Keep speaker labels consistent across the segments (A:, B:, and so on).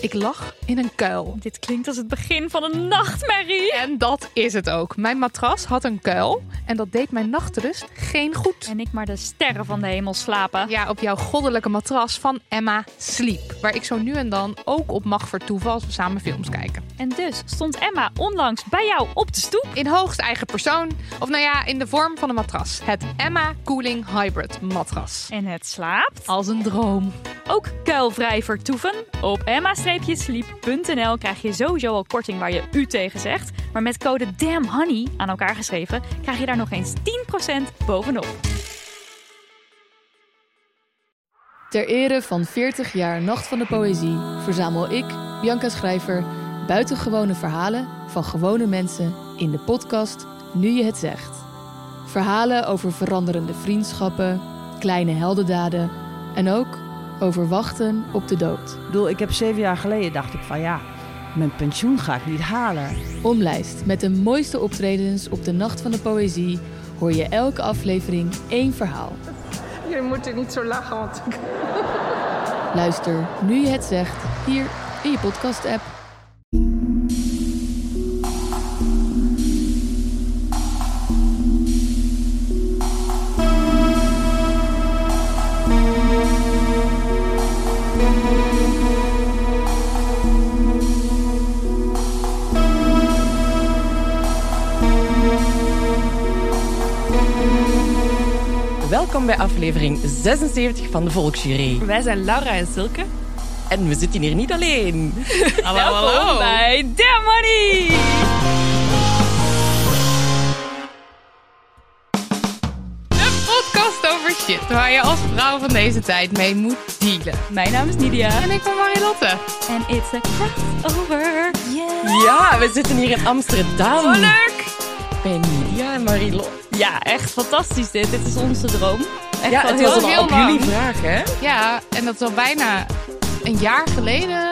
A: Ik lag in een kuil.
B: Dit klinkt als het begin van een nachtmerrie.
A: En dat is het ook. Mijn matras had een kuil en dat deed mijn nachtrust geen goed.
B: En ik maar de sterren van de hemel slapen.
A: Ja, op jouw goddelijke matras van Emma Sleep. Waar ik zo nu en dan ook op mag vertoeven als we samen films kijken.
B: En dus stond Emma onlangs bij jou op de stoep.
A: In hoogst eigen persoon. Of nou ja, in de vorm van een matras. Het Emma Cooling Hybrid matras.
B: En het slaapt.
A: Als een droom.
B: Ook kuilvrij vertoeven. Op emma-sleep.nl krijg je sowieso al korting waar je u tegen zegt. Maar met code DAMNHONEY aan elkaar geschreven krijg je daar nog eens 10% bovenop.
C: Ter ere van 40 jaar Nacht van de Poëzie verzamel ik, Bianca Schrijver, buitengewone verhalen van gewone mensen in de podcast Nu je het zegt. Verhalen over veranderende vriendschappen, kleine heldendaden en ook over wachten op de dood.
D: Ik bedoel, ik heb zeven jaar geleden dacht ik van ja, mijn pensioen ga ik niet halen.
C: Omlijst met de mooiste optredens op de Nacht van de Poëzie hoor je elke aflevering één verhaal.
E: Jullie moeten niet zo lachen, want ik...
C: Luister nu je het zegt hier in je podcast-app.
F: Welkom bij aflevering 76 van de Volksjury.
G: Wij zijn Laura en Silke.
F: En we zitten hier niet alleen.
G: Hallo, hallo.
B: Bij Damn Money!
A: De podcast over shit waar je als vrouw van deze tijd mee moet dealen.
B: Mijn naam is Nidia.
A: En ik ben Marilotte.
B: En it's a crossover. Yeah.
F: Ja, we zitten hier in Amsterdam.
B: Zo leuk!
F: Bij Nidia en Marilo.
B: Ja, echt fantastisch dit. Dit is onze droom. Echt
F: Ja,
B: al
F: het
B: heel
F: was
A: heel
F: al op
A: lang.
F: jullie vraag, hè?
A: Ja, en dat is al bijna een jaar geleden,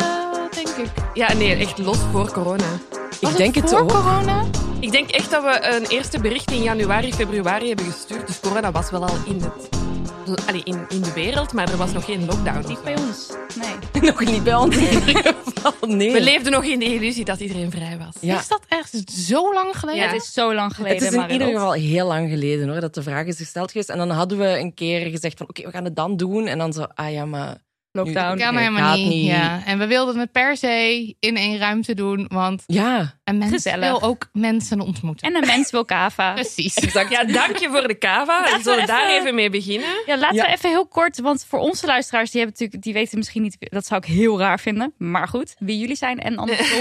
A: denk ik.
G: Ja, nee, echt los voor corona.
A: Was
F: ik denk het,
A: voor
F: ook.
A: corona?
G: Ik denk echt dat we een eerste bericht in januari, februari hebben gestuurd. Dus corona was wel al in, het, allee, in, in de wereld, maar er was nog geen lockdown.
B: Niet bij ons. Nee.
F: Nog niet bij ons in ieder geval, nee.
G: We leefden nog in de illusie dat iedereen vrij was.
F: Ja.
A: Is dat echt zo lang geleden?
G: Ja.
B: Het is zo lang geleden,
F: Het is in ieder
B: Marilot.
F: geval heel lang geleden hoor, dat de vraag is gesteld geweest. En dan hadden we een keer gezegd van oké, we gaan het dan doen. En dan zo, ah ja, maar...
G: Lockdown.
F: nu-
A: kan
F: eh,
A: helemaal
F: gaat
A: niet. Ja. En we wilden het per se in één ruimte doen, want
F: Ja,
A: een mens
B: Gezellig.
A: wil ook mensen ontmoeten.
B: En een mens wil kava.
A: Precies.
G: Ja, dank je voor de cava. Zullen we daar even eh, mee beginnen?
B: Ja, laten
F: Ja.
B: we even heel kort, want voor onze luisteraars, die, hebben natuurlijk, die weten misschien niet, dat zou ik heel raar vinden, maar goed, wie jullie zijn en andersom.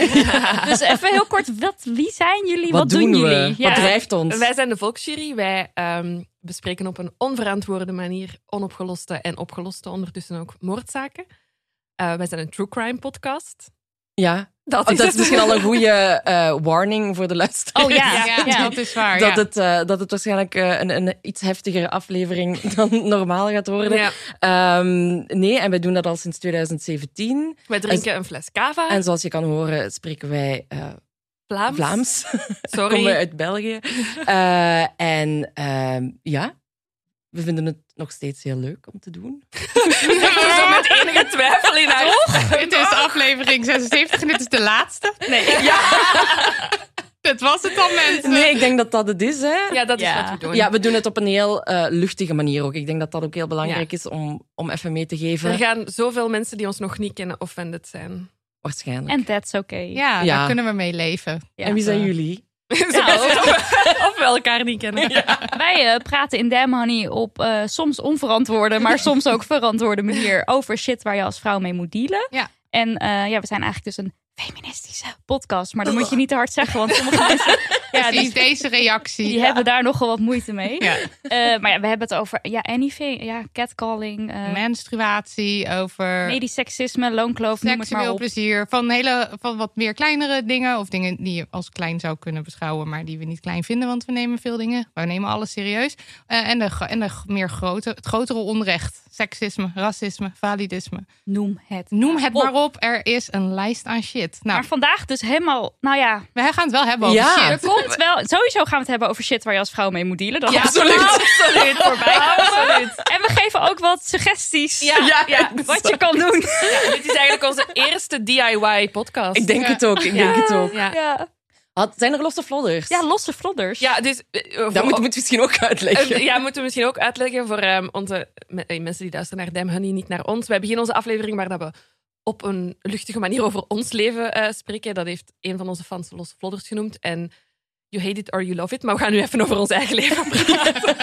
B: Dus even heel kort, wat, wie zijn jullie? Wat,
F: wat, doen,
B: jullie?
F: we?
B: Ja.
F: Wat drijft ons?
G: Wij zijn de Volksjury. Wij ehm, bespreken op een onverantwoorde manier onopgeloste en opgeloste ondertussen ook moordzaken. Eh, wij zijn een true crime podcast.
F: Ja,
G: Dat
F: Oh, dat is misschien al een goede eh, warning voor de luisteraars.
B: Oh ja, ja.
A: Ja, dat is waar.
F: Dat,
A: ja.
F: het, eh, dat het waarschijnlijk eh, een, een iets heftigere aflevering dan normaal gaat worden.
G: Ja,
F: Ehm, nee, en wij doen dat al sinds 2017.
G: wij drinken een fles cava.
F: En zoals je kan horen, spreken wij eh,
G: Vlaams.
F: Vlaams.
G: Sorry.
F: Komen we uit België. Eh, en ehm, ja, we vinden het nog steeds heel leuk om te doen.
G: Zo met enige twijfel in haar
A: Dit is aflevering 76 en dit is de laatste. Nee. Ja. Dat was het dan, mensen.
F: Nee, ik denk dat dat het is, hè?
G: Ja, dat is
B: Ja.
G: wat we doen.
F: Ja, we doen het op een heel eh, luchtige manier ook. Ik denk dat dat ook heel belangrijk is om, om even mee te
G: Er
F: geven.
G: gaan zoveel mensen die ons nog niet kennen offended zijn.
F: Waarschijnlijk.
B: En that's okay.
A: Ja,
F: Ja.
A: daar kunnen we mee leven.
B: Ja.
F: En wie zijn jullie?
B: Nou,
G: Of we elkaar niet kennen.
B: wij eh, praten in Damn Honey op eh, soms onverantwoorde, maar soms ook verantwoorde manier over shit waar je als vrouw mee moet dealen.
A: Ja.
B: En eh, ja, we zijn eigenlijk dus een feministische podcast, maar dat moet je niet te hard zeggen, want sommige mensen... Ja, dus die,
A: Precies, deze reactie.
B: die hebben daar nogal wat moeite mee.
A: Ja.
B: Eh, maar ja, we hebben het over ja, anything. Ja, catcalling, eh
A: Menstruatie, over
B: medisch seksisme, loonkloof, noem het maar
A: seksueel
B: op.
A: plezier. Van, hele, van wat meer kleinere dingen. Of dingen die je als klein zou kunnen beschouwen, maar die we niet klein vinden. Want we nemen veel dingen. We nemen alles serieus. Eh, en de, gro- en de g- meer grote, het grotere onrecht. Seksisme, racisme, validisme.
B: Noem het.
A: Noem het
B: op.
A: maar op. Er is een lijst aan shit. Nou,
B: Maar vandaag dus helemaal, nou ja,
A: we gaan het wel hebben over
F: Ja.
A: shit.
B: er komt komt wel. Sowieso gaan we het hebben over shit waar je als vrouw mee moet dealen. Dat
F: Ja,
B: gaat
F: absoluut.
B: absoluut voorbij. Absoluut. En we geven ook wat suggesties.
F: Ja,
B: Wat je kan doen.
G: dit is eigenlijk onze eerste DIY-podcast.
F: Ik denk
A: Ja.
F: het ook, ik denk het ook.
G: Ja.
B: Ja,
F: Had- zijn er losse vlodders?
B: ja losse vlodders.
G: Ja, dus... eh, voor-
F: Dat moet, moet je misschien ook uitleggen.
G: Eh, Ja, moeten we misschien ook uitleggen voor ehm, onze me- eh, mensen die luisteren naar Dem Honey, niet naar ons. Wij beginnen onze aflevering waar dat we op een luchtige manier over ons leven eh, spreken. Dat heeft een van onze fans Losse Vlodders genoemd. En you hate it or you love it. Maar we gaan nu even over ons eigen leven praten.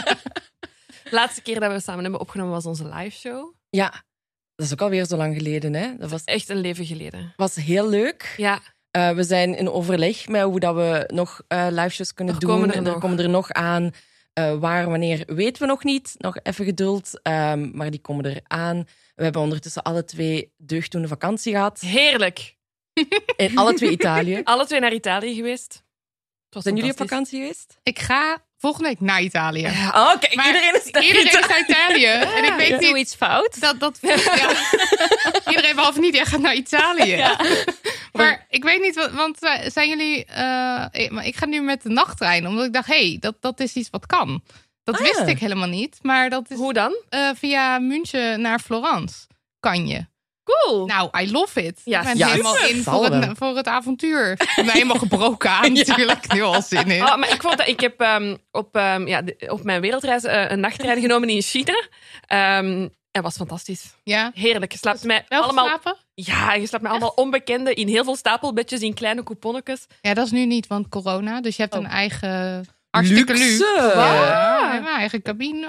G: Laatste keer dat we samen hebben opgenomen was onze live show.
F: Ja, dat is ook alweer zo lang geleden. Hè? Dat was,
G: Echt een leven geleden.
F: was heel leuk.
G: Ja,
F: Eh, we zijn in overleg met hoe dat we nog eh liveshows kunnen
G: Er
F: doen.
G: komen er
F: en
G: nog.
F: er komen er nog aan. Eh, waar, wanneer, weten we nog niet. Nog even geduld. Ehm, maar die komen er aan. We hebben ondertussen alle twee deugdoende vakantie gehad.
G: heerlijk.
F: In alle twee Italië.
G: Alle twee naar Italië geweest. Het was
F: Zijn jullie op
G: fantastisch.
F: vakantie geweest?
A: Ik ga volgende week naar Italië.
F: Ah, Oké,
A: Maar
F: iedereen is daar.
A: Iedereen is naar Italië. En ik weet
B: Ik doe
A: niet
B: iets fout.
A: dat dat. ja. Iedereen behalve niet, jij gaat naar Italië. Maar ik weet niet, wa- want eh, zijn jullie. eh, ik- maar ik ga nu met de nachttrein, omdat ik dacht, hé, hey, dat, dat is iets wat kan. Dat
F: Ah.
A: wist ik helemaal niet. Maar dat is
G: Hoe dan?
A: eh, via München naar Florence. Kan je.
G: Cool.
A: Nou, I love it.
G: Ja,
A: ik ben
F: ja,
A: helemaal
F: het
A: in
F: zal
A: voor
F: wel.
A: het, voor het avontuur. Ik ben helemaal gebroken aan, natuurlijk. Nu al zin in.
F: Oh,
G: Ah, maar ik, vond dat, ik heb ehm, op, ehm, ja, de- op mijn wereldreis eh, een nachttrein genomen in China. Ehm en was fantastisch.
A: Ja.
G: Heerlijk. Je slaapt met
A: Wel
G: allemaal,
A: geslapen?
G: ja, je slaapt met allemaal onbekenden in heel veel stapelbedjes, in kleine couponnetjes.
A: Ja, dat is nu niet, want corona. Dus je hebt een eigen... Hartstikke
F: Hartstikke luxe.
A: luxe.
F: luxe.
A: Ja, we hebben een eigen cabine.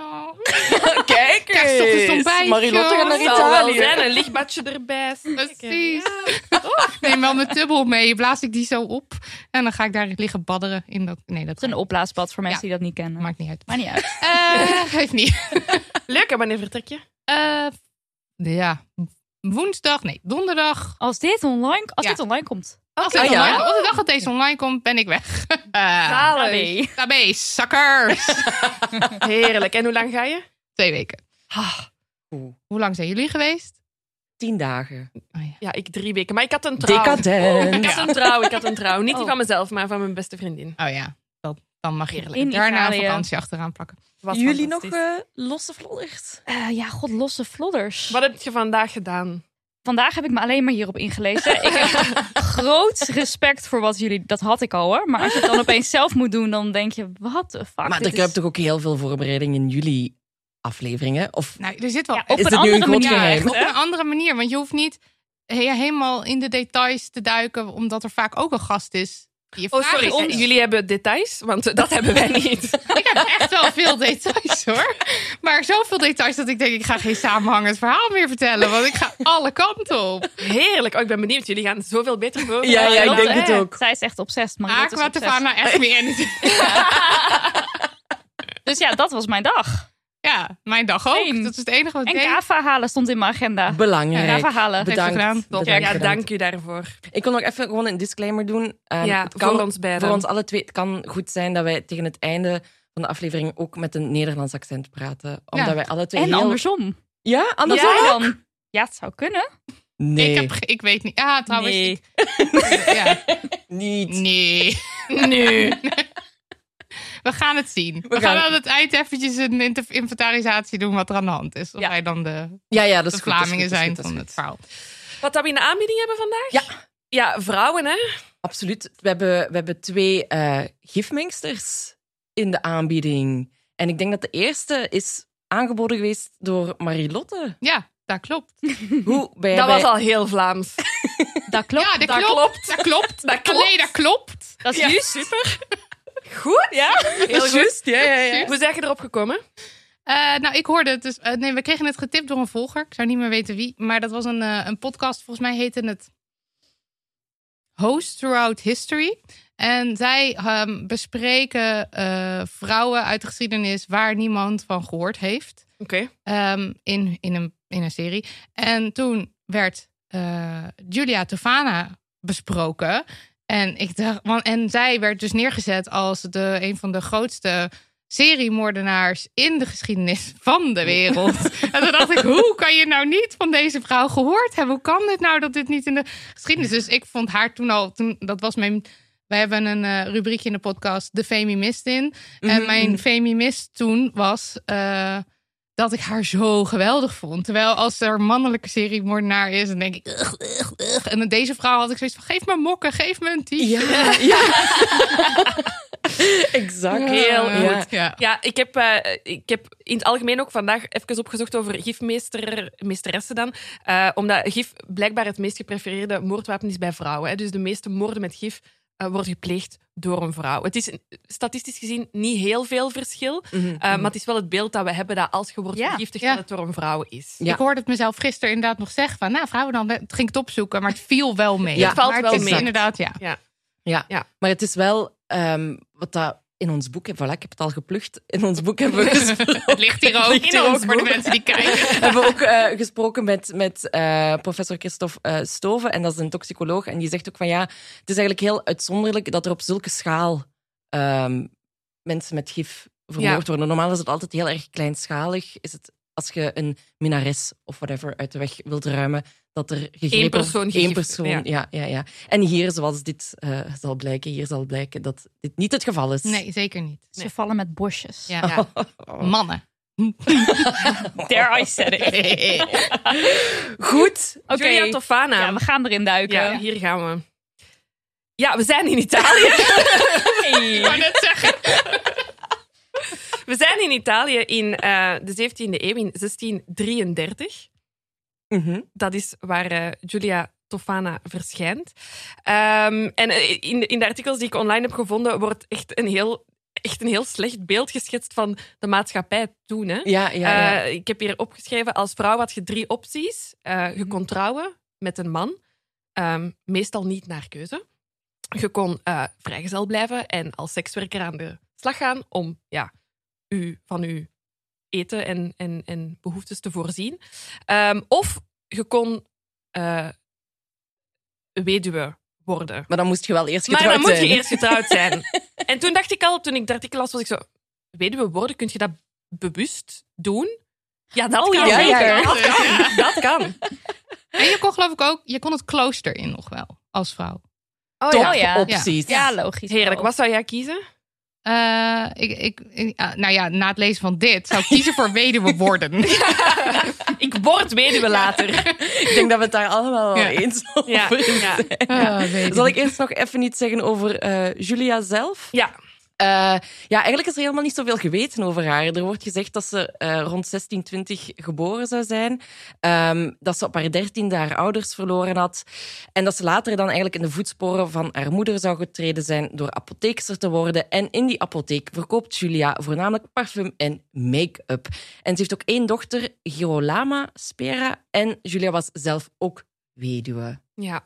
F: Kijk
A: Kerstochtend ontbijtje.
F: Marilotte gaat naar
A: Dat
G: Het zal wel
F: Italië.
G: zijn, een lichtbadje erbij.
A: Precies. Oh, Neem wel mijn tubbel mee. Blaas ik die zo op. En dan ga ik daar liggen badderen. In dat... Nee, dat
B: Het is een opblaasbad voor mensen die dat niet kennen.
A: maakt niet uit.
B: Maar niet uit.
A: Eh, geeft niet.
G: Leuk, en wanneer vertrek je?
A: Eh, ja, woensdag. Nee, donderdag.
B: Als dit online, als
A: Ja.
B: dit online komt.
A: Als dit
F: Ah, ja?
A: online, op de dag dat deze online komt, ben ik weg. Eh
G: Zalig.
A: KB, suckers.
G: Heerlijk. En hoe lang ga je?
A: Twee weken.
F: Oeh,
A: Hoe lang zijn jullie geweest?
F: Tien dagen.
A: Oh, ja.
G: Ja, ik drie weken. Maar ik had een trouw. Ik
F: Decadent.
G: had een trouw, ik had een trouw. Niet die
B: Oh.
G: van mezelf, maar van mijn beste vriendin.
A: Oh ja, dat, dan mag je
B: In
A: daarna een
B: Italië.
A: vakantie achteraan plakken.
G: Was
F: Jullie nog
G: fantastisch.
F: eh, losse vlodders?
B: Eh, ja, god, losse vlodders.
G: Wat heb je vandaag gedaan?
B: Vandaag heb ik me alleen maar hierop ingelezen. ik heb groot respect voor wat jullie... Dat had ik al hoor. Maar als je het dan opeens zelf moet doen, dan denk je... Wat de fuck?
F: Maar
B: dit
F: er
B: is-
F: kruipt toch ook heel veel voorbereiding in jullie afleveringen? Of
A: Nou, er zit wel
B: Ja, op
F: Oh, is
B: een
F: het nu een
B: andere
F: groot
B: manier,
F: geheim?
A: op een andere manier. Want je hoeft niet he- helemaal in de details te duiken, omdat er vaak ook een gast is. Die je
G: Oh,
A: vragen
G: sorry.
A: stelt.
G: eh, Jullie hebben details, want eh, dat hebben wij niet.
A: Ik heb echt wel veel details hoor. Maar zoveel details dat ik denk, ik ga geen samenhangend verhaal meer vertellen. Want ik ga alle kanten op.
G: Heerlijk. Oh, ik ben benieuwd. Jullie gaan zoveel beter voor.
F: Ja, ja, ik
B: Lotte,
F: denk het
B: hè?
F: ook.
B: Zij is echt obsessed. Marilotte is
A: Aqua
B: obsessed.
A: Tavana, echt me anything.
B: Dus ja, dat was mijn dag.
A: Ja, mijn dag ook.
B: Same.
A: Dat is het enige wat ik
B: En
A: deed.
B: kava halen stond in mijn agenda.
F: Belangrijk.
B: Kava halen.
A: Heeft ze gedaan.
F: Bedankt.
G: Top.
F: Bedankt,
G: ja,
F: bedankt.
G: dank u daarvoor.
F: Ik wil nog even gewoon een disclaimer doen. Ehm,
G: ja,
F: het kan
G: voor ons beiden.
F: voor ons alle twee. Het kan goed zijn dat wij tegen het einde van de aflevering ook met een Nederlands accent praten. Omdat wij alle twee
B: En
F: heel...
B: andersom.
F: Ja, andersom?
B: ja, dan. Ja, het zou kunnen.
F: Nee,
A: Ik, heb, ge- ik weet niet. Ah, trouwens.
B: Nee.
A: Ik, ja.
F: niet.
A: Nee.
G: nu.
A: We gaan het zien. We, gaan,
F: gaan-
A: aan het eind eventjes een inter- inventarisatie doen wat er aan de hand is. Of
B: Ja.
A: wij dan de,
F: Ja, ja, dat
A: de
F: is goed, dat
A: Vlamingen
F: is goed, dat is
A: zijn
F: goed, dat is
A: van
F: goed.
A: het verhaal.
G: Wat dat we in de aanbieding hebben vandaag?
F: Ja.
G: Ja, vrouwen, hè?
F: Absoluut. We hebben, we hebben twee eh, gifmengsters in de aanbieding. En ik denk dat de eerste is aangeboden geweest door Marilotte.
A: Ja, dat klopt.
F: Hoe ben
G: dat
F: bij-
G: was al heel Vlaams.
B: Dat klopt.
A: ja, dat,
G: dat
A: klopt.
G: klopt.
A: Dat klopt.
G: Dat klopt.
A: Allee, dat klopt.
B: Dat is
G: Ja,
B: juist.
G: super. Goed. Ja, heel goed.
F: Juist, ja, ja, ja.
G: Hoe zijn je erop gekomen?
A: Eh, nou, ik hoorde het dus. eh, nee, we kregen het getipt door een volger. Ik zou niet meer weten wie. Maar dat was een, eh, een podcast. Volgens mij heette het Host Throughout History. En zij ehm, bespreken eh, vrouwen uit de geschiedenis waar niemand van gehoord heeft.
G: Oké.
A: Ehm, in, in, een, in een serie. En toen werd eh, Julia Tofana besproken. En, ik dacht, want, en zij werd dus neergezet als de, een van de grootste seriemoordenaars in de geschiedenis van de wereld. en toen dacht ik, hoe kan je nou niet van deze vrouw gehoord hebben? Hoe kan dit nou dat dit niet in de geschiedenis is? Dus ik vond haar toen al, toen, dat was mijn We hebben een eh, rubriekje in de podcast, de Femimist in. En
F: Mhm.
A: mijn Femimist toen was eh, dat ik haar zo geweldig vond. Terwijl als er een mannelijke serie moordenaar is, dan denk ik... "Ugh, ugh, ugh." En met deze vrouw had ik zoiets van, geef me mokken, geef me een t-shirt.
F: Ja, ja. exact.
G: heel
A: Ja.
F: goed.
A: Ja.
G: Ja, ik heb, eh, ik heb in het algemeen ook vandaag even opgezocht over gifmeester, meesteressen dan. Eh, omdat gif blijkbaar het meest geprefereerde moordwapen is bij vrouwen. Hè. Dus de meeste moorden met gif eh, worden gepleegd door een vrouw. Het is eh, statistisch gezien niet heel veel verschil.
F: Mhm.
G: eh, maar het is wel het beeld dat we hebben dat als je wordt
B: Mm. Ja.
G: vergiftigd,
A: Ja.
G: dat het door een vrouw is.
F: Ja.
A: Ik hoorde het mezelf gisteren inderdaad nog zeggen van, nou vrouwen dan, het ging het opzoeken, maar het viel wel mee.
F: Ja,
G: het valt
A: maar
G: wel
A: is
G: mee.
A: Inderdaad, ja.
F: Ja.
G: Ja.
F: maar het is wel ehm, wat dat in ons boek, voilà, ik heb het al geplukt, in ons boek hebben we gesproken.
A: Het ligt hier ook
F: ligt
A: in
F: hier
A: ons
F: ook
A: voor de
F: boven.
A: mensen die kijken.
F: hebben we ook eh, gesproken met, met eh, professor Christophe eh, Stoven, en dat is een toxicoloog. En die zegt ook van ja, het is eigenlijk heel uitzonderlijk dat er op zulke schaal ehm, mensen met gif vermoord worden. Normaal is het altijd heel erg kleinschalig. Is het als je een minares of whatever uit de weg wilt ruimen, dat er gegrepen
G: Eén
F: wordt-
G: persoon
F: één
G: gegrift,
F: persoon. Ja.
G: ja.
F: Ja, ja, En hier, zoals dit eh, zal blijken, hier zal blijken dat dit niet het geval is.
A: Nee, zeker niet.
B: Ze vallen met bosjes.
A: Ja. Mannen.
B: There I said it.
F: Goed.
B: Oké.
G: Julia Tofana.
B: Ja, we gaan erin duiken.
G: Ja, hier gaan we. Ja, we zijn in Italië.
A: Ik wou net zeggen.
G: We zijn in Italië in eh, de 17e eeuw, in 1633.
F: Mhm.
G: Dat is waar eh, Giulia Tofana verschijnt. Ehm, en eh, in, de- in de artikels die ik online heb gevonden, wordt echt een heel, echt een heel slecht beeld geschetst van de maatschappij toen. Hè?
F: Ja, ja, ja.
G: Eh, ik heb hier opgeschreven, als vrouw had je drie opties. Eh, je kon trouwen met een man, ehm, meestal niet naar keuze. Je kon eh, vrijgezel blijven en als sekswerker aan de slag gaan om ja, u, van uw eten en, en, en behoeftes te voorzien. Ehm, of je kon eh, weduwe worden.
F: Maar dan moest je wel eerst
G: Maar
F: getrouwd
G: dan moet je
F: zijn.
G: eerst getrouwd zijn. en toen dacht ik al, toen ik dat artikel las, was ik zo... Weduwe worden, kun je dat bewust doen? Ja, dat
B: Oh,
G: kan.
F: ja,
G: zeker.
F: ja.
G: Dat kan. Dat kan.
A: En je kon geloof ik ook, je kon het klooster in nog wel, als vrouw.
B: Oh,
F: Top
B: ja. ja.
F: opties.
B: Ja, logisch.
G: Heerlijk, wat zou jij kiezen?
A: Eh, ik, ik, ik- ah, nou ja, na het lezen van dit zou ik kiezen voor weduwe worden.
G: Ik word weduwe later.
F: Ik denk dat we het daar allemaal wel
A: Ja.
F: eens over
G: Ja, ja.
F: zijn.
A: Ah, weduwe.
F: Zal ik eerst nog even iets zeggen over eh, Julia zelf?
G: Ja.
F: Eh, ja, eigenlijk is er helemaal niet zoveel geweten over haar. Er wordt gezegd dat ze eh, rond 1620 geboren zou zijn. Ehm, dat ze op haar dertiende haar ouders verloren had. En dat ze later dan eigenlijk in de voetsporen van haar moeder zou getreden zijn door apotheekster te worden. En in die apotheek verkoopt Julia voornamelijk parfum en make-up. En ze heeft ook één dochter, Girolama Spera. En Julia was zelf ook weduwe.
G: ja.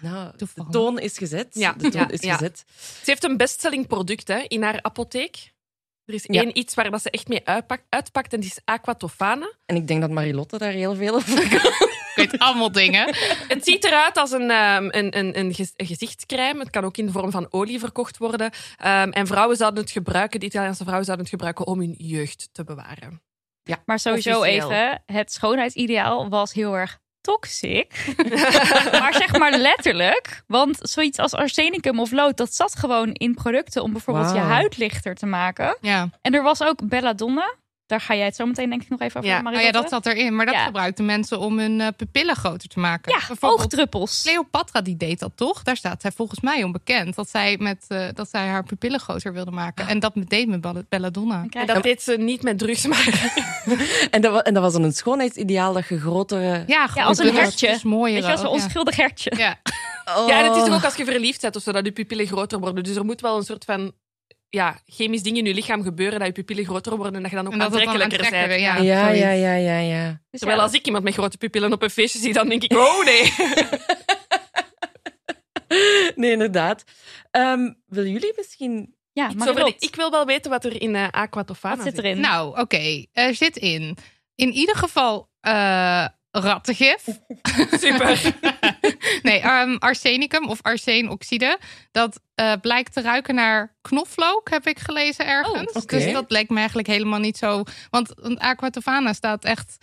F: Nou, de
A: Toevallig.
F: toon is gezet.
G: Ja,
F: De toon
G: ja,
F: is
G: ja.
F: gezet.
G: Ze heeft een bestselling product hè, in haar apotheek. Er is
F: Ja.
G: één iets waar dat ze echt mee uitpakt, uitpakt en die is Aqua Tofana.
F: En ik denk dat Marilotte daar heel veel over kan.
A: Ik weet allemaal dingen.
G: Het ziet eruit als een, ehm, een, een, een gez- een gezichtscrème. Het kan ook in de vorm van olie verkocht worden. Ehm, en vrouwen zouden het gebruiken, de Italiaanse vrouwen zouden het gebruiken om hun jeugd te bewaren.
B: Maar sowieso
G: Officieel.
B: even, het schoonheidsideaal was heel erg toxic. maar zeg maar letterlijk, want zoiets als arsenicum of lood, dat zat gewoon in producten om bijvoorbeeld je
F: Wauw.
B: huid lichter te maken.
A: Ja,
B: En er was ook belladonna. Daar ga jij het zo meteen denk ik nog even over
G: Ja.
B: hebben,
A: oh, ja dat
B: Marilotte.
A: zat erin. Maar dat
B: Ja.
A: gebruikten mensen om hun eh, pupillen groter te maken.
B: Ja,
A: Bijvoorbeeld
B: oogdruppels.
A: Cleopatra die deed dat toch? Daar staat zij volgens mij onbekend. Dat zij, met, eh, dat zij haar pupillen groter wilde maken. En dat deed met Ball- Belladonna.
B: Dan
G: En
B: krijg je-
G: dat deed ze niet met drugs, maar
F: En dat, wa- en dat was dan een schoonheidsideaal dat je grotere...
A: Ja, gewoon
B: als een
A: dunner,
B: hertje.
A: dus mooier
B: Weet je, als een
A: ook, ja.
B: onschuldig hertje.
A: Ja.
G: Ja, en het is
F: Oh.
G: toch ook als je verliefd bent of zo, dat je pupillen groter worden. Dus er moet wel een soort van ja, chemisch ding in je lichaam gebeuren dat je pupillen groter worden en dat je dan ook
A: En dat het dan
G: aantrekkelijker bent.
A: aantrekkelijker, ja.
F: Ja,
A: zoiets.
F: ja, ja, ja, ja.
B: Dus
G: Terwijl
B: ja,
G: als ik iemand met grote pupillen op een feestje zie, dan denk ik, oh nee.
F: Nee, inderdaad. Ehm willen jullie misschien...
B: ja,
G: Zo van,
B: Marilotte,
G: ik wil wel weten wat er in eh, Aqua Tofana
B: wat zit erin?
A: Nou, oké. Er zit in. In ieder geval eh, rattengif.
G: Super.
A: nee, ehm, arsenicum of arseenoxide. Dat eh, blijkt te ruiken naar knoflook, heb ik gelezen ergens.
F: Oh, oké.
A: Dus dat lijkt me eigenlijk helemaal niet zo. Want Aquatofana staat echt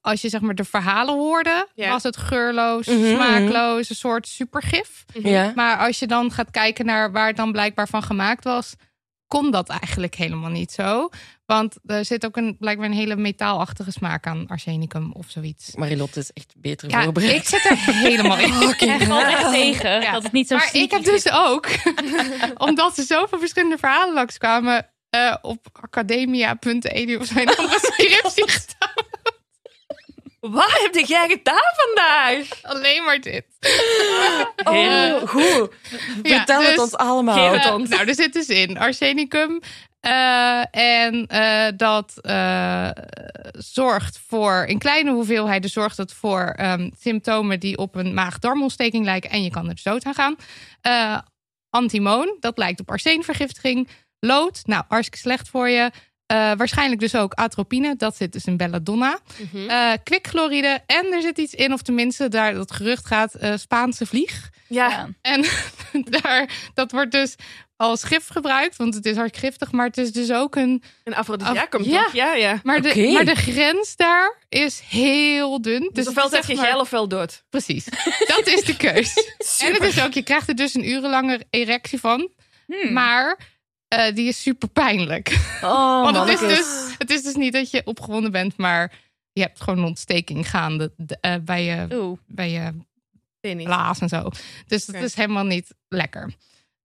A: als je zeg maar de verhalen hoorde,
G: Ja.
A: was het geurloos,
F: Mhm, mhm.
A: smaakloos, een soort supergif.
F: Ja.
A: Mhm. Maar als je dan gaat kijken naar waar het dan blijkbaar van gemaakt was, kon dat eigenlijk helemaal niet zo. Want er zit ook een, blijkbaar een hele metaalachtige smaak aan arsenicum of zoiets.
F: Marilotte is echt beter
A: Ja,
F: voorbereid.
A: ik zit er helemaal in.
B: Hij valt echt tegen
A: Ja.
B: dat het niet zo
A: Maar ik
B: sneaky
A: heb dus ook, omdat er zoveel verschillende verhalen langskwamen, eh op academia.edu of zijn andere scriptie gestaan.
G: Wat heb jij gedaan vandaag?
A: Alleen maar dit.
F: Oh, goed.
A: Ja,
F: Vertel het
A: dus-
F: ons allemaal.
A: Eh, nou, er zit dus in arsenicum. eh, en eh, dat eh, zorgt voor, in kleine hoeveelheden zorgt het voor ehm, symptomen die op een maag-darmontsteking lijken. En je kan er dus dood aan gaan. Eh, antimoon, dat lijkt op arseenvergiftiging. Lood, nou, hartstikke slecht voor je. Eh, waarschijnlijk dus ook atropine, dat zit dus in belladonna. Eh, kwikchloride en er zit iets in, of tenminste, daar dat gerucht gaat, eh, Spaanse vlieg.
G: Ja.
B: Ja.
A: En daar, dat wordt dus als gif gebruikt, want het is hard giftig, maar het is dus ook een.
G: Een afrodisiac
A: Af-
G: komt
A: Ja.
G: toch? Ja, Dus ja.
A: Maar,
F: Oké.
A: de, maar de grens daar is heel dun. Dus
G: Dus ofwel
A: het is
G: zet je
A: zeg maar-
G: geil ofwel dood.
A: Precies. Dat is de keus. en het is ook, je krijgt er dus een urenlange erectie van,
B: Hmm.
A: maar eh, die is super pijnlijk.
F: Oh,
A: Want het is,
F: mannetjes.
A: dus, het is dus niet dat je opgewonden bent, maar je hebt gewoon een ontsteking gaande eh, bij, je,
B: Oeh.
A: bij je
G: Penis.
A: blaas en zo. Dus dat
G: Oké.
A: is helemaal niet lekker.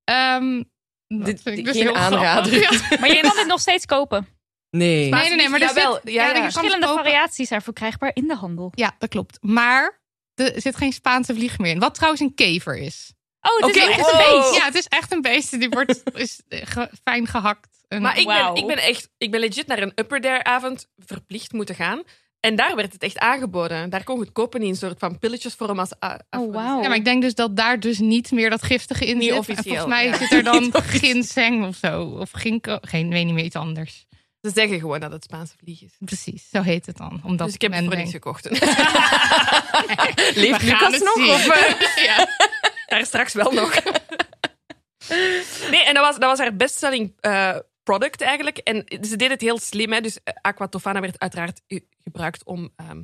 A: Ehm dat
F: Dit-
A: vind ik
F: dit-
A: dus
F: geen
A: heel grappig.
F: aanrader.
A: Ja.
B: Maar je kan dit nog steeds kopen.
F: Nee.
A: Nee, nee, nee, maar er
G: Jawel,
A: zit-
G: ja,
A: ja,
G: ja.
A: er is-
B: Verschillende
A: kopen.
B: variaties zijn verkrijgbaar in de handel.
A: Ja, dat klopt. Maar er zit geen Spaanse vlieg meer in. Wat trouwens een kever is.
B: Oh, dit
F: Oké,
B: is echt een
F: wow.
B: beest.
A: Ja, het is echt een beest. Die wordt is eh, ge- fijn gehakt. En-
G: Maar ik ben,
B: Wauw.
G: ik ben echt, ik ben legit naar een upper dare avond verplicht moeten gaan. En daar werd het echt aangeboden. Daar kon je het kopen in een soort van pilletjesvorm als a-
B: Oh,
G: afrodisiac.
B: wauw.
A: Ja, maar ik denk dus dat daar dus niet meer dat giftige in
G: Niet
A: zit.
G: officieel,
A: en volgens mij
G: ja.
A: zit er dan ginseng of zo. Of ginkgo. Geen, weet niet meer, iets anders.
G: Ze zeggen gewoon dat het Spaanse vlieg is.
A: Precies, zo heet het dan. Omdat
G: dus ik heb het
A: men
G: voor niks
A: denkt,
G: gekocht.
F: Leeft
A: we gaan
F: Lucas
A: het
F: nog?
A: zien.
F: Of,
G: eh?
A: ja.
G: daar straks wel nog. nee, en dat was, dat was haar bestselling eh, product eigenlijk. En ze deed het heel slim. Hè? Dus eh, Aquatofana werd uiteraard ge- gebruikt om ehm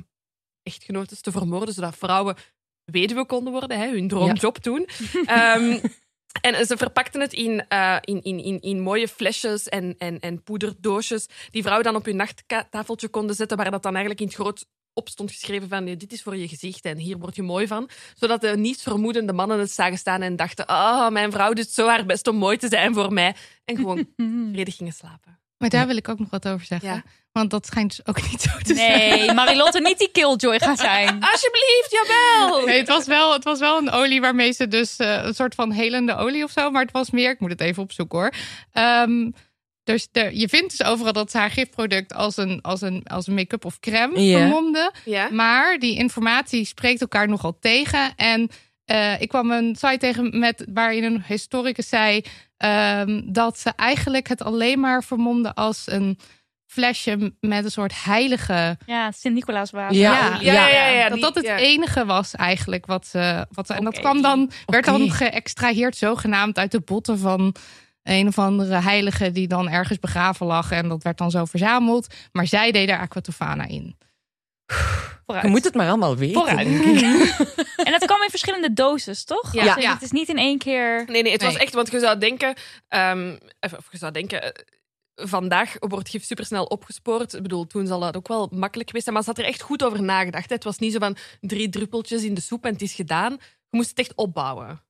G: echtgenotes te vermoorden, zodat vrouwen weduwe konden worden, hè? hun droomjob toen. Ehm, en ze verpakten het in, eh, in, in, in, in mooie flesjes en, en, en poederdoosjes, die vrouwen dan op hun nachttafeltje konden zetten, waar dat dan eigenlijk in het groot op stond geschreven van "Nee, dit is voor je gezicht en hier word je mooi van zodat de nietsvermoedende mannen het zagen staan en dachten: Oh, mijn vrouw doet zo haar best om mooi te zijn voor mij. En gewoon vredig gingen slapen.
A: Maar daar wil ik ook nog wat over zeggen.
G: Ja.
A: Want dat schijnt dus ook niet zo te zijn.
B: Nee, Marilotte niet die killjoy gaan zijn.
G: Alsjeblieft, jawel!
A: Nee, het was, wel, het was wel een olie waarmee ze dus eh, een soort van helende olie of zo. Maar het was meer, ik moet het even opzoeken hoor. Ehm, dus de, je vindt dus overal dat ze haar gifproduct als een, als een, als een make-up of crème
F: Ja.
A: vermomde.
G: Ja?
A: Maar die informatie spreekt elkaar nogal tegen. En eh, ik kwam een site tegen met, waarin een historicus zei ehm, dat ze eigenlijk het alleen maar vermomde als een flesje met een soort heilige
B: Ja, Sint-Nicolaas wapen.
F: Ja.
G: Ja, ja, ja, ja,
A: dat
G: die-
A: dat het
G: ja.
A: enige was eigenlijk wat ze. Wat ze en dat
B: Oké.
A: kwam dan, werd
F: Oké.
A: dan geëxtraheerd zogenaamd uit de botten van een of andere heilige die dan ergens begraven lag. En dat werd dan zo verzameld. Maar zij deed daar aquatofana in.
B: Vooruit.
F: Je moet het maar allemaal weten.
A: Vooruit.
F: denk ik.
B: En dat kwam in verschillende doses, toch?
G: Ja.
B: Dus
A: Ja.
B: Het is niet in één keer...
G: Nee, nee, het was
A: Nee.
G: echt, want je zou denken: ehm, of, of je zou denken. eh, Vandaag wordt gif supersnel opgespoord. Ik bedoel, toen zal dat ook wel makkelijk geweest zijn. Maar ze had er echt goed over nagedacht. hè. Het was niet zo van drie druppeltjes in de soep en het is gedaan. Je moest het echt opbouwen.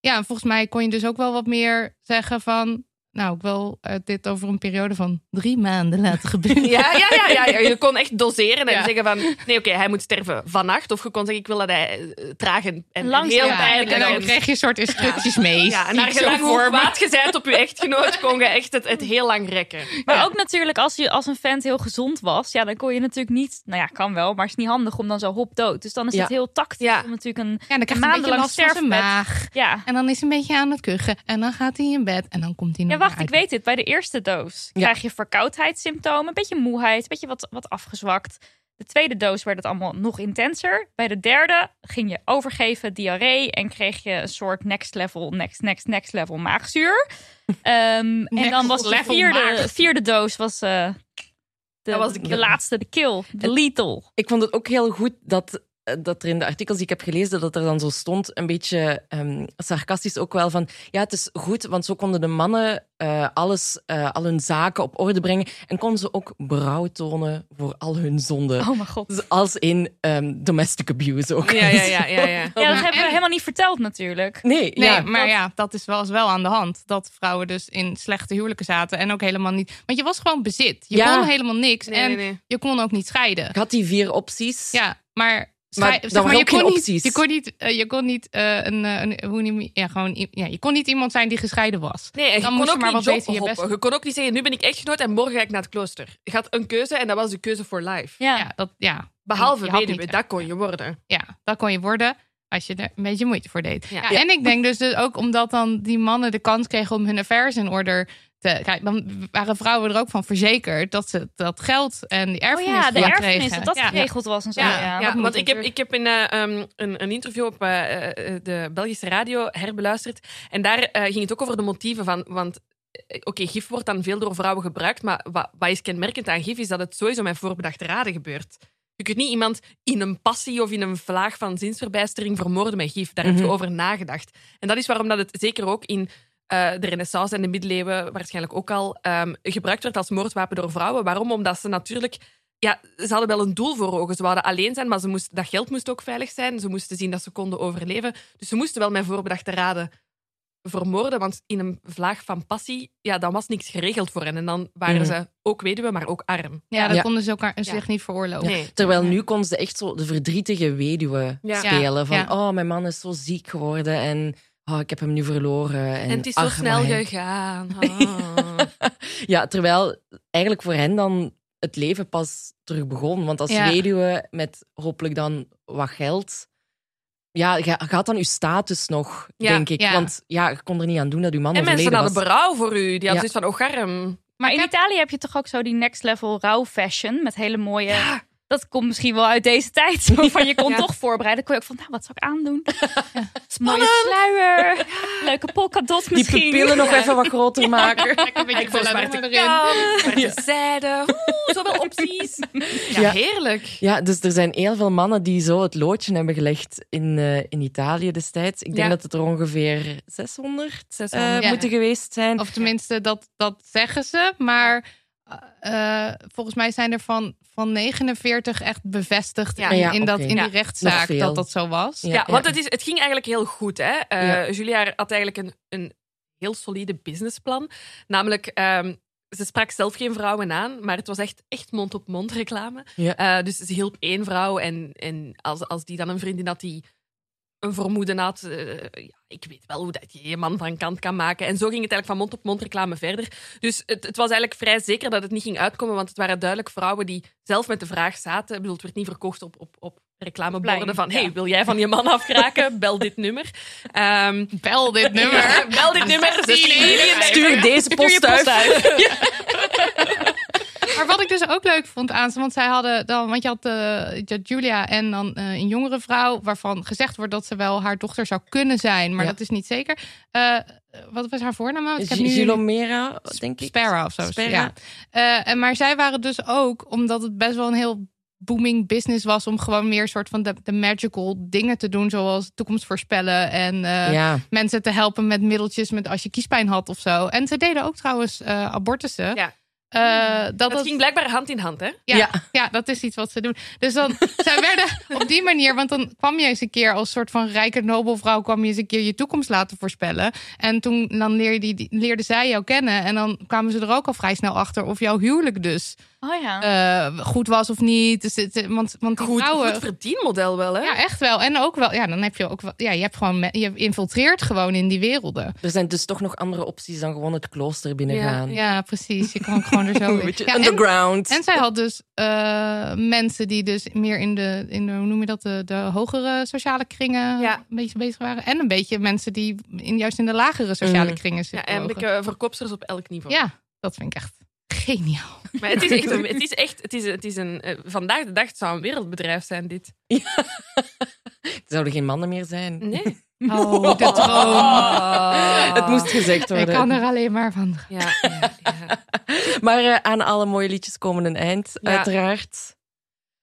A: Ja, en volgens mij kon je dus ook wel wat meer zeggen van. Nou, ik wil eh, dit over een periode van drie maanden laten gebeuren.
G: Ja, ja, ja, ja, ja. Je kon echt doseren en
A: Ja.
G: zeggen van... Nee, oké, hij moet sterven vannacht. Of je kon zeggen, ik wil dat hij eh, traag en, en
B: Langzaam.
G: heel
A: Ja,
G: pijnlijk...
A: en dan
G: en-
A: kreeg je een soort instructies mee.
G: Ja, en
A: Niet
G: naar
A: zo
G: gelang hoe
A: voor, maar-
G: kwaad je bent op je echtgenoot, kon je echt het, het heel lang rekken.
B: Maar ook natuurlijk, als je als een vent heel gezond was... Ja, dan kon je natuurlijk niet... Nou ja, kan wel, maar het is niet handig om dan zo hop dood. Dus dan is
F: Ja.
B: het heel tactisch
G: Ja.
B: om natuurlijk een...
A: Ja, dan krijg je een beetje
B: Maandenlang
A: last van zijn
B: sterfbed.
A: maag.
B: Ja,
A: En dan is hij een beetje aan het kuchen. En dan gaat hij in bed. En dan komt hij
B: ja
A: nog
B: wacht,
A: maar
B: ik
A: uit.
B: weet het. Bij de eerste doos
F: Ja.
B: krijg je verkoudheidssymptomen. Een beetje moeheid, een beetje wat, wat afgezwakt. De tweede doos werd het allemaal nog intenser. Bij de derde ging je overgeven, diarree... en kreeg je een soort next level, next, next, next level maagzuur. Ehm, en
A: Next
B: dan was de
A: level
B: vierde,
A: maagzuur.
B: vierde doos was, eh, De,
G: Dat was de kill.
B: laatste, de kill. De lethal.
F: Ik vond het ook heel goed dat, eh, dat er in de artikels die ik heb gelezen, dat er dan zo stond, een beetje ehm, sarcastisch ook wel van, ja, het is goed, want zo konden de mannen eh, alles, eh, al hun zaken op orde brengen en konden ze ook berouw tonen voor al hun zonden.
B: Oh mijn god.
F: Dus als in ehm, domestic abuse ook.
G: Ja, ja, ja, ja. ja.
F: Oh,
B: Ja, dat
H: maar
B: hebben we
H: en-
B: helemaal niet verteld natuurlijk.
F: Nee,
H: Nee,
F: ja,
H: maar ja, dat is wel eens wel aan de hand. Dat vrouwen dus in slechte huwelijken zaten en ook helemaal niet. Want je was gewoon bezit. Je
F: Ja.
H: kon helemaal niks
G: Nee,
H: en
G: nee, nee.
H: je kon ook niet scheiden.
F: ik had die vier opties.
H: Ja, maar.
F: Maar
H: schrij-
F: dan
H: zeg maar
F: waren
H: je,
F: ook geen
H: kon
F: opties.
H: niet, je kon niet, eh, je kon niet eh, een, eh, een hoe noem je- ja, gewoon, i- ja, je kon niet iemand zijn die gescheiden was.
G: Nee, en je
H: Dan
G: kon
H: moest
G: ook
H: je maar
G: niet
H: wat beter je
G: jobhoppen.
H: best-
G: Je kon ook niet zeggen, nu ben ik echtgenoot en morgen ga ik naar het klooster. Je had een keuze en dat was de keuze voor life.
B: Ja.
H: Ja, dat, ja,
G: Behalve
H: Je had
G: weduwe,
H: niet-
G: dat kon je worden.
H: ja, dat kon je worden als je er een beetje moeite voor deed.
G: Ja.
H: Ja, En ik denk dus, dus ook omdat dan die mannen de kans kregen om hun affairs in orde te krijgen, dan waren vrouwen er ook van verzekerd dat ze dat geld en die
B: Oh
H: erfenis
B: ja, de
H: voor
B: erfenis,
H: kregen.
B: dat dat
H: Ja.
B: geregeld was en zo. Ja,
H: Ja,
G: Ja,
H: dat moet
G: want ik heb,
H: natuurlijk.
G: ik heb een, eh, ehm, een, een interview op eh, eh, de Belgische radio herbeluisterd. En daar eh, ging het ook over de motieven van. Want eh, oké, gif wordt dan veel door vrouwen gebruikt. Maar wat, wat is kenmerkend aan gif is dat het sowieso met voorbedachte raden gebeurt. Je kunt niet iemand in een passie of in een vlaag van zinsverbijstering vermoorden met gif. Daar heb
F: Mhm.
G: je over nagedacht. En dat is waarom dat het zeker ook in eh, de Renaissance en de middeleeuwen waarschijnlijk ook al ehm, gebruikt werd als moordwapen door vrouwen. Waarom? Omdat ze natuurlijk. Ja, ze hadden wel een doel voor ogen. Ze wilden alleen zijn, maar ze moest, dat geld moest ook veilig zijn. Ze moesten zien dat ze konden overleven. Dus ze moesten wel met voorbedachte raden vermoorden. Want in een vlaag van passie, ja, dan was niks geregeld voor hen. En dan waren
F: Mhm.
G: ze ook weduwe, maar ook arm.
H: Ja, dat
F: Ja.
H: konden ze elkaar
G: Ja.
H: zich niet veroorloven.
G: Nee.
F: Terwijl nu kon ze echt zo de verdrietige weduwe
G: Ja.
F: spelen. Van,
H: Ja.
F: oh, mijn man is zo ziek geworden en oh, ik heb hem nu verloren. En,
G: En het is zo
F: ach,
G: snel
F: maar hij-
G: gegaan. Ah.
F: Ja, terwijl eigenlijk voor hen dan het leven pas terug begon. Want als
H: Ja.
F: weduwe met hopelijk dan wat geld... Ja, je je had dan je status nog,
G: Ja,
F: denk ik.
H: ja.
F: Want ja, je kon er niet aan doen dat je man
G: En mensen
F: overleden
G: hadden
F: was.
G: berouw voor u. Die hadden zoiets van, oh, garm.
B: Maar in
H: Ik heb-
B: Italië heb je toch ook zo die next level rauw fashion met hele mooie. Dat komt misschien wel uit deze tijd. Waarvan je kon
G: Ja.
B: toch voorbereiden. Kon je ook van, nou, wat zou ik aandoen? Is een Mooie sluier. Leuke polkadot
F: Die
B: misschien.
F: pupillen nog even wat groter maken.
H: Lekker een beetje
G: Ik wil
H: belemmeren
G: zwarte
H: erin.
G: kant, zwarte zijde. Oeh, zoveel opties. Ja,
F: Ja.
G: heerlijk.
F: Ja, dus er zijn heel veel mannen die zo het loodje hebben gelegd in, eh, in Italië destijds. Ik denk
G: Ja.
F: dat het er ongeveer 600, eh,
G: 600,
H: ja.
F: moeten geweest zijn.
H: Of tenminste, dat, dat zeggen ze. Maar eh, volgens mij zijn er van, van 49 echt bevestigd
G: Ja.
H: in,
F: Ja,
H: in dat,
F: oké.
H: in
G: Ja.
H: die rechtszaak
F: veel.
H: dat dat zo was.
F: Ja,
G: Ja, want het, is, het ging eigenlijk heel goed. Hè? Eh,
F: Ja.
G: Julia had eigenlijk een, een heel solide businessplan. Namelijk, ehm, ze sprak zelf geen vrouwen aan, maar het was echt, echt mond-op-mond reclame.
F: Ja.
G: Eh, dus ze hielp één vrouw en, en als, als die dan een vriendin had die een vermoeden had, eh, ja, ik weet wel hoe dat je je man van kant kan maken. En zo ging het eigenlijk van mond-op-mond reclame verder. Dus het, het was eigenlijk vrij zeker dat het niet ging uitkomen, want het waren duidelijk vrouwen die zelf met de vraag zaten. Ik bedoel, het werd niet verkocht op, op, op reclameborden
B: Plein,
G: van
B: ja.
G: hey, wil jij van je man afkraken? Bel dit nummer. Ehm,
H: Bel dit nummer.
G: Bel dit nummer. 16.
F: Stuur deze post, uit.
H: Maar wat ik dus ook leuk vond aan ze, want zij hadden dan, want je had, eh, je had Julia en dan eh, een jongere vrouw, waarvan gezegd wordt dat ze wel haar dochter zou kunnen zijn, maar
F: Ja.
H: dat is niet zeker. Eh, wat was haar voornaam? nou? Want ik heb nu-
F: Gilomera, denk ik.
H: Sparrow of zo.
F: Sparrow.
H: Ja. Eh, en maar zij waren dus ook, omdat het best wel een heel booming business was, om gewoon meer soort van de, de magical dingen te doen, zoals toekomst voorspellen en eh,
F: ja.
H: mensen te helpen met middeltjes met als je kiespijn had of zo. En ze deden ook trouwens eh, abortussen.
G: Ja.
H: Eh, dat,
G: Dat
H: dat-
G: ging blijkbaar hand in hand, hè?
H: ja,
F: Ja.
H: ja. dat is iets wat ze doen. Dus dan, zij werden op die manier, want dan kwam je eens een keer als soort van rijke nobelvrouw, kwam je eens een keer je toekomst laten voorspellen. En toen dan leer je die- die- leerde zij jou kennen. En dan kwamen ze er ook al vrij snel achter of jouw huwelijk dus
B: Oh ja.
H: eh, goed was of niet. Dus, het- want, want die
G: Goed,
H: vrouwen.
G: goed verdienmodel wel, hè?
H: ja, echt wel. En ook wel, ja, dan heb je ook wel, ja, je hebt gewoon, me- je infiltreert gewoon in die werelden.
F: Er zijn dus toch nog andere opties dan gewoon het klooster binnengaan.
H: Ja, precies. Je kan gewoon er zo
F: Een
H: in.
F: beetje
H: Ja, en-
F: underground.
H: En zij had dus eh, mensen die dus meer in de, in de hoe noem je dat, de, de hogere sociale kringen
G: Ja.
H: een beetje bezig waren. En een beetje mensen die in, juist in de lagere sociale
F: Mm.
H: kringen
G: Ja,
H: zitten.
G: en ik,
H: bewogen.
G: eh, verkoopsters op elk niveau.
H: ja, dat vind ik echt geniaal.
G: Maar het is echt, een- het is echt, het is, het is een, eh, vandaag de dag het zou een wereldbedrijf zijn, dit.
F: zouden geen mannen meer zijn.
G: Nee.
H: Oh, de droom.
F: Het moest gezegd
H: Nou, Ik
F: worden.
H: kan er alleen maar van.
G: Oh. Ja, ja, ja.
F: Maar eh, aan alle mooie liedjes komen een eind,
G: Ja.
F: uiteraard.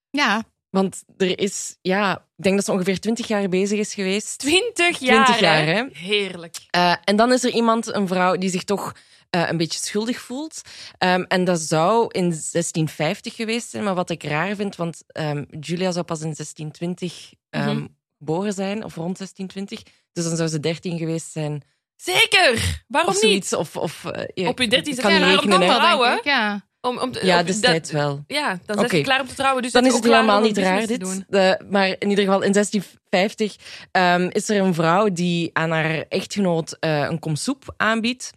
H: Ja,
F: Want er is, ja, ik denk dat ze ongeveer 20 jaar bezig is geweest.
G: Twintig jaar.
F: Twintig jaar, hè?
G: Heerlijk.
F: Eh, en dan is er iemand, een vrouw, die zich toch eh, een beetje schuldig voelt. Ehm, en dat zou in 1650 geweest zijn. Maar wat ik raar vind, want ehm, Julia zou pas in 1620 ehm,
G: Mhm.
F: geboren zijn, of rond 1620. Dus dan zou ze 13 geweest zijn.
G: Zeker! Waarom
F: of
G: niet?
F: zoiets. Of, of, eh, je
G: Op je 13e
F: kan
G: jaar, waarom
F: rekenen,
G: kan
F: hè.
G: dat?
H: wel,
G: Vrouwen?
H: denk ik. Ja.
G: Om, om, te-
F: Ja,
G: op-
F: destijds
G: dat-
F: wel.
G: Ja, dan zijn ze
F: Oké.
G: klaar om te trouwen. Dus
F: Dan is
G: dat
F: het
G: ook klaar
F: helemaal
G: om
F: niet raar,
G: business te
F: dit.
G: doen.
F: De- maar in ieder geval, in 1650 ehm, is er een vrouw die aan haar echtgenoot eh, een kom soep aanbiedt.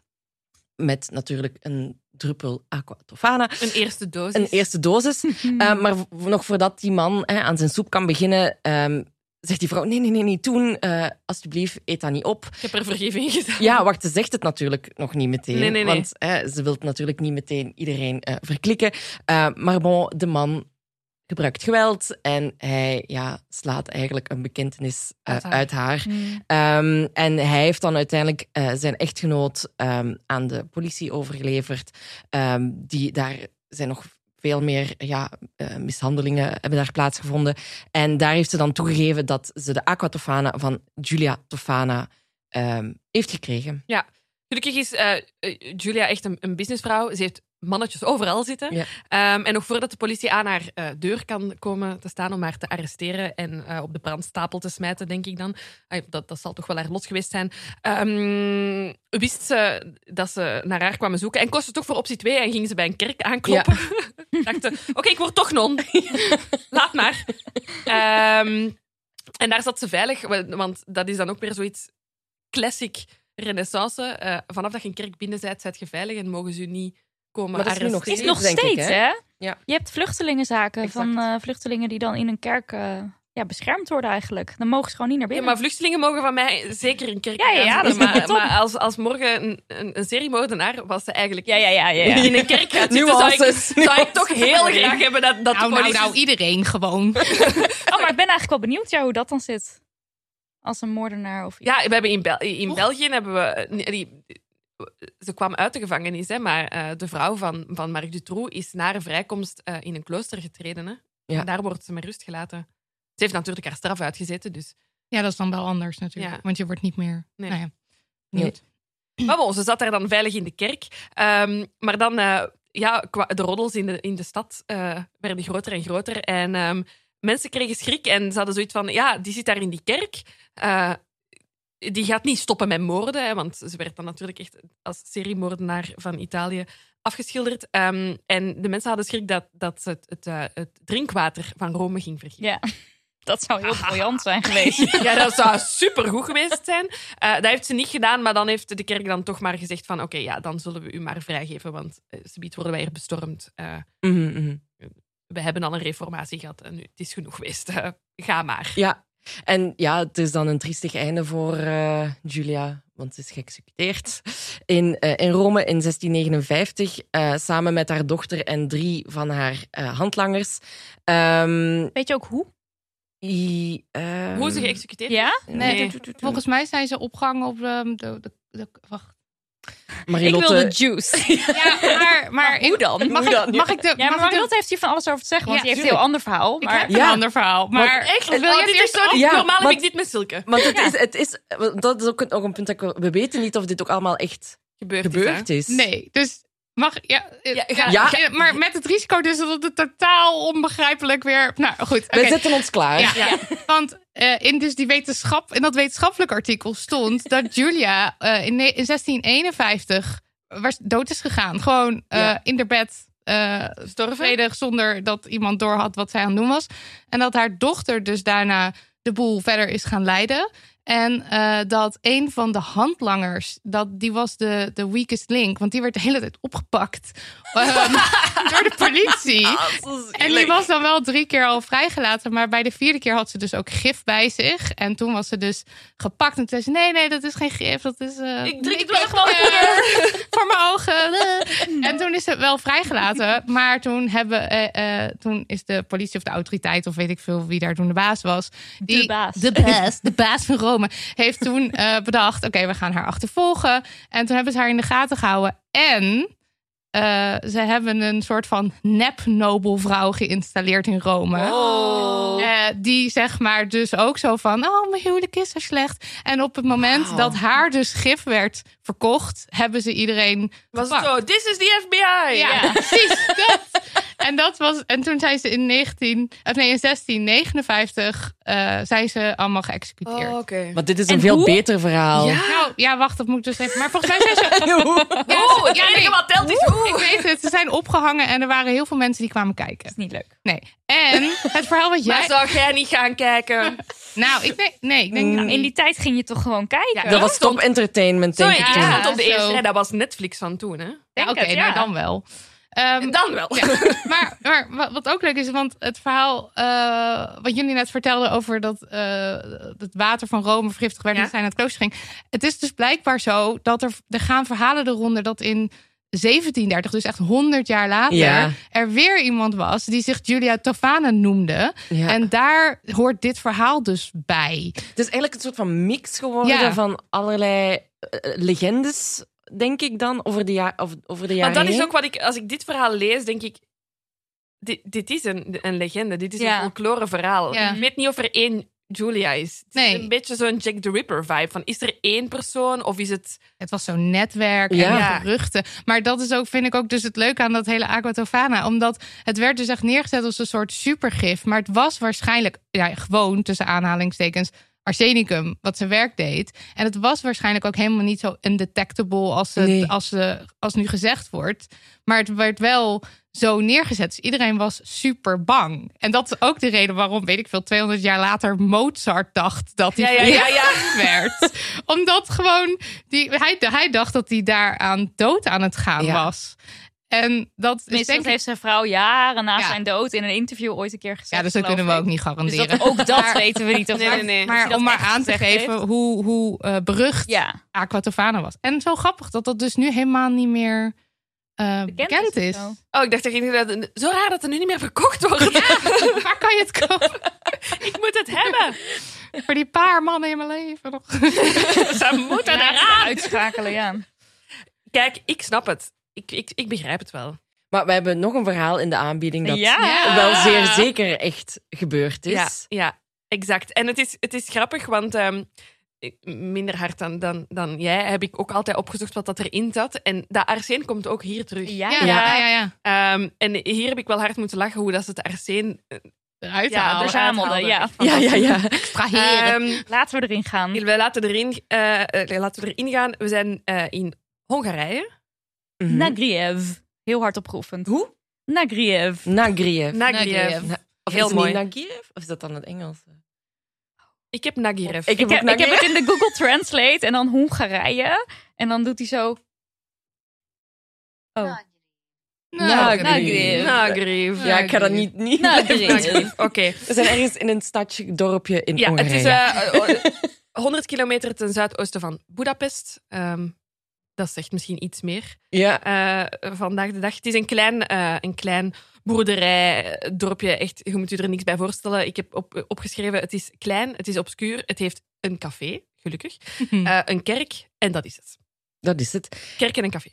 F: Met natuurlijk een druppel aqua tofana.
G: Een eerste dosis.
F: Een eerste dosis. Eh, maar v- nog voordat die man hè, aan zijn soep kan beginnen, ehm, zegt die vrouw: Nee, nee, nee, niet doen. Eh, alsjeblieft, eet dat niet op.
G: Ik heb er vergeving gedaan.
F: Ja, wacht, ze zegt het natuurlijk nog niet meteen.
G: Nee, nee, nee.
F: Want hè, ze wil natuurlijk niet meteen iedereen eh, verklikken. Eh, maar bon, de man gebruikt geweld en hij ja, slaat eigenlijk een bekentenis eh,
G: Uit haar. Hmm.
F: uit haar. Ehm, en hij heeft dan uiteindelijk eh, zijn echtgenoot ehm, aan de politie overgeleverd. Ehm, die, daar zijn nog veel meer ja, eh, mishandelingen hebben daar plaatsgevonden. En daar heeft ze dan toegegeven dat ze de aqua Tofana van Julia Tofana ehm, heeft gekregen.
G: Gelukkig is eh, eh, Julia echt een, een businessvrouw. Ze heeft mannetjes overal zitten.
F: Ja.
G: Ehm, en nog voordat de politie aan haar eh, deur kan komen te staan om haar te arresteren en eh, op de brandstapel te smijten, denk ik dan. Ah, dat, dat zal toch wel haar lot geweest zijn. Ehm, wist ze dat ze naar haar kwamen zoeken en kostte toch voor optie 2 en ging ze bij een kerk aankloppen. Dacht ze, oké, ik word toch non. Laat maar. Ehm, en daar zat ze veilig, wa- want dat is dan ook weer zoiets classic renaissance. Eh, vanaf dat je een kerk binnen bent, zijt je veilig en mogen ze je niet komen
F: Maar dat is nu nog
G: arresteren.
B: is
F: steeds,
B: nog
F: denk ik,
B: steeds,
F: hè?
B: hè?
F: Ja.
B: Je hebt vluchtelingenzaken
F: Exact.
B: van eh, vluchtelingen die dan in een kerk eh, ja, beschermd worden eigenlijk. Dan mogen ze gewoon niet naar
G: Ja,
B: binnen.
G: maar vluchtelingen mogen van mij zeker een kerk
B: Ja, ja, ja,
G: gaan
B: dat is
G: zitten, maar,
B: top.
G: maar als, als morgen een, een, een seriemoordenaar was ze eigenlijk
B: ja, ja, ja, ja, ja.
G: in een kerk gaat zitten, zou ik,
F: Nuances,
G: zou ik
F: nuances.
G: toch heel graag hebben dat, dat
H: Nou,
G: de
H: nou,
G: politie...
H: nou, iedereen gewoon.
B: Oh, maar ik ben eigenlijk wel benieuwd ja, hoe dat dan zit. Als een moordenaar of iets.
G: Ja, we hebben in, Bel- in België hebben we... eh, nee, Die, ze kwam uit de gevangenis, hè, maar eh, de vrouw van, van Marc Dutroux is na haar vrijkomst eh, in een klooster getreden. Hè.
F: Ja.
G: En daar wordt ze met rust gelaten. Ze heeft natuurlijk haar straf uitgezeten, dus...
H: Ja, dat is dan wel anders natuurlijk.
G: Ja.
H: Want je wordt niet meer...
G: Nee.
H: Nou ja, benieuwd.
G: Maar bon, Ah, ze zat daar dan veilig in de kerk. Ehm, maar dan, eh, ja, kwa- de roddels in de, in de stad eh, werden groter en groter. En ehm, mensen kregen schrik en ze hadden zoiets van, ja, die zit daar in die kerk. Eh, die gaat niet stoppen met moorden, hè, want ze werd dan natuurlijk echt als seriemoordenaar van Italië afgeschilderd. Ehm, en de mensen hadden schrik dat, dat ze het, het, eh, het drinkwater van Rome ging vergiftigen.
B: Ja. Dat zou heel briljant zijn geweest.
G: Ja, dat zou supergoed geweest zijn. Eh, dat heeft ze niet gedaan, maar dan heeft de kerk dan toch maar gezegd van... Oké, ja, dan zullen we u maar vrijgeven, want eh, subiet worden wij hier bestormd. Eh,
F: Mhm, mhm.
G: we hebben al een reformatie gehad en nu, het is genoeg geweest. Eh, ga maar.
F: Ja, en ja, het is dan een triestig einde voor eh, Julia, want ze is geëxecuteerd. In, eh, in Rome in 1659, eh, samen met haar dochter en drie van haar eh, handlangers. Ehm,
B: Weet je ook hoe?
F: die, ehm,
G: Hoe ze geëxecuteerd
B: Ja?
H: Nee.
G: Nee.
H: Volgens mij zijn ze opgehangen op ehm, de... de, de, wacht.
F: Marilotte-
B: juice.
H: Ja, maar... maar
B: hoe dan?
H: Mag,
F: Hoe dan?
H: ik, mag ik de...
B: Ja, maar
H: mag ik de-
B: Marilotte heeft hier van alles over te zeggen, want
H: Ja,
B: die heeft een
F: tuurlijk.
B: heel ander verhaal.
H: Ik
B: Maar...
H: heb een
F: Ja.
H: ander verhaal. Maar
G: Echt?
H: Wil je
G: Oh,
H: het
G: dit is
H: eerst
G: zo niet
F: Ja,
G: normaal heb
F: want-
G: ik dit met Silke.
F: Want het is, het is, dat is ook een, ook een punt dat ik- we weten niet of dit ook allemaal echt
G: Gebeurd,
F: gebeurd is.
H: Nee, dus mag... Ja, eh,
G: Ja,
H: ja,
G: ga-
F: Ja.
H: maar met het risico dus dat het totaal onbegrijpelijk weer... Nou, goed.
F: We
H: oké.
F: zetten ons klaar.
H: Ja,
G: Ja.
H: ja. want eh, in, dus die wetenschap, in dat wetenschappelijk artikel stond dat Julia eh, in, ne- in 1651 was, dood is gegaan. Gewoon eh,
F: Ja.
H: in haar bed. eh vredig, zonder dat iemand doorhad wat zij aan het doen was. En dat haar dochter dus daarna de boel verder is gaan leiden. En eh, dat een van de handlangers, dat, die was de, de weakest link. Want die werd de hele tijd opgepakt ehm, door de politie.
F: Ah,
H: En die was dan wel drie keer al vrijgelaten. Maar bij de vierde keer had ze dus ook gif bij zich. En toen was ze dus gepakt. En toen zei ze, nee, nee, dat is geen gif. Dat is... eh,
F: Ik drink het
H: liquid,
F: wel gewoon,
H: eh, Voor mijn ogen. eh." En toen is ze wel vrijgelaten. Maar toen, hebben, eh, eh, toen is de politie of de autoriteit... of weet ik veel wie daar toen de baas was... Die,
B: baas.
H: De baas. De baas van Rome. Heeft toen eh, bedacht, oké, we gaan haar achtervolgen. En toen hebben ze haar in de gaten gehouden. En... Eh, ze hebben een soort van nep-nobelvrouw geïnstalleerd in Rome. Eh, die zeg maar dus ook zo van, oh, mijn huwelijk is zo slecht. En op het moment dat haar dus gif werd verkocht, hebben ze iedereen
G: Was het
H: gepakt.
G: zo, Oh, this is the FBI.
H: Ja, precies dat. En, dat was, en toen zijn ze in, 19, of nee, in 1659 eh, zijn ze allemaal geëxecuteerd.
G: Oh, oké.
F: Maar dit is
B: En
F: een veel
B: hoe?
F: beter verhaal.
H: Nou, ja, wacht, dat moet ik dus even. Maar volgens mij zijn ze Ja, ze-
G: Oh,
H: ja, nee.
G: telt is
H: Ik weet het, ze zijn opgehangen en er waren heel veel mensen die kwamen kijken.
B: is niet leuk.
H: Nee. En het verhaal wat
G: Maar
H: jij...
G: zou jij niet gaan kijken?
H: Nou, ik denk... Nee, ik denk
B: Nou, in die tijd ging je toch gewoon kijken?
F: Dat was top entertainment, denk
G: Sorry,
F: ik.
G: ik
H: toen.
G: stond op de
H: Ja,
G: eerste
H: zo.
G: rij. Dat was Netflix van toen, hè?
H: Ja,
B: denk
H: Oké,
B: het, ja.
H: nou dan wel. Ehm,
G: Dan wel.
H: ja, maar maar wat, wat ook leuk is, want het verhaal eh, wat jullie net vertelden over dat eh, het water van Rome vergiftigd werd
G: Ja.
H: en zij naar het klooster ging. Het is dus blijkbaar zo dat er, er gaan verhalen eronder dat in 1730, dus echt 100 jaar later,
F: Ja.
H: er weer iemand was die zich Julia Tofana noemde.
F: Ja.
H: En daar hoort dit verhaal dus bij.
F: Het is eigenlijk een soort van mix geworden
H: Ja.
F: van allerlei eh, legendes, denk ik dan, over de, ja over, over de
G: Maar
F: jaren
G: dat is
F: heen.
G: ook wat ik, als ik dit verhaal lees, denk ik. Dit, dit is een, een legende, dit is
B: Ja.
G: een folklore verhaal.
H: Ja.
G: Ik weet niet of er één Julia is. Het
H: Nee.
G: is een beetje zo'n Jack the Ripper vibe. Van, is er één persoon of is het.
H: Het was zo'n netwerk en
F: Ja.
H: geruchten. Maar dat is ook, vind ik ook dus het leuke aan dat hele Aquatofana. Omdat het werd dus echt neergezet als een soort supergif. Maar het was waarschijnlijk ja, gewoon, tussen aanhalingstekens, arsenicum wat zijn werk deed. En het was waarschijnlijk ook helemaal niet zo undetectable als, het,
F: Nee.
H: als, eh, als nu gezegd wordt. Maar het werd wel zo neergezet. Dus iedereen was super bang. En dat is ook de reden waarom, weet ik veel, 200 jaar later Mozart dacht dat hij
G: Ja, ja, ja, ja.
H: werd. Omdat gewoon die, hij, hij dacht dat hij daaraan dood aan het gaan
F: Ja.
H: was. En dat is
B: Tenminste,
H: denk
B: dat
H: ik.
B: heeft zijn vrouw jaren na
H: Ja.
B: zijn dood in een interview ooit een keer gezegd.
H: Ja, dus dat
B: geloof
H: kunnen we
B: ik.
H: ook niet
B: Dus
H: garanderen.
B: dat, ook dat
H: Maar-
B: weten we niet. Of
G: Nee,
B: waar-
G: nee,
B: of
G: nee.
H: maar
B: hij
H: om
B: dat
H: maar
B: echt
H: aan te
B: gezegd
H: geven
B: heeft.
H: hoe, hoe eh, berucht
B: Ja,
H: Aquatofana was. En zo grappig dat dat dus nu helemaal niet meer eh, bekend,
B: bekend, het
H: is.
B: zo.
G: Oh, ik dacht inderdaad. Zo raar dat er nu niet meer verkocht wordt.
H: Waar kan je het kopen?
G: Ik moet het hebben.
H: Voor die paar mannen in mijn leven nog.
G: Ze moeten
B: Ja,
G: eraan.
B: Uitschakelen, ja.
G: Kijk, ik snap het. Ik, ik, ik begrijp het wel.
F: Maar we hebben nog een verhaal in de aanbieding dat
H: Ja.
F: wel zeer zeker echt gebeurd is.
G: Ja, ja exact. En het is, het is grappig, want ehm, ik- minder hard dan, dan, dan jij heb ik ook altijd opgezocht wat dat erin zat. En dat arsen komt ook hier terug.
B: Ja,
H: Ja, ja, ja. ja.
G: Ehm, en hier heb ik wel hard moeten lachen hoe dat ze het arsen eh,
H: Eruit
G: ja,
H: halen.
B: dus- verzamelde,
G: uithaalden.
B: ja.
G: Echt
F: ja, ja. ja.
H: Extraheren.
G: Ehm,
B: Laten we erin gaan.
G: wij laten erin, eh, eh, laten we erin gaan. We zijn eh, in Hongarije.
F: Mhm.
B: Nagriev. Heel hard opgeoefend.
F: Hoe?
B: Nagriev.
F: Nagriev.
G: Nagriev.
H: Nagriev.
F: Of is
G: Heel
F: het niet
G: mooi.
F: Nagriev? Of is dat dan het Engels?
G: Ik heb Nagirev.
B: Ik
F: Ik heb
B: heb,
F: ook
B: ik heb
F: Nagriev.
B: het in de Google Translate en dan Hongarije. En dan doet hij zo... Oh,
H: Nou,
B: Nagriev.
G: Nagriev.
F: Ja, ik ga dat niet... niet
B: Nagriev.
G: Oké.
F: We zijn ergens in een stadje, dorpje in
G: Ja, het
F: Hongarije.
G: is eh, eh, 100 kilometer ten zuidoosten van Budapest. Ehm, dat zegt misschien iets meer
F: Ja.
G: eh, vandaag de dag. Het is een klein, eh, een klein boerderij, eh, dorpje. Echt, je moet je er niks bij voorstellen. Ik heb op, opgeschreven, het is klein, het is obscuur. Het heeft een café, gelukkig.
H: Mhm.
G: eh, een kerk en dat is het.
F: dat is het.
G: Kerk en een café.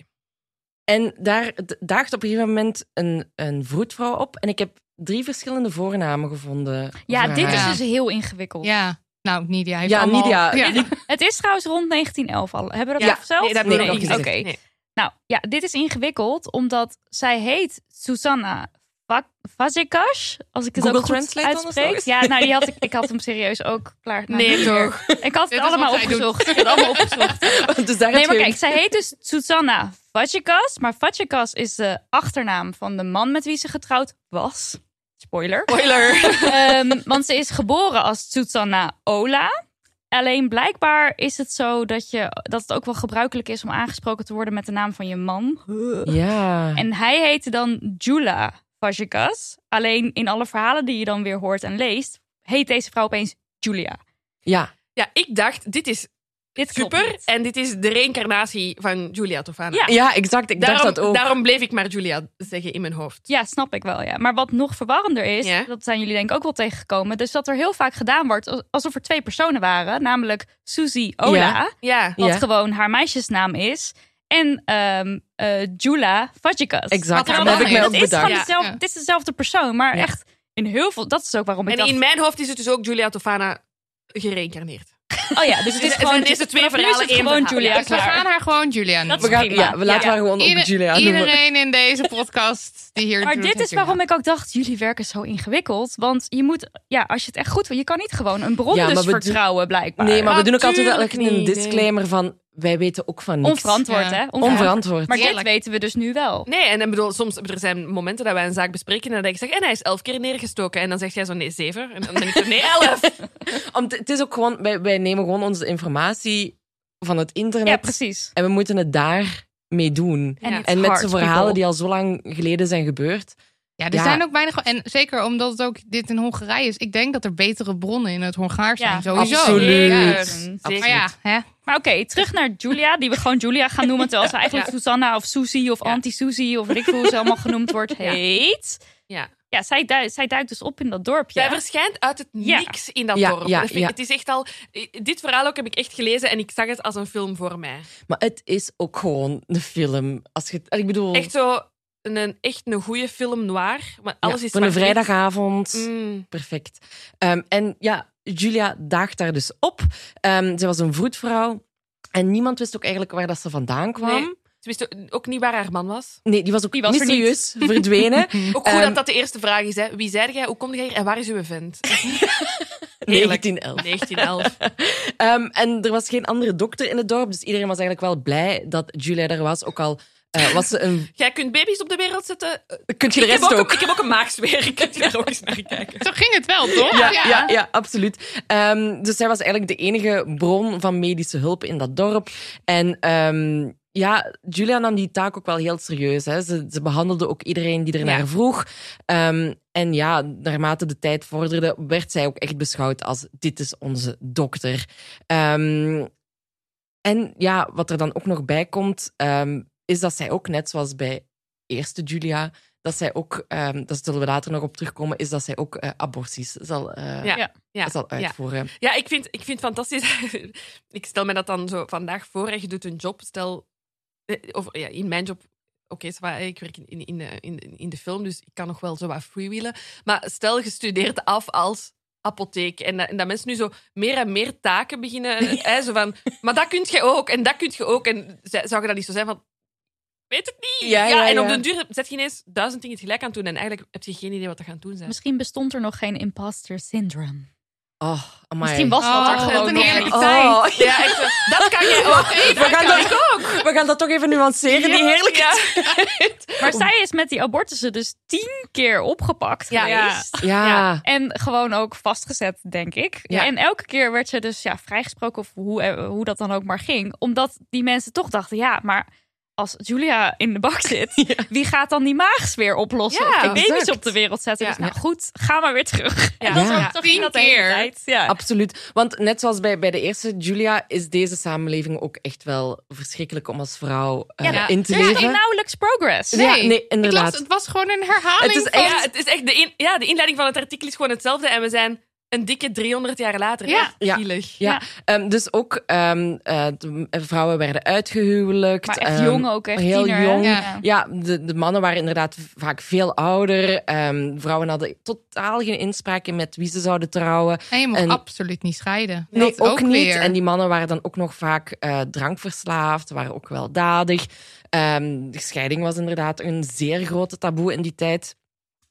F: En daar d- daagt op een gegeven moment een, een vroedvrouw op. En ik heb drie verschillende voornamen gevonden.
B: Ja,
F: voor
B: dit
F: haar.
B: is
H: Ja.
B: dus heel ingewikkeld.
H: Ja. Nou, Nidia heeft
F: Ja,
H: allemaal...
F: Nidia.
H: Ja.
B: Het is trouwens rond 1911 al. Hebben we dat
F: Ja.
B: zelf?
G: Nee, dat
F: Nee,
G: heb ik nog
F: niet
G: niet
B: Oké.
G: gezegd. Nee.
B: Nou ja, dit is ingewikkeld omdat zij heet Susanna Va- Vazekas. Als ik het
F: Google
B: ook goed
F: Translate dan of
B: uitspreek.
F: zo?
B: Ja, nou die had ik, ik had hem serieus ook klaar. nou,
G: Nee,
B: niet meer.
G: toch?
B: Ik had
H: Dit
B: het
H: is
B: allemaal
H: wat zij doet.
B: opgezocht. Ik had allemaal opgezocht.
F: dus daar
B: Nee,
F: heb
B: maar
F: je-
B: kijk, zij heet dus Susanna Vazekas. Maar Vazekas is de achternaam van de man met wie ze getrouwd was. Spoiler.
G: Spoiler.
B: Ehm, want ze is geboren als Susanna Ola. Alleen blijkbaar is het zo dat, je, dat het ook wel gebruikelijk is om aangesproken te worden met de naam van je man.
F: Ja.
B: En hij heette dan Jula Vajikas. Alleen in alle verhalen die je dan weer hoort en leest, heet deze vrouw opeens Julia.
F: ja.
G: Ja, ik dacht, dit is
B: Dit klopt
G: super.
B: niet.
G: En dit is de reïncarnatie van Julia Tofana.
B: Ja.
F: Ja, exact. Ik
G: daarom,
F: dacht dat ook.
G: daarom bleef ik maar Julia zeggen in mijn hoofd.
B: Ja, snap ik wel. Ja. Maar wat nog verwarrender is,
G: Ja.
B: dat zijn jullie denk ik ook wel tegengekomen, dus dat er heel vaak gedaan wordt als- alsof er twee personen waren, namelijk Suzy Ola,
F: Ja.
G: Ja,
B: wat
F: Ja.
B: gewoon haar meisjesnaam is, en ehm eh, Jula Vajikas.
F: Exact.
G: Wat
F: Dat heb
G: er
F: ik
G: allemaal
F: mij
B: dat
F: ook
B: is gewoon
F: bedacht.
G: Ja.
B: dezelfde,
H: Ja.
B: het is dezelfde persoon, maar
F: Ja.
B: echt in heel veel, dat is ook waarom ik
G: En
B: dacht,
G: in mijn hoofd is het dus ook Julia Tofana gereïncarneerd.
B: oh ja, dus het is
G: Dus
B: gewoon,
G: zijn deze twee
B: vanaf nu is
G: verhalen
B: het
G: één
B: gewoon
G: verhaal.
B: Julia
G: Ja,
H: Dus we gaan
B: klaar.
H: haar gewoon Julia
B: Dat
H: noemen.
F: We gaan, ja, we laten
B: Ja.
F: haar gewoon
H: Ieder-
F: op Julia noemen.
H: iedereen in deze podcast die hier
B: Maar
H: doet
B: dit
H: het
B: is waarom ik ook dacht, jullie werken zo ingewikkeld. Want je moet, ja, als je het echt goed wil, je kan niet gewoon een bron
F: Ja, maar
B: dus
F: we doen-
B: vertrouwen, blijkbaar.
F: Nee, maar we doen ook altijd
B: Ah,
G: Natuurlijk
F: eigenlijk een
G: niet, nee.
F: disclaimer van... Wij weten ook van niks.
B: Onverantwoord,
H: Ja.
B: hè? Onverantwoord.
F: Onverantwoord.
B: Maar dit
H: Eerlijk.
B: weten we dus nu wel.
G: Nee, en dan bedoel, soms er zijn momenten dat wij een zaak bespreken en dat ik zeg, en hij is elf keer neergestoken. En dan zegt jij zo, nee, zeven. En dan ben ik zo, nee, elf.
F: Om te- het is ook gewoon... Wij, wij nemen gewoon onze informatie van het internet.
B: Ja, precies.
F: En we moeten het daar mee doen.
G: Ja.
B: it's
F: En met
B: hard,
F: z'n verhalen
B: people.
F: die al zo lang geleden zijn gebeurd.
H: Ja, er
F: Ja.
H: zijn ook weinig. En zeker omdat het ook dit in Hongarije is. Ik denk dat er betere bronnen in het Hongaars
B: Ja,
H: zijn.
A: Oh,
H: Sowieso.
F: absoluut.
H: Ja.
F: Absoluut.
H: Maar ja, hè?
B: Maar oké, terug naar Julia, die we gewoon Julia gaan noemen. Terwijl ze eigenlijk Susanna of Susie of
G: Ja.
B: Anti-Susie of weet ik veel hoe ze allemaal genoemd wordt, heet.
G: Ja.
B: Ja, zij, duikt, zij duikt dus op in dat
G: Zij
B: dorpje.
G: verschijnt uit het
B: Ja.
G: niks in dat
F: Ja,
G: dorp.
F: ja,
G: Dat vind ik-
F: ja.
G: Het is echt al... Dit verhaal ook heb ik echt gelezen en ik zag het als een film voor mij.
F: Maar het is ook gewoon een film. Als je, ik bedoel...
G: Echt zo een- een, echt een goede film noir. Maar
F: ja,
G: alles is
F: Voor een
G: zwart-wit.
F: vrijdagavond.
G: Mm.
F: Perfect. Ehm, en ja, Julia daagt daar dus op. Ehm, zij was een vroedvrouw. En niemand wist ook eigenlijk waar dat ze vandaan kwam.
G: Nee. Ze wist ook niet waar haar man was.
F: Nee, die was ook
B: Die was er
F: mysterieus verdwenen.
G: Ook goed
F: Ehm,
G: dat dat de eerste vraag is. Hè. Wie zei jij? Hoe kom jij hier? En waar is uw vent? Heerlijk.
F: 1911.
G: 1911.
F: Ehm, en er was geen andere dokter in het dorp, dus iedereen was eigenlijk wel blij dat Julia er was. Ook al eh, was ze een...
G: Jij kunt baby's op de wereld zetten.
F: Kunt je de
G: ik, heb
F: rest
G: ook,
F: ook?
G: Een, ik heb ook een maagsfeer. Kunt je daar ook eens naar kijken?
H: Zo ging het wel, toch?
F: Ja, ja. ja, absoluut. Ehm, dus zij was eigenlijk de enige bron van medische hulp in dat dorp. En ehm, ja, Julia nam die taak ook wel heel serieus. Hè. Ze, ze behandelde ook iedereen die ernaar
G: Ja.
F: vroeg. Ehm, en ja, naarmate de tijd vorderde, werd zij ook echt beschouwd als dit is onze dokter. Ehm, en ja, wat er dan ook nog bij komt, ehm, is dat zij ook net zoals bij eerste Julia, dat zij ook, ehm daar zullen we later nog op terugkomen, is dat zij ook eh, aborties zal, eh,
G: Ja, ja,
F: zal
G: ja.
F: uitvoeren.
G: Ja, ik vind, ik vind het fantastisch. ik stel me dat dan zo vandaag voor. hè. Je doet een job. Stel, eh, of ja, in mijn job. Oké, ça va, ik werk in, in, in, de- in, in de film, dus ik kan nog wel zo wat freewheelen. Maar stel, je studeert af als apotheek. En, dat- en dat mensen nu zo meer en meer taken beginnen. Hè, zo van, maar dat kun je ook, en dat kun je ook. En zou zou je dat niet zo zijn van... Weet het niet.
F: Ja, ja,
G: en op
F: ja.
G: den duur zet je ineens duizend dingen tegelijk aan het doen. En eigenlijk heb je geen idee wat er gaan doen zijn.
B: Misschien bestond er nog geen imposter syndrome.
F: Oh, amai.
B: Misschien was dat er
H: Oh,
B: gewoon
H: wat een
B: nog
H: heerlijke
B: niet.
H: tijd.
F: Oh,
G: Ja, echt, zo, dat kan jij ook.
F: we, gaan dat, we gaan dat toch even nuanceren, die heerlijke
G: Ja.
B: Maar zij is met die abortussen dus tien keer opgepakt
G: Ja.
B: geweest.
F: Ja.
G: Ja.
B: En gewoon ook vastgezet, denk ik.
F: Ah. Ja.
B: En elke keer werd ze dus ja, vrijgesproken, of hoe, eh, hoe dat dan ook maar ging. Omdat die mensen toch dachten, ja, maar als Julia in de bak zit... wie gaat dan die maagsfeer oplossen?
G: Ja,
B: of die baby's
F: exact.
B: op de wereld zetten?
G: Ja.
B: Dus nou goed, ga maar weer terug.
G: Ja.
B: Dat was
F: Ja.
B: ook toch in dat
H: Tien
B: hele
H: keer.
B: tijd. Ja.
F: Absoluut. Want net zoals bij, bij de eerste Julia is deze samenleving ook echt wel verschrikkelijk om als vrouw eh,
G: Ja,
F: in te
B: Er Dus is
F: leven.
B: geen nauwelijks progress.
F: Ja, nee,
H: Ik las,
F: inderdaad.
H: het was gewoon een herhaling.
F: Het is
H: van-
G: Ja, het is echt de, in- ja, de inleiding van het artikel is gewoon hetzelfde. En we zijn een dikke 300 jaar later.
H: Ja.
G: Echt
F: Ja.
G: zielig.
F: Ja,
B: Ja.
F: ehm, dus ook ehm, eh, de- vrouwen werden uitgehuwelijkt.
B: Maar echt
F: ehm,
B: jong ook, echt
F: heel
B: tiener, hè?
F: jong.
H: Ja.
F: Ja, de, de mannen waren inderdaad vaak veel ouder. Ehm, vrouwen hadden totaal geen inspraak in met wie ze zouden trouwen.
H: En je mag
F: En-
H: absoluut niet scheiden.
F: Nee,
H: dat ook,
F: niet.
H: weer.
F: En die mannen waren dan ook nog vaak eh, drankverslaafd, waren ook weldadig. Ehm, de scheiding was inderdaad een zeer grote taboe in die tijd.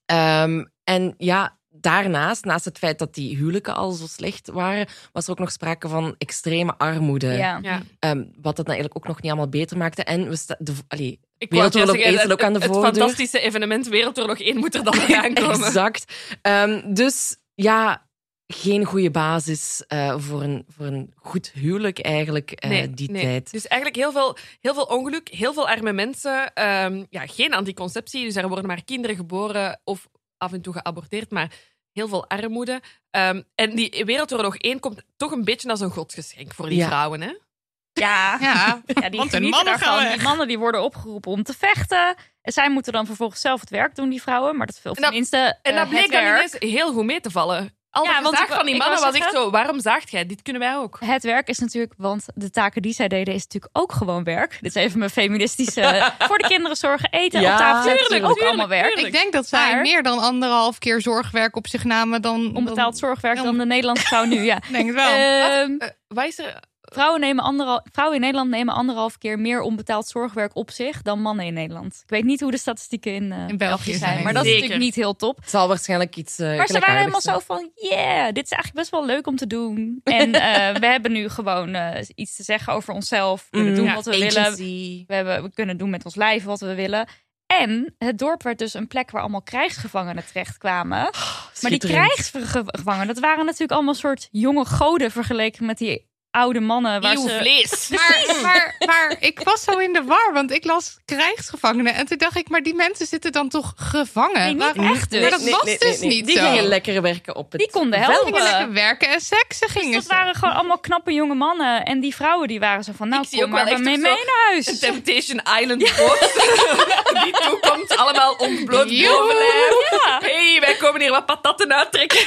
F: Ehm, en ja, daarnaast, naast het feit dat die huwelijken al zo slecht waren, was er ook nog sprake van extreme armoede.
B: Ja.
G: Ja.
F: Ehm, wat dat dan eigenlijk ook nog niet allemaal beter maakte. En we sta- de, allee,
G: Ik wou
F: Wereldoorlog
G: zeggen,
F: één
G: het-
F: staat ook aan de
G: het, het
F: voordeur.
G: fantastische evenement Wereldoorlog 1 moet er dan nog aankomen.
F: Exact. Ehm, dus ja, geen goede basis eh, voor, een, voor een goed huwelijk eigenlijk eh, die tijd.
G: Dus eigenlijk heel veel, heel veel ongeluk, heel veel arme mensen. ehm, ja, geen anticonceptie, dus er worden maar kinderen geboren of af en toe geaborteerd, maar heel veel armoede. Ehm, en die Wereldoorlog 1 komt toch een beetje als een godsgeschenk voor die
F: Ja.
G: vrouwen. Hè?
B: Ja.
H: Ja,
B: Ja, die
H: Want de
B: genieten
H: mannen gaan
B: daarvan.
H: weg.
B: Die mannen die worden opgeroepen om te vechten. En zij moeten dan vervolgens zelf het werk doen, die vrouwen. Maar dat veel
G: En dat-
B: tenminste
G: En
B: eh,
G: dat bleek
B: het
G: dan
B: werk.
G: ineens heel goed mee te vallen. Al
B: Ja,
G: ja,
B: want
G: want
B: ik-
G: van die
B: ik
G: mannen
B: wou
G: was echt
B: zeggen-
G: zo, waarom zaagt jij? Dit kunnen wij ook.
B: Het werk is natuurlijk, want de taken die zij deden is natuurlijk ook gewoon werk. Dit is even mijn feministische. voor de kinderen zorgen, eten,
F: Ja,
B: op tafel zetten,
F: tuurlijk,
B: ook allemaal werk.
H: ik denk dat zij
B: Maar-
H: meer dan anderhalf keer zorgwerk op zich namen dan...
B: Onbetaald zorgwerk
H: Ja,
B: dan de Nederlandse vrouw nu, ja.
H: Ik denk het wel.
B: Ehm,
G: Eh, wat is er?
B: vrouwen, nemen anderhal- vrouwen in Nederland nemen anderhalf keer meer onbetaald zorgwerk op zich dan mannen in Nederland. Ik weet niet hoe de statistieken in, eh,
H: België
B: België zijn,
H: zijn.
B: maar dat is
G: Zeker.
B: natuurlijk niet heel top.
F: Het zal waarschijnlijk iets. eh
B: Maar ze waren
F: gelijkaardigs
B: helemaal zo
F: zijn.
B: van, yeah, dit is eigenlijk best wel leuk om te doen. En eh, we hebben nu gewoon eh, iets te zeggen over onszelf. We kunnen
F: Mm,
B: doen
F: ja,
B: wat we willen.
F: agency.
B: We, hebben, we kunnen doen met ons lijf wat we willen. En het dorp werd dus een plek waar allemaal krijgsgevangenen terecht
G: Ah,
B: kwamen. Maar die
F: Schitterend.
B: krijgsgevangenen, dat waren natuurlijk allemaal soort jonge goden vergeleken met die oude mannen. Waar
G: Eeuw,
B: ze...
G: vlees.
H: Maar, maar, maar ik was zo in de war, want ik las krijgsgevangenen. En toen dacht ik, maar die mensen zitten dan toch gevangen?
B: Nee, niet
H: Waar-
B: echt dus.
H: Maar dat was dus niet
F: Die
H: zo.
F: gingen lekker werken op het
B: Die konden
F: veld.
H: Ze gingen
B: helpen.
H: lekker werken en seksen
B: Dus
H: gingen
B: dat
H: ze.
B: waren gewoon allemaal knappe jonge mannen. En die vrouwen die waren zo van, nou
G: Ik zie
B: kom
G: ook
B: maar
G: wel
B: bij
G: echt
B: mee,
G: zo-
B: mee naar
G: Een
B: huis.
G: Temptation Island boot. Die toekomt allemaal ontbloot
H: Joehoe.
G: bovenlijf. hey, wij komen hier wat patatten uittrekken.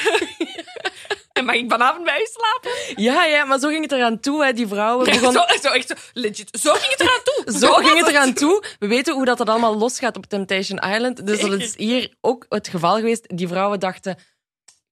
G: en mag ik vanavond bij u slapen?
F: Ja, ja, maar zo ging het eraan toe. Hè. Die vrouwen begonnen...
G: Zo, zo, echt zo, legit. Zo ging het eraan toe.
F: Zo ging het
G: was
F: eraan toe. We weten hoe dat, dat allemaal losgaat op Temptation Island. Dus dat is hier ook het geval geweest. Die vrouwen dachten,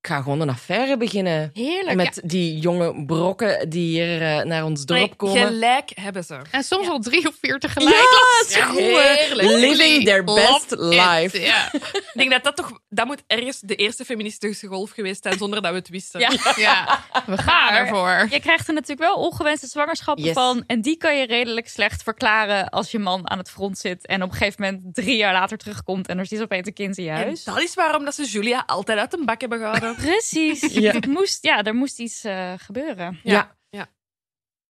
F: ik ga gewoon een affaire beginnen.
G: Heerlijk.
F: Met die jonge brokken die hier eh, naar ons dorp
G: Nee,
F: komen.
G: Gelijk hebben ze.
H: En soms al drie of vier
F: ja,
H: tegelijk.
F: het is goed.
G: heerlijk.
F: Living their best
H: Ja.
F: life.
H: Ja.
G: Ik denk dat dat toch... Dat moet ergens de eerste feministische golf geweest zijn, zonder dat we het wisten.
B: Ja.
H: ja, we gaan
B: Maar-
H: ervoor.
B: Je krijgt er natuurlijk wel ongewenste zwangerschappen
F: Yes.
B: van. En die kan je redelijk slecht verklaren als je man aan het front zit. En op een gegeven moment drie jaar later terugkomt. En er zit opeens een kind in je
G: En
B: huis.
G: dat is waarom dat ze Julia altijd uit een bak hebben gehouden.
B: Precies.
F: Ja.
B: Het moest, ja, er moest iets eh, gebeuren.
F: Ja.
G: Ja.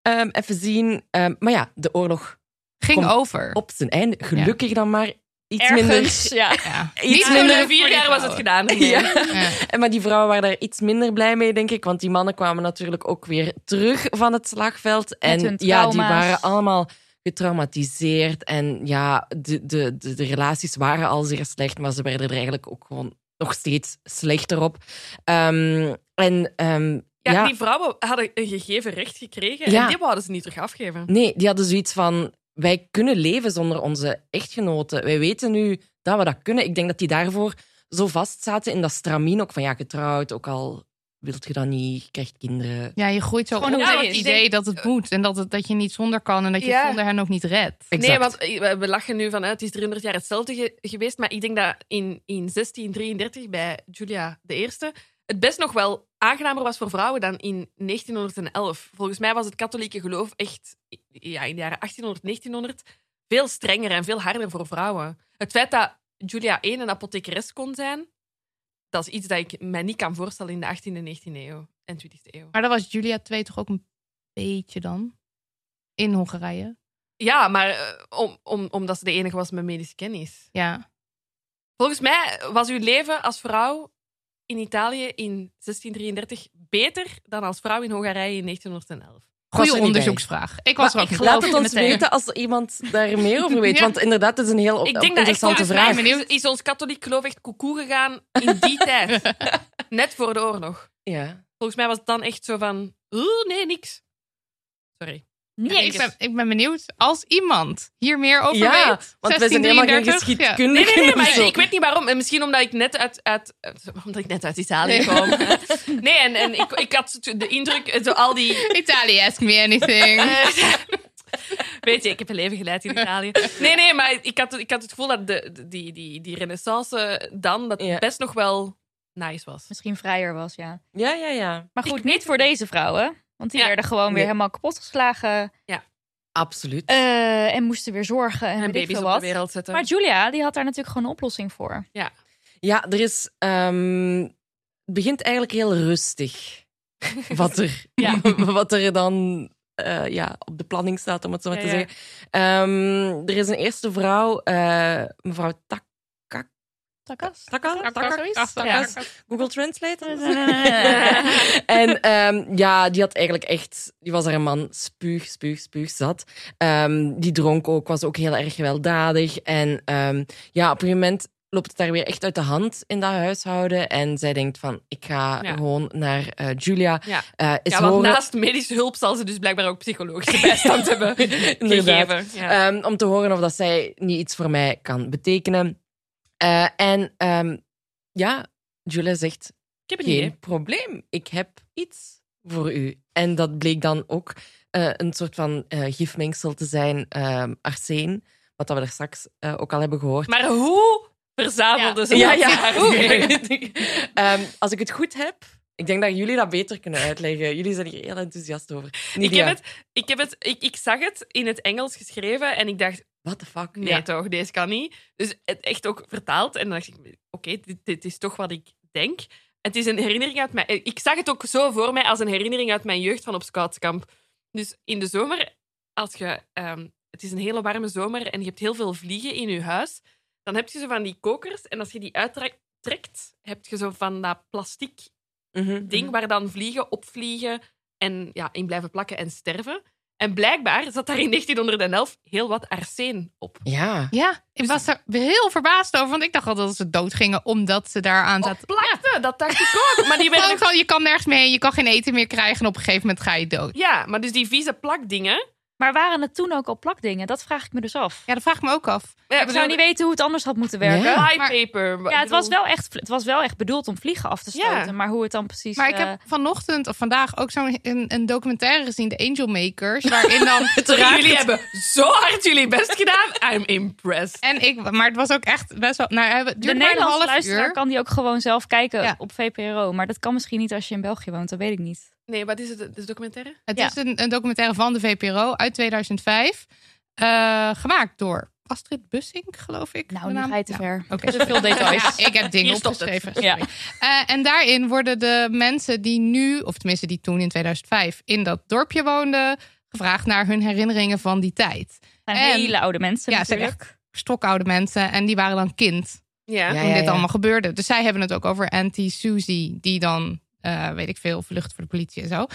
F: Ehm, even zien. Ehm, maar ja, de oorlog
H: Ging
F: Kom.
H: over.
F: op zijn einde. Gelukkig dan maar iets
B: Ergens,
F: minder.
B: ja.
H: Ja.
F: Iets
H: Niet
F: minder
H: leuk
G: Binnen
H: voor
G: vier
H: die
G: jaar was het
H: vrouwen.
G: gedaan. Nee.
F: Ja.
H: Ja.
F: En Maar die vrouwen waren daar iets minder blij mee, denk ik. Want die mannen kwamen natuurlijk ook weer terug van het slagveld.
B: hun
F: En ja, die
B: trauma's.
F: waren allemaal getraumatiseerd. En ja, de, de, de, de relaties waren al zeer slecht, maar ze werden er eigenlijk ook gewoon nog steeds slechter op. Ehm, en ehm,
G: Ja,
F: ja,
G: die vrouwen hadden een gegeven recht gekregen
F: Ja.
G: en die wouden ze niet terug afgeven.
F: nee, die hadden zoiets van: wij kunnen leven zonder onze echtgenoten. Wij weten nu dat we dat kunnen. Ik denk dat die daarvoor zo vast zaten in dat stramien ook van ja, getrouwd, ook al wilt je dat niet, je krijgt kinderen.
H: Ja, je groeit zo op
B: Gewoon
H: met
B: hoe het
H: het
B: is.
H: idee dat het moet. En dat, het, dat je niet zonder kan. En dat je het
G: Ja.
H: zonder hen ook niet redt.
F: Exact.
G: Nee, want eh, we- we lachen nu van eh, het is 300 jaar hetzelfde ge- geweest. Maar ik denk dat in, in 1633 bij Julia I het best nog wel aangenamer was voor vrouwen dan in 1911. Volgens mij was het katholieke geloof echt ja, in de jaren 1800, 1900 veel strenger en veel harder voor vrouwen. Het feit dat Julia I een apothekeres kon zijn, dat is iets dat ik mij niet kan voorstellen in de 18e, 19e eeuw en 20e eeuw.
H: Maar dat was Julia 2 toch ook een beetje dan? In Hongarije.
G: Ja, maar eh, om, om, omdat ze de enige was met medische kennis.
H: Ja.
G: Volgens mij was uw leven als vrouw in Italië in 1633 beter dan als vrouw in Hongarije in 1911.
F: er
H: Goede
F: niet bij.
H: onderzoeksvraag. Ik was er ook
B: ik
H: niet
B: geloof
H: bij.
B: je
F: Laat het ons
B: meteen.
F: weten als iemand daar meer over weet.
H: Ja.
F: Want inderdaad, het is een heel
G: Ik denk dat echt
F: Oh, interessante
G: volgens mij
F: vraag.
G: is, is ons katholiek geloof echt koekoe gegaan in die tijd. Net voor de oorlog.
F: Ja.
G: Volgens mij was het dan echt zo van, "Oeh, nee, niks. Sorry.
H: Nee, ik ben, ik ben benieuwd. Als iemand hier meer over
F: Ja,
H: weet.
F: want we zijn helemaal geen
H: 1633, ja.
F: geschiedkundigen.
G: Nee, nee, nee, maar ik,
F: Zo.
G: ik weet niet waarom. En Misschien omdat ik net uit, uit, uit- omdat ik net uit Italië kwam. Nee, en, en ik, ik had de indruk, eh, zo al die
H: Italië, ask me anything.
G: Eh, Weet je, ik heb een leven geleid in Italië. Nee, nee, maar ik had, het- ik had het gevoel dat de, de- die, die, die renaissance eh, dan dat het
F: Ja.
G: best nog wel nice was.
B: Misschien vrijer was, ja.
F: Ja, ja, ja.
B: Maar goed, niet voor deze vrouwen. Want die
G: Ja.
B: werden gewoon weer
F: Nee.
B: helemaal kapotgeslagen.
F: Absoluut.
B: eh, en moesten weer zorgen. En,
G: En
B: weet ik
G: baby's
B: veel
G: op de
B: wat.
G: wereld eh. zetten.
B: Maar Julia, die had daar natuurlijk gewoon een oplossing voor.
F: Ja, er is ehm, begint eigenlijk heel rustig. Wat er,
B: Ja.
F: wat er dan eh, ja, op de planning staat, om het zo maar
B: Ja,
F: te
B: ja.
F: zeggen. Ehm, er is een eerste vrouw, eh, mevrouw Tak.
B: Takas?
F: Taka?
H: Akka,
F: Taka?
H: zoiets?
F: Taka?
H: Ja.
F: Google Translate? en ehm, ja, die had eigenlijk echt, die was haar man spuug, spuug, spuug zat. Ehm, die dronk ook, was ook heel erg gewelddadig. En ehm, ja, op een gegeven moment loopt het daar weer echt uit de hand in dat huishouden. En zij denkt van, ik ga
G: Ja.
F: gewoon naar eh, Julia.
G: Ja.
F: eh, eens
G: Ja, want
F: horen-
G: naast medische hulp zal ze dus blijkbaar ook psychologische bijstand hebben
F: Inderdaad.
G: gegeven. Ja.
F: Ehm, om te horen of dat zij niet iets voor mij kan betekenen. Eh, en ehm, ja, Julia zegt,
G: ik heb een idee.
F: geen probleem. Ik heb iets voor u. En dat bleek dan ook eh, een soort van eh, gifmengsel te zijn, ehm arsen. Wat dat we daar straks eh, ook al hebben gehoord.
G: Maar hoe verzamelde ze
F: ja,
G: dat?
F: ja.
G: Oeh.
F: Ehm, als ik het goed heb, ik denk dat jullie dat beter kunnen uitleggen. Jullie zijn hier heel enthousiast over.
G: Ik
F: Nidia,
G: heb het, ik, heb het ik, ik zag het in het Engels geschreven en ik dacht,
F: what the fuck?
G: nee
F: Ja.
G: toch, deze kan niet. Dus het echt ook vertaald. En dan dacht ik, oké, dit, dit is toch wat ik denk. Het is een herinnering uit mijn... Ik zag het ook zo voor mij als een herinnering uit mijn jeugd van op scoutskamp. Dus in de zomer, als je... ehm, het is een hele warme zomer en je hebt heel veel vliegen in je huis. Dan heb je zo van die kokers en als je die uittrekt, heb je zo van dat plastic
F: Mhm.
G: ding waar dan vliegen, opvliegen en ja, in blijven plakken en sterven. En blijkbaar zat daar in 1911 heel wat arsen op.
F: Ja.
H: Ja, ik was er heel verbaasd over, want ik dacht al dat ze dood gingen omdat ze daar aan zaten.
G: Plakte, dat dacht Oh, ik ook. Maar die
H: Gewoon
G: werden...
H: van, je kan nergens mee, je kan geen eten meer krijgen en op een gegeven moment ga je dood.
G: Ja, maar dus die vieze plakdingen.
B: Maar waren het toen ook al plakdingen? Dat vraag ik me dus af.
H: Ja, dat vraag ik me ook af.
G: Ja,
B: ik zou niet weten hoe het anders had moeten werken.
F: Ja.
B: Ja,
G: White
H: maar-
G: paper. Ik
B: het,
G: bedoel-
B: was wel echt, het was wel echt bedoeld om vliegen af te
G: Ja.
B: stoten. Maar hoe het dan precies...
H: Maar ik
B: eh,
H: heb vanochtend of vandaag ook zo'n een, een documentaire gezien, de Angel Makers, waarin dan
G: Jullie hebben zo hard jullie best gedaan. I'm impressed.
H: en ik, maar het was ook echt best wel. Nou, het duurde
B: de
H: maar een
B: Nederlandse
H: half
B: luisteraar
H: uur.
B: kan die ook gewoon zelf kijken
H: Ja.
B: op VPRO. Maar dat kan misschien niet als je in België woont, dat weet ik niet.
G: Nee, wat is het? Het is documentaire?
H: Het
B: Ja.
H: is een, een documentaire van de VPRO uit 2005. eh, gemaakt door Astrid Bussink, geloof ik.
B: Nou,
H: de
B: nu
H: naam.
B: ga je te
H: Nou,
B: ver.
H: Oké.
B: Te veel details.
H: Ja, ik heb dingen
G: Hier stopt het.
H: opgeschreven.
B: Ja.
H: sorry. Eh, en daarin worden de mensen die nu, of tenminste die toen in 2005 in dat dorpje woonden, gevraagd naar hun herinneringen van die tijd.
B: Het zijn
H: En-
B: hele oude mensen
H: Ja, ze zijn
B: natuurlijk.
H: echt stokoude mensen en die waren dan kind
G: Ja.
F: Ja.
H: toen dit allemaal gebeurde. Dus zij hebben het ook over Auntie Susie, die dan, eh, weet ik veel, vlucht voor de politie en zo.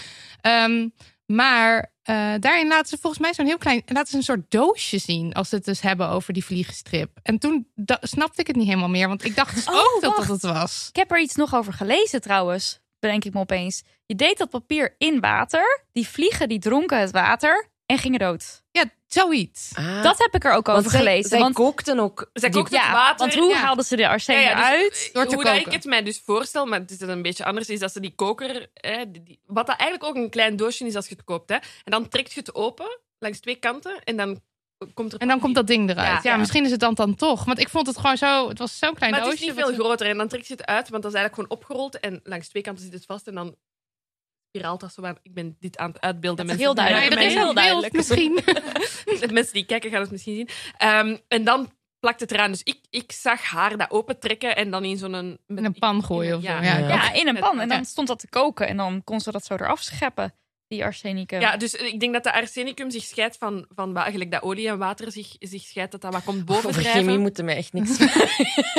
H: Ehm, maar eh, daarin laten ze volgens mij zo'n heel klein, laten ze een soort doosje zien als ze het dus hebben over die vliegenstrip. En toen da- snapte ik het niet helemaal meer, want ik dacht dus
B: Oh,
H: ook dat dat
B: wacht.
H: het was.
B: Ik heb er iets nog over gelezen trouwens, bedenk ik me opeens. Je deed dat papier in water, die vliegen die dronken het water en gingen dood.
H: Ja, zoiets.
F: Ah.
B: Dat heb ik er ook
F: Want
B: over
F: zij-
B: gelezen.
F: Zij
B: want,
F: kookten ook.
G: Zij
F: die-
G: kookten het water.
B: want hoe
H: ja.
B: haalden ze de arsen
G: Ja, ja, dus,
B: eruit?
G: eh,
H: Door te
G: hoe
H: koken.
G: dat ik het mij dus voorstel, maar het is een beetje anders, is dat ze die koker, eh, die- die- wat dat eigenlijk ook een klein doosje is als je het koopt, hè, en dan trekt je het open langs twee kanten en dan komt er
H: En dan komt dat ding eruit. Ja,
G: Ja.
H: misschien is het dan dan toch. Want ik vond het gewoon zo. Het was zo'n klein
G: maar het is
H: doosje.
G: niet
H: wat
G: veel
H: ze-
G: groter en dan trekt je het uit, want dat is eigenlijk gewoon opgerold en langs twee kanten zit het vast en dan spiraalt dat zo aan. Ik ben dit aan het uitbeelden.
B: Dat is
G: mensen.
B: heel
H: Nee,
B: duidelijk.
H: dat
G: Mij
H: is
B: Heel
H: heel duidelijk.
B: duidelijk.
H: Misschien.
G: De mensen die kijken gaan het misschien zien. Ehm, en dan plakt het eraan. Dus ik, ik zag haar dat opentrekken en dan in zo'n... met-
H: In een pan gooien of zo. Ja,
F: Ja.
B: Ja, in een
G: Met-
B: pan. En
G: ja.
B: dan stond dat te koken. En dan kon ze dat zo eraf scheppen, die arsenicum.
G: Ja, dus ik denk dat de arsenicum zich scheidt van, van wa- eigenlijk dat olie en water zich, zich scheidt, dat dat wat komt
F: Over
G: bovendrijven.
F: chemie moeten mij echt niks meer.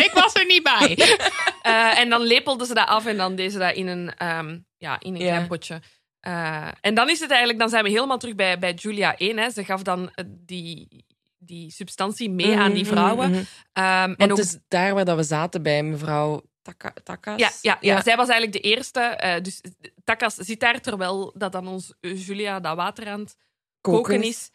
H: ik was er niet bij.
G: Eh, en dan lepelden ze dat af en dan deden ze dat in een, ehm, ja, in een
F: Ja.
G: klein potje. Eh, en dan is het eigenlijk, dan zijn we helemaal terug bij, bij Julia 1. Hè. Ze gaf dan eh, die, die substantie mee aan die vrouwen.
F: Mhm.
G: Ehm, en
F: Want
G: ook,
F: het is daar waar dat we zaten bij mevrouw Taka, Takas.
G: ja, ja, ja, zij was eigenlijk de eerste. eh, dus Takas zit daar terwijl dat dan ons eh, Julia dat water aan het koken is.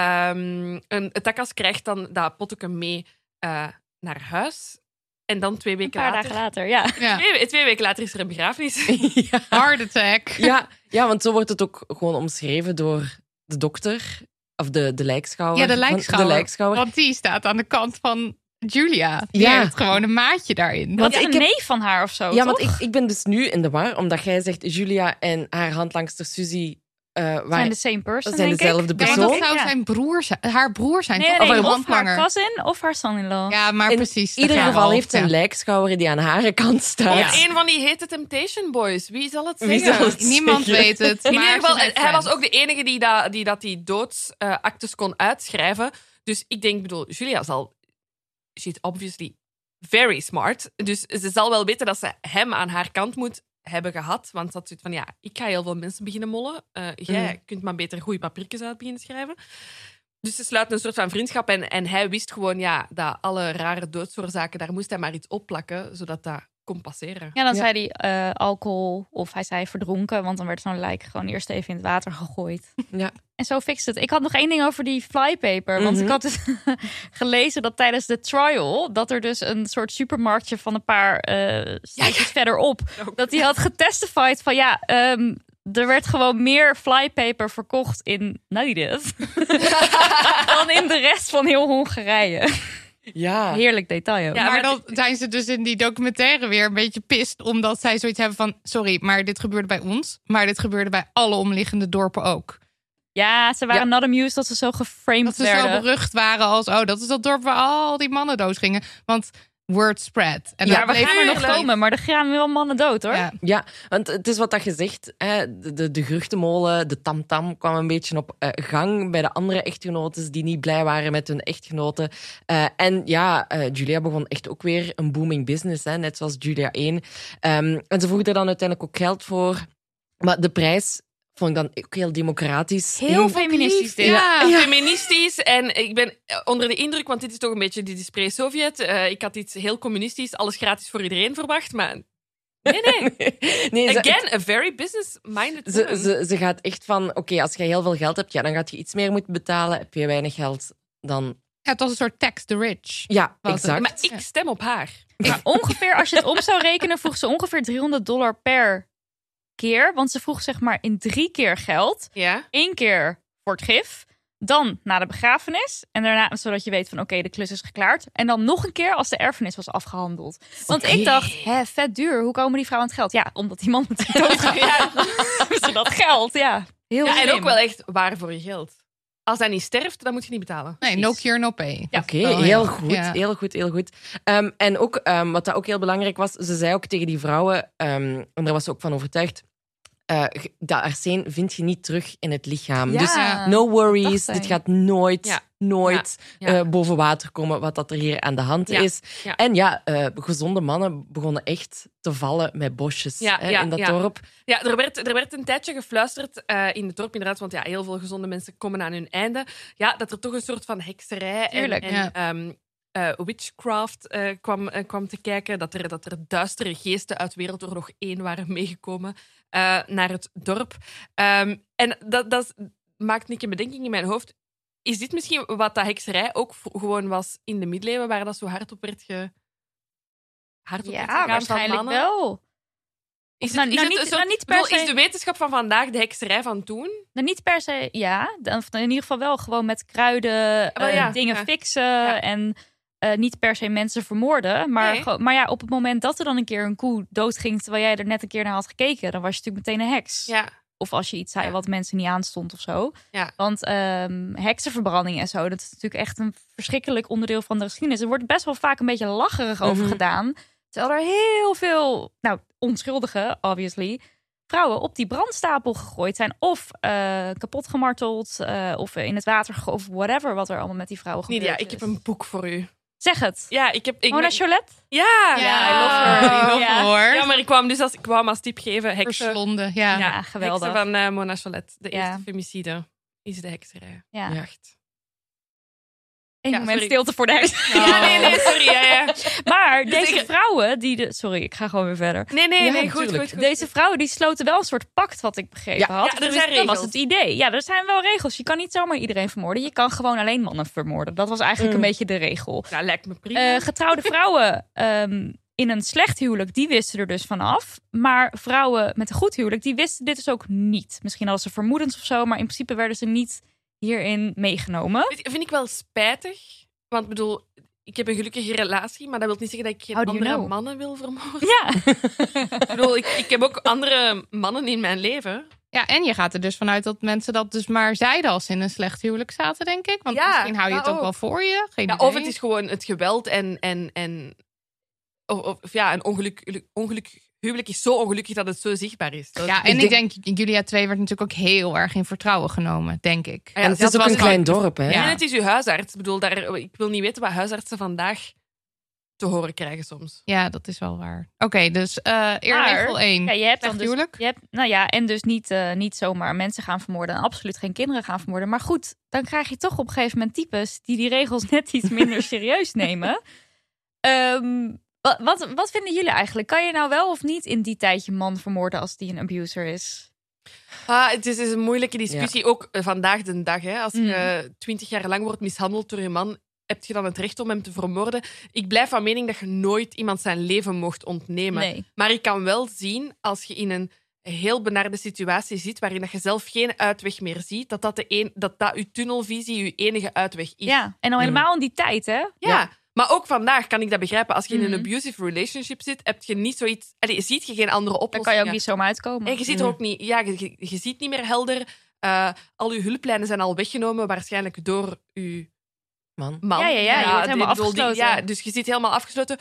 G: Ehm en Takas krijgt dan dat potje mee eh, naar huis. En dan twee
B: een
G: weken
B: paar
G: later.
B: dagen later. Ja.
H: Ja.
G: Twee, we- twee weken later is er een begrafenis.
F: ja.
H: Heart attack.
F: Ja, ja, want zo wordt het ook gewoon omschreven door de dokter. Of de, de lijkschouwer.
H: Ja, de
F: Van-
H: lijkschouwer.
F: De lijkschouwer.
H: Want die staat aan de kant van Julia. Die
F: Ja.
H: heeft gewoon een maatje daarin.
B: Want
F: ik
B: een
F: heb-
B: neef van haar of zo, toch?
F: ja, want ik, ik ben dus nu in de war, omdat jij zegt Julia en haar handlangster Suzy eh, waar,
B: zijn de same person,
F: zijn
B: denk ik.
F: dezelfde
B: Ja,
H: Ja, want
F: persoon.
H: dat
B: ik,
H: zou
B: ja.
H: zijn broer zijn, haar broer zijn,
B: Nee,
H: toch?
B: nee,
H: of een
B: of haar
H: handlanger.
B: cousin of haar son-in-law.
H: Ja, maar
F: in
H: precies. dat
F: ieder
H: jaar
F: geval
H: al,
F: heeft ze
H: ja.
F: een lijkschouwer die aan haar kant staat.
G: Of een van die hete Temptation Boys. Wie zal het
F: Wie
G: zeggen?
F: zal het
H: Niemand
F: zeggen?
H: weet het.
G: In ieder
H: maar
G: geval,
H: ze zijn
G: hij was
H: friends.
G: ook de enige die dat die, dat die doodsactes kon uitschrijven. Dus ik denk, bedoel, Julia zal... She is obviously very smart. Dus ze zal wel weten dat ze hem aan haar kant moet hebben gehad. Want ze had zoiets van, ja, ik ga heel veel mensen beginnen mollen. Eh, jij
F: Mm.
G: kunt maar beter goede papiertjes uit beginnen schrijven. Dus ze sluiten een soort van vriendschap. En, en hij wist gewoon, ja, dat alle rare doodsoorzaken... Daar moest hij maar iets opplakken, zodat dat kon passeren.
B: Ja, dan zei hij eh, alcohol of hij zei verdronken, want dan werd zo'n lijk gewoon eerst even in het water gegooid.
F: Ja.
B: En zo fixt het. Ik had nog één ding over die flypaper, want ik
F: Mhm.
B: had dus gelezen dat tijdens de trial dat er dus een soort supermarktje van een paar eh steekjes verderop dat hij had getestified van ja. ehm, er werd gewoon meer flypaper verkocht in Nederland dan in de rest van heel Hongarije.
F: Ja.
B: Heerlijk detail. ook.
G: Ja,
H: maar
G: maar
H: dan zijn ze dus in die documentaire weer een beetje pist. Omdat zij zoiets hebben van: sorry, maar dit gebeurde bij ons. Maar dit gebeurde bij alle omliggende dorpen ook.
B: Ja, ze waren not amused dat ze zo geframed
H: Dat ze
B: werden.
H: zo berucht waren als: oh, dat is dat dorp waar al die mannen dood gingen. Want word spread. En
B: Ja,
H: dat
B: we
H: bleef
B: gaan er nog
H: tuurlijk.
B: komen, maar er gaan wel mannen dood hoor.
H: Ja.
F: Ja, want het is wat dat gezegd. Hè, de, de, de geruchtenmolen, de tamtam kwam een beetje op eh, gang bij de andere echtgenotes die niet blij waren met hun echtgenoten. Eh, en ja, eh, Julia begon echt ook weer een booming business, hè, net zoals Julia 1. Ehm, en ze vroeg er dan uiteindelijk ook geld voor. Maar de prijs vond ik dan ook heel democratisch.
B: Heel
F: Heel-
B: feministisch dit.
H: Ja.
G: feministisch. En ik ben eh, onder de indruk, want dit is toch een beetje die spray-Sovjet. Eh, ik had iets heel communistisch, alles gratis voor iedereen verwacht. Maar nee, nee.
F: Nee, ze-
G: Again, a very business-minded
F: Ze,
G: woman.
F: ze, ze gaat echt van, oké, als je heel veel geld hebt, ja, dan gaat je iets meer moeten betalen. Heb je weinig geld, dan...
H: Ja, het was een soort tax the rich.
F: Ja,
H: Was het.
F: exact.
G: Maar ik stem op haar.
B: Maar ongeveer, als je het om zou rekenen, vroeg ze ongeveer 300 dollar per keer. Want ze vroeg zeg maar in drie keer geld.
G: Ja.
B: Eén keer voor het gif. Dan na de begrafenis. En daarna, zodat je weet van oké, de klus is geklaard. En dan nog een keer als de erfenis was afgehandeld. Want ik dacht, hè, vet duur. Hoe komen die vrouwen aan het geld? Ja, omdat die man natuurlijk doodgaat.
G: Ja.
B: Hebben ze dat geld, ja. Heel
G: Ja, en
B: slim.
G: ook wel echt waar voor je geld. Als hij niet sterft, dan moet je niet betalen.
H: Nee, no cure, no pay.
F: Oké,
H: Oh,
F: heel,
H: ja.
F: goed,
H: Ja.
F: heel goed, heel goed. Ehm, en ook, ehm, wat dat ook heel belangrijk was, ze zei ook tegen die vrouwen, ehm, en daar was ze ook van overtuigd, eh, ge- dat arsen vind je niet terug in het lichaam.
B: Ja.
F: Dus
H: Ja.
F: no worries,
B: dacht zij.
F: dit gaat nooit,
G: Ja.
F: nooit
G: Ja. Ja.
F: eh, boven water komen, wat dat er hier aan de hand
G: Ja.
F: is.
G: Ja.
F: En ja, eh, gezonde mannen begonnen echt te vallen met bosjes
G: Ja,
F: hè,
G: ja,
F: in dat
G: ja.
F: dorp.
G: Ja, er werd, er werd een tijdje gefluisterd eh, in het dorp, inderdaad. Want ja, heel veel gezonde mensen komen aan hun einde. Ja, dat er toch een soort van hekserij en,
B: Tuurlijk,
G: en
H: ja.
G: ehm, eh, witchcraft eh, kwam, eh, kwam te kijken. Dat er, dat er duistere geesten uit Wereldoorlog 1 waren meegekomen eh, naar het dorp. Ehm, en dat, dat is- maakt niet in bedenking in mijn hoofd. Is dit misschien wat dat hekserij ook v- gewoon was in de middeleeuwen, waar dat zo hard op werd ge... Hard op werd gegaan
B: Ja,
G: van
B: waarschijnlijk
G: mannen?
B: wel.
G: Is
B: Nou,
G: het,
B: nou,
G: is het
B: niet-
G: een soort-
B: nou, niet per
G: bedoel,
B: se-
G: is de wetenschap van vandaag de hekserij van toen?
B: Nou, niet per se, ja. Dan- of In ieder geval wel gewoon met kruiden
G: wel,
B: eh,
G: Oh, ja,
B: dingen
G: ja.
B: fixen
G: Ja.
B: en eh, niet per se mensen vermoorden. Maar,
G: Nee.
B: gewoon- maar ja, op het moment dat er dan een keer een koe doodging terwijl jij er net een keer naar had gekeken, dan was je natuurlijk meteen een heks.
G: Ja.
B: Of als je iets zei
G: Ja.
B: wat mensen niet aanstond of zo.
G: Ja.
B: Want ehm, heksenverbranding en zo, dat is natuurlijk echt een verschrikkelijk onderdeel van de geschiedenis. Er wordt best wel vaak een beetje lacherig over
F: Mhm.
B: gedaan. Terwijl er heel veel, nou, onschuldige, obviously, vrouwen op die brandstapel gegooid zijn. Of eh, kapot gemarteld, eh, of in het water gegooid, of whatever wat er allemaal met die vrouwen gebeurt.
G: Nidia, ik heb een boek voor u.
B: Zeg het.
G: Ja, ik heb... Ik,
B: Mona Cholet?
G: ja,
H: Ja,
G: I love her.
H: I love
B: Ja.
H: her.
G: Oh, Ja, maar ik kwam dus als, ik kwam als tip geven. Heksen,
H: Verslonden, ja.
B: Ja, geweldig.
G: heksen van eh, Mona Cholet. De
B: Ja.
G: eerste femicide is de hekserij.
B: Ja.
F: Ja.
G: Echt.
B: Eén
G: Ja,
B: moment
G: sorry.
B: stilte voor de heks.
G: Ja, nee, nee, sorry. Ja, ja.
B: Maar deze
G: ik-
B: vrouwen die... De... Sorry, ik ga gewoon weer verder.
G: Nee, nee,
F: Ja,
G: nee, goed, goed,
F: natuurlijk.
G: goed.
B: Deze vrouwen die sloten wel een soort pact, wat ik begrepen
F: Ja,
B: had.
G: ja, er
B: Dus
G: zijn
B: dat was
G: regels.
B: het idee. Ja, er zijn wel regels. Je kan niet zomaar iedereen vermoorden. Je kan gewoon alleen mannen vermoorden. Dat was eigenlijk een beetje de regel.
G: Mm. Ja, lijkt me prima.
B: Eh, getrouwde vrouwen ehm, in een slecht huwelijk, die wisten er dus vanaf. Maar vrouwen met een goed huwelijk, die wisten dit dus ook niet. Misschien hadden ze vermoedens of zo, maar in principe werden ze niet hierin meegenomen.
G: Dit vind ik wel spijtig. Want ik bedoel, ik heb een gelukkige relatie, maar dat wil niet zeggen dat ik geen
B: How do you
G: andere
B: know?
G: mannen wil vermoorden.
B: Ja,
G: ik bedoel, ik, ik heb ook andere mannen in mijn leven.
H: Ja, en je gaat er dus vanuit dat mensen dat dus maar zeiden als ze in een slecht huwelijk zaten, denk ik. Want
G: Ja,
H: misschien hou je het
G: maar
H: ook wel
G: ook.
H: voor je. Geen
G: Ja,
H: idee.
G: of het is gewoon het geweld en. en, en of, of- of ja, een ongeluk, ongeluk. Huwelijk is zo ongelukkig dat het zo zichtbaar is. Dat- Ah
H: Ja, en ik denk, Julia 2 werd natuurlijk ook heel erg in vertrouwen genomen, denk ik.
G: Ja,
F: en het
G: dat
F: is ook
G: was
F: een klein dorp, hè?
H: Ja.
G: En het is uw huisarts. Ik bedoel, daar, ik wil niet weten wat huisartsen vandaag te horen krijgen soms.
H: Ja, dat is wel waar. Oké, dus eh eerregel
B: Maar-
H: 1.
G: Mm.
B: Ja, je hebt dan
H: Slecht
B: dus,
H: huwelijk.
B: je hebt, nou ja, en dus niet, eh, niet zomaar mensen gaan vermoorden en absoluut geen kinderen gaan vermoorden. Maar goed, dan krijg je toch op een gegeven moment types die die regels net iets minder serieus nemen. Ehm, wa- wat, wat, vinden jullie eigenlijk? Kan je nou wel of niet in die tijd je man vermoorden als die een abuser is?
G: Ah, het is, is een moeilijke discussie, ook eh, vandaag de dag. Hè. Als
F: Mhm.
G: je twintig jaar lang wordt mishandeld door je man, heb je dan het recht om hem te vermoorden? Ik blijf van mening dat je nooit iemand zijn leven mocht ontnemen.
B: Nee.
G: Maar ik kan wel zien, als je in een heel benarde situatie zit, waarin dat je zelf geen uitweg meer ziet, dat dat, de een, dat, dat je tunnelvisie je enige uitweg is.
B: Ja, en al helemaal in die tijd, hè?
G: Mm. Ja. Maar ook vandaag kan ik dat begrijpen. Als je in
B: Mhm.
G: een abusive relationship zit, heb je niet zoiets. Allee, ziet je geen andere
B: Daar
G: oplossing.
B: kan je ook niet Mhm. zomaar uitkomen.
G: En je ziet er ook niet. Ja, je, je- je ziet niet meer helder. Eh, al je hulplijnen zijn al weggenomen, waarschijnlijk door je
F: Man.
G: man.
B: Ja, ja, ja, je wordt
G: die-
B: helemaal
G: ik bedoel, die-
B: afgesloten.
G: ja, dus je zit helemaal afgesloten.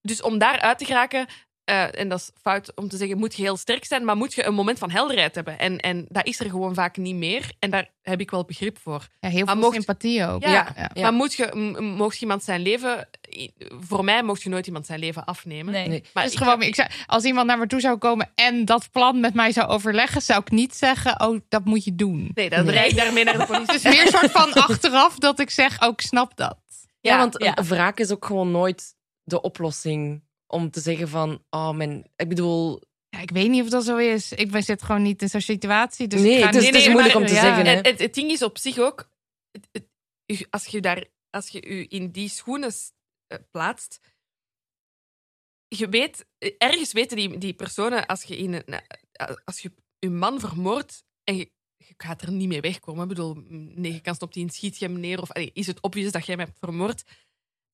G: Dus om daar uit te geraken, eh, en dat is fout om te zeggen, moet je heel sterk zijn, maar moet je een moment van helderheid hebben. En, en dat is er gewoon vaak niet meer. En daar heb ik wel begrip voor.
H: Ja, heel
G: Maar
H: veel
G: mocht-
H: sympathie ook.
G: Ja.
H: ja.
F: Ja.
G: Maar moet je, m- m- mocht je iemand zijn leven... i- Voor mij mocht je nooit iemand zijn leven afnemen.
B: Nee.
F: Nee.
G: Maar
H: Dus
G: ik-
H: gewoon, ik zou, als iemand naar me toe zou komen en dat plan met mij zou overleggen, zou ik niet zeggen: Oh, dat moet je doen.
G: Nee, dan rijd ik daarmee naar de politie.
H: Het is meer een soort van achteraf dat ik zeg: Oh, ik snap dat.
F: Ja,
G: Ja,
F: want
B: ja.
F: een wraak is ook gewoon nooit de oplossing om te zeggen van, oh mijn, ik bedoel,
H: Ja, ik weet niet of dat zo is. Ik ben, zit gewoon niet in zo'n situatie. Dus
F: Nee,
H: ik ga
F: het is-
H: niet-
F: het is moeilijk om te
H: ja.
F: zeggen, hè.
G: En het, het ding is op zich ook... het- het- u- als, je daar, als je u in die schoenen s- eh, plaatst... Je weet... eh, Ergens weten die, die personen... Als je, in een, eh, als je je man vermoordt en je, je gaat er niet mee wegkomen. Ik bedoel, negen kansen op tien schiet je hem neer. Of allee, is het obvious dat jij hem hebt vermoord?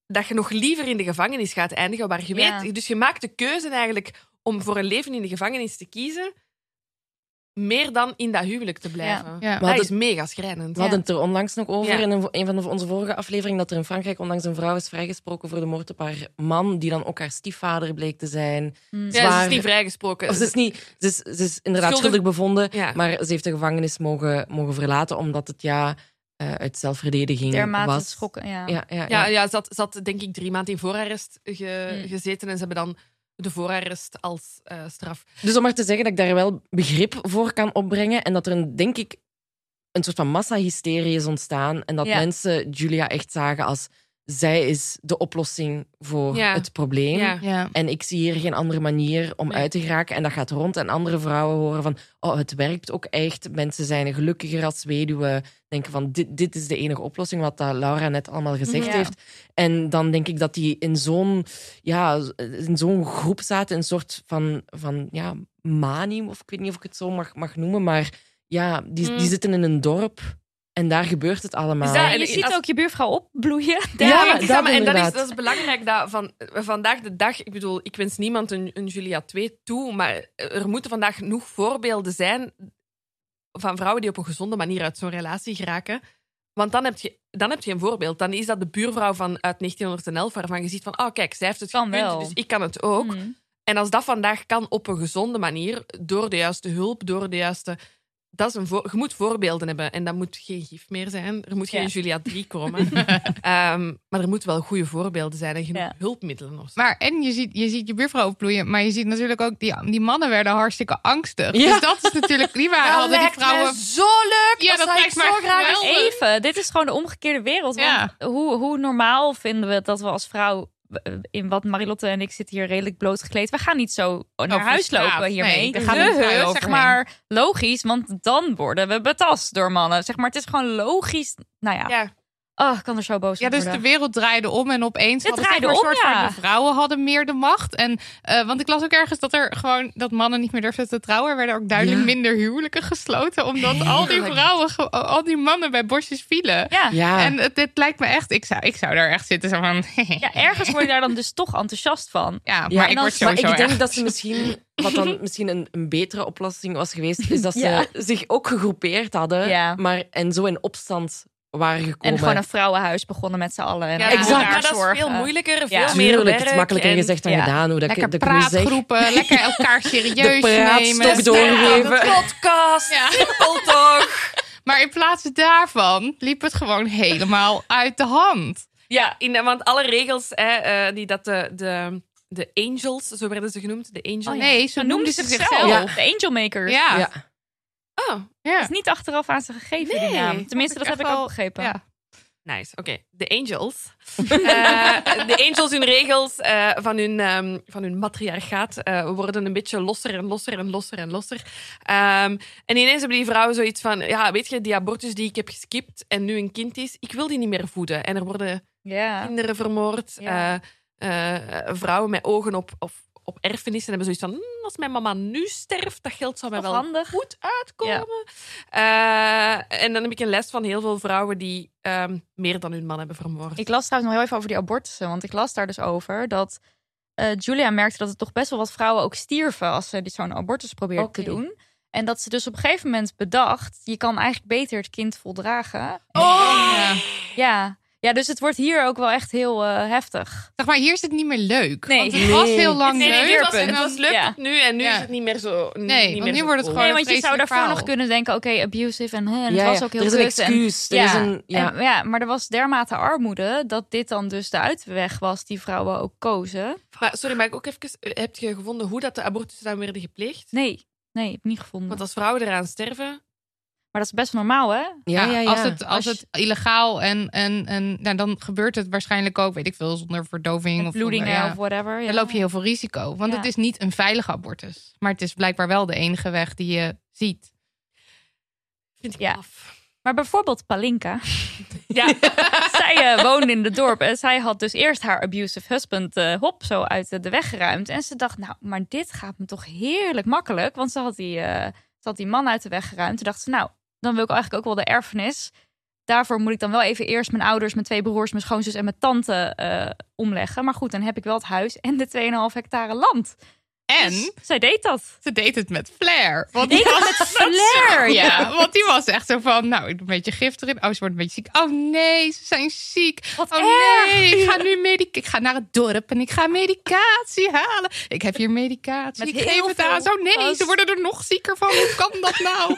G: Dat je nog liever in de gevangenis gaat eindigen. Waar je
B: Ja.
G: weet, dus je maakt de keuze eigenlijk om voor een leven in de gevangenis te kiezen. Meer dan in dat huwelijk te blijven.
H: Ja.
G: Dat
F: hadden-
G: is mega schrijnend.
F: we hadden het er onlangs nog over
G: Ja.
F: in een, een van de- onze vorige afleveringen, dat er in Frankrijk onlangs een vrouw is vrijgesproken voor de moord op haar man, die dan ook haar stiefvader bleek te zijn.
B: Mm.
G: Ja, ze
F: Zwaar-
G: is niet vrijgesproken.
F: Of ze is, niet, ze is, ze is inderdaad
G: Schuldig.
F: schuldig, bevonden,
G: Ja.
F: maar ze heeft de gevangenis mogen, mogen verlaten, omdat het ja eh, uit zelfverdediging
B: Dermate
F: was.
B: schokken, ja.
F: Ja, ja, ja.
G: Ja, ja, ze had, ze had denk ik drie maanden in voorarrest ge-
B: Mm.
G: gezeten. En ze hebben dan de voorarrest als eh, straf.
F: Dus om maar te zeggen dat ik daar wel begrip voor kan opbrengen en dat er, een, denk ik, een soort van massahysterie is ontstaan en dat
B: Ja.
F: mensen Julia echt zagen als zij is de oplossing voor
G: Ja.
F: het probleem.
G: Ja.
H: Ja.
F: En ik zie hier geen andere manier om
G: Nee.
F: uit te geraken. En dat gaat rond. En andere vrouwen horen van, oh, het werkt ook echt. Mensen zijn gelukkiger als weduwe. Denken van, dit, dit is de enige oplossing, wat dat Laura net allemaal gezegd
B: Ja.
F: heeft. En dan denk ik dat die in zo'n ja, in zo'n groep zaten, een soort van, van ja, manium, of ik weet niet of ik het zo mag, mag noemen, maar ja, die,
G: Mm.
F: die zitten in een dorp en daar gebeurt het allemaal.
G: dat-
B: Ja,
G: en
B: je
G: ik-
B: ziet
G: als-
B: ook je buurvrouw opbloeien.
F: Ja,
G: Ja,
F: dat
G: dat en dat is,
F: inderdaad.
G: dat is belangrijk dat van, vandaag de dag. Ik bedoel, ik wens niemand een, een Julia 2 toe, maar er moeten vandaag genoeg voorbeelden zijn van vrouwen die op een gezonde manier uit zo'n relatie geraken. Want dan heb, je, dan heb je een voorbeeld. Dan is dat de buurvrouw van uit 1911, waarvan je ziet van, oh kijk, zij heeft het
B: Kan
G: gekund,
B: wel.
G: dus ik kan het ook.
B: Mm.
G: En als dat vandaag kan op een gezonde manier, door de juiste hulp, door de juiste. Dat is een voor- je moet voorbeelden hebben en dat moet geen gif meer zijn. Er moet geen
B: Ja.
G: Julia 3 komen. Ehm, maar er moeten wel goede voorbeelden zijn en genoeg
B: Ja.
G: hulpmiddelen. Of zo.
H: Maar en je ziet, je ziet je buurvrouw opbloeien, maar je ziet natuurlijk ook die, die mannen werden hartstikke angstig.
F: Ja.
H: Dus dat is natuurlijk die waren
G: Dat
H: hadden die
G: lijkt mij
H: vrouwen.
G: zo leuk!
H: Ja, dat
G: zou
H: lijkt
G: ik zo
H: mij
G: graag
H: geweldig.
B: Even, dit is gewoon de omgekeerde wereld. Want
H: Ja.
B: hoe, hoe normaal vinden we het dat we als vrouw, eh, in wat Marilotte en ik zitten hier redelijk blootgekleed, we gaan niet zo naar
H: Over
B: huis
H: straat.
B: lopen hiermee.
H: Nee, daar
B: Dus
H: gaan niet
B: we-
H: vrouwen
B: zeg
H: overheen.
B: maar logisch, want dan worden we betast door mannen. Zeg maar, het is gewoon logisch. Nou ja,
G: Ja.
B: Oh, ik kan er zo boos
H: Ja,
B: op
H: dus de
B: worden.
H: wereld draaide om en opeens
B: Het
H: hadden zeg
B: draaide
H: maar,
B: om,
H: een soort
B: ja.
H: van de vrouwen hadden meer de macht. En, eh, want ik las ook ergens dat er gewoon dat mannen niet meer durfden te trouwen. Er werden ook duidelijk
F: Ja.
H: minder huwelijken gesloten. Omdat al die vrouwen, ge- al die mannen bij bosjes vielen.
B: Ja. Ja.
F: Ja.
H: En het, dit lijkt me echt, ik zou, ik zou daar echt zitten zo van.
B: ergens word je daar dan dus toch enthousiast van.
H: Ja, maar
F: Ja,
H: ik
B: en
H: word
B: als-
F: Maar
H: sowieso
F: ik denk
H: erg-
F: dat ze misschien, wat dan misschien een, een betere oplossing was geweest, is dat
B: Ja.
F: ze zich ook gegroepeerd hadden
B: Ja.
F: maar, en zo in opstand waren gekomen.
B: En gewoon een vrouwenhuis begonnen met z'n allen. En
G: Ja,
B: voor
F: exact.
B: elkaar
G: Maar dat is
B: zorgen.
G: veel moeilijker, veel
B: Ja.
G: meer
F: Tuurlijk,
G: werk.
F: het is makkelijker
G: en-
F: gezegd dan
B: ja.
F: gedaan, hoe dat, ik-
H: lekker
F: dat ik nu zeg.
H: praatgroepen, lekker elkaar serieus
F: De
H: nemen.
F: praatstok doorgeven.
G: Podcast,
H: Ja.
G: simpel toch?
H: Maar in plaats daarvan liep het gewoon helemaal uit de hand.
G: Ja, in, want alle regels hè, eh, die dat de, de, de angels, zo werden ze genoemd, de angels.
H: Oh, nee, zo
B: Zo
H: noemden
B: noemden
H: ze
B: ze
H: zichzelf.
B: zichzelf.
H: Ja.
B: De Angel Makers.
H: Ja.
F: Ja.
G: Oh,
B: Dat is niet achteraf aan ze gegeven, die
G: Nee,
B: naam. Tenminste, dat heb
H: vond
B: ik
H: ik echt
B: ook
H: wel-
B: begrepen.
H: ja.
G: nice. Oké, de angels. Eh, De angels, hun regels eh, van, hun, ehm, van hun matriarchaat eh, worden een beetje losser en losser en losser en losser. Ehm, en ineens hebben die vrouwen zoiets van, ja, weet je, die abortus die ik heb geskipt en nu een kind is, ik wil die niet meer voeden. En er worden
B: Ja.
G: kinderen vermoord.
B: Ja.
G: eh, eh, vrouwen met ogen op, op, op erfenissen hebben zoiets van... "Hmm, als mijn mama nu sterft, dat geld zou mij
B: Toch
G: wel
B: handig.
G: goed uitkomen. Eh, en dan heb ik een les van heel veel vrouwen die ehm, meer dan hun man hebben vermoord.
B: Ik las trouwens nog heel even over die abortussen. Want ik las daar dus over dat eh, Julia merkte dat er toch best wel wat vrouwen ook stierven als ze dit- zo'n abortus probeerden
F: Oké.
B: te doen. En dat ze dus op een gegeven moment bedacht, je kan eigenlijk beter het kind voldragen.
G: Oh,
B: Oh,
H: Ja.
B: Ja, ja dus het wordt hier ook wel echt heel eh, heftig.
H: Zeg maar, hier is het niet meer leuk.
B: Nee.
H: want het was
F: Nee.
H: heel lang
B: Nee, nee,
H: leuk.
B: dit
G: het was,
B: was-
H: en
G: het
H: dan-
G: was lukt
B: Ja.
G: het nu en nu
H: Ja.
G: is het niet meer zo... n-
H: Nee,
G: niet
H: want
G: meer
H: nu
G: zo
H: wordt het
G: cool.
H: gewoon-
B: Nee, want je zou
H: vreselijk
B: daarvoor
H: verhaal.
B: nog kunnen denken, oké, abusive en, hè, en het
F: Ja,
B: was
F: ja.
B: ook heel
F: er is een
B: kut en-
F: excuus. Er is een, ja.
B: En, ja, maar er was dermate armoede dat dit dan dus de uitweg was die vrouwen ook kozen.
G: Maar, sorry, maar ik ook even... Heb je gevonden hoe dat de abortus dan werden gepleegd?
B: Nee, nee, heb ik niet gevonden.
G: Want als vrouwen eraan sterven...
B: Maar dat is best normaal, hè?
F: Ja, ja, ja.
H: Als het, als
B: Als je-
H: het illegaal en, en, en nou, dan gebeurt het waarschijnlijk ook, weet ik veel, zonder verdoving
B: Met
H: of
B: bloedingen
H: zonder- ja.
B: of whatever. Ja.
H: Dan loop je heel veel risico. Want
B: Ja.
H: het is niet een veilige abortus. Maar het is blijkbaar wel de enige weg die je ziet.
G: Vind ik
B: Ja.
G: af.
B: Maar bijvoorbeeld Palinka.
G: Ja,
B: zij eh, woonde in het dorp en zij had dus eerst haar abusive husband eh, hop zo uit eh, de weg geruimd. En ze dacht, nou, maar dit gaat me toch heerlijk makkelijk. Want ze had die, eh, ze had die man uit de weg geruimd. Toen dacht ze, nou, dan wil ik eigenlijk ook wel de erfenis. Daarvoor moet ik dan wel even eerst mijn ouders, mijn twee broers, mijn schoonzus en mijn tante eh, omleggen. Maar goed, dan heb ik wel het huis en de 2,5 hectare land.
H: En
B: Dus zij deed dat.
H: ze deed het met flair. Want
B: Deed
H: die was,
B: het met flair, ja.
H: ja, want die was echt zo van, nou, ik doe een beetje gif erin. Oh, ze wordt een beetje ziek. Oh nee, ze zijn ziek.
B: Wat
H: oh
B: erg.
H: nee, ik ga nu medic ik ga naar het dorp en ik ga medicatie halen. Ik heb hier medicatie.
B: Met
H: ik geef
B: heel
H: het
B: veel
H: aan. Zo nee,
B: vast.
H: ze worden er nog zieker van. Hoe kan dat nou?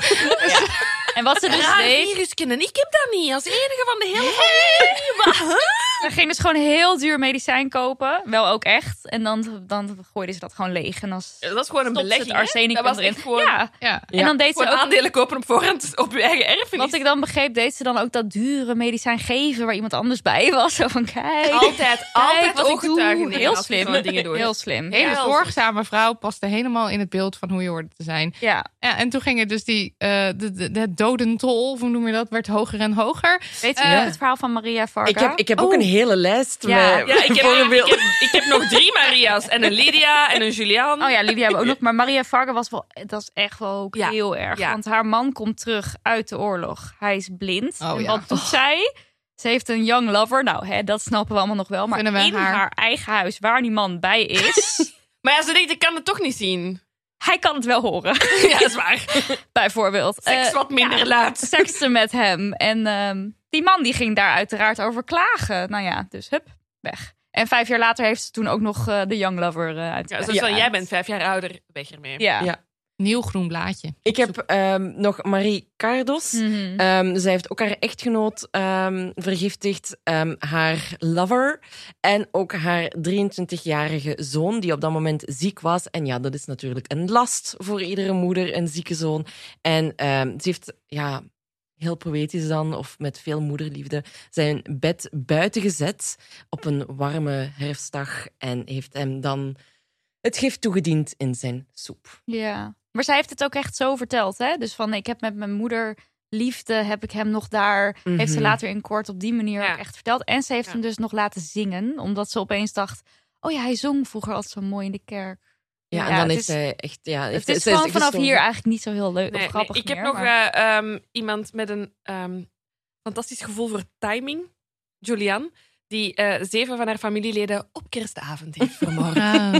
B: En wat ze dus
G: raar
B: deed...
G: virusken en ik heb dat niet. Als enige van de hele
B: Ze ging dus gewoon heel duur medicijn kopen. Wel ook echt. En dan, dan gooiden ze dat gewoon leeg. En dan stopte
G: Ja, Dat is gewoon een
B: ze
G: belegging.
B: het
G: hè?
B: arsenicum
G: dat was
B: erin.
G: echt gewoon,
B: ja.
H: Ja.
B: En dan deed
G: gewoon
B: ze ook...
G: aandelen kopen op voorhand op je eigen erfenis.
B: Wat ik dan begreep, deed ze dan ook dat dure medicijn geven... waar iemand anders bij was. Zo van, kijk.
G: altijd,
B: kijk
G: altijd
B: wat ik doe.
G: ooggetuigen. nemen
B: Heel
G: als je
B: slim.
G: zo'n dingen doet.
B: Heel slim.
H: Hele
G: Ja.
H: zorgzame vrouw paste helemaal in het beeld van hoe je hoorde te zijn.
B: Ja.
H: Ja, en toen ging het dus die, eh de, de, de dodentol, of hoe noem je dat, werd hoger en hoger.
B: Weet je
G: Eh,
B: nog het verhaal van Maria Varga?
F: Ik heb, ik heb ook een hele lijst
B: Ja.
F: met
G: Ja, ik heb, ik,
F: voorbeelden.
G: heb, ik heb nog drie Maria's. En een Lydia en een Julian.
B: Oh ja, Lydia hebben we ook nog. Maar Maria Varga was wel... Dat is echt wel ook
G: Ja.
B: heel erg.
G: Ja.
B: Want haar man komt terug uit de oorlog. Hij is blind.
H: Oh
B: en
H: ja.
B: wat doet zij? Ze heeft een young lover. Nou, hè, dat snappen we allemaal nog wel. Maar
H: Vinden we
B: in haar...
H: haar-
B: eigen huis, waar die man bij is...
G: Maar ja, ze denkt, ik kan het toch niet zien.
B: hij kan het wel horen,
G: Ja, dat is waar.
B: bijvoorbeeld.
G: Seks
B: Eh,
G: wat minder
B: ja,
G: laat.
B: sekste met hem. En ehm, die man die ging daar uiteraard over klagen. Nou ja, dus hup, weg. En vijf jaar later heeft ze toen ook nog eh, de young lover eh, uit.
G: Ja, zoals
B: ja.
G: van, jij bent vijf jaar ouder, weg ermee.
B: Ja.
F: Ja.
H: Nieuw groen blaadje.
F: Ik heb ehm, nog Marie Cardos.
B: Mhm.
F: Ehm, zij heeft ook haar echtgenoot ehm, vergiftigd, ehm, haar lover en ook haar 23-jarige zoon, die op dat moment ziek was. En ja, dat is natuurlijk een last voor iedere moeder, een zieke zoon. En ehm, ze heeft, ja, heel poëtisch dan, of met veel moederliefde, zijn bed buiten gezet op een warme herfstdag en heeft hem dan het gif toegediend in zijn soep.
B: Ja. Maar zij heeft het ook echt zo verteld, hè? Dus van, ik heb met mijn moeder liefde heb ik hem nog daar. Heeft ze
F: Mhm.
B: later in kort op die manier
G: Ja.
B: ook echt verteld. En ze heeft
G: Ja.
B: hem dus nog laten zingen. Omdat ze opeens dacht, oh ja, hij zong vroeger altijd zo mooi in de kerk.
F: Ja,
B: Ja,
F: en dan
B: het
F: heeft
B: is-
F: zij echt... Ja, heeft-
B: Het is
F: zij
B: gewoon vanaf
F: gestorven.
B: hier eigenlijk niet zo heel leuk
G: Nee,
B: of
G: nee,
B: grappig
G: ik heb
B: meer,
G: nog
B: maar-
G: eh, ehm, iemand met een ehm, fantastisch gevoel voor timing, Julian, die eh, zeven van haar familieleden op kerstavond heeft vermoord.
H: Oh.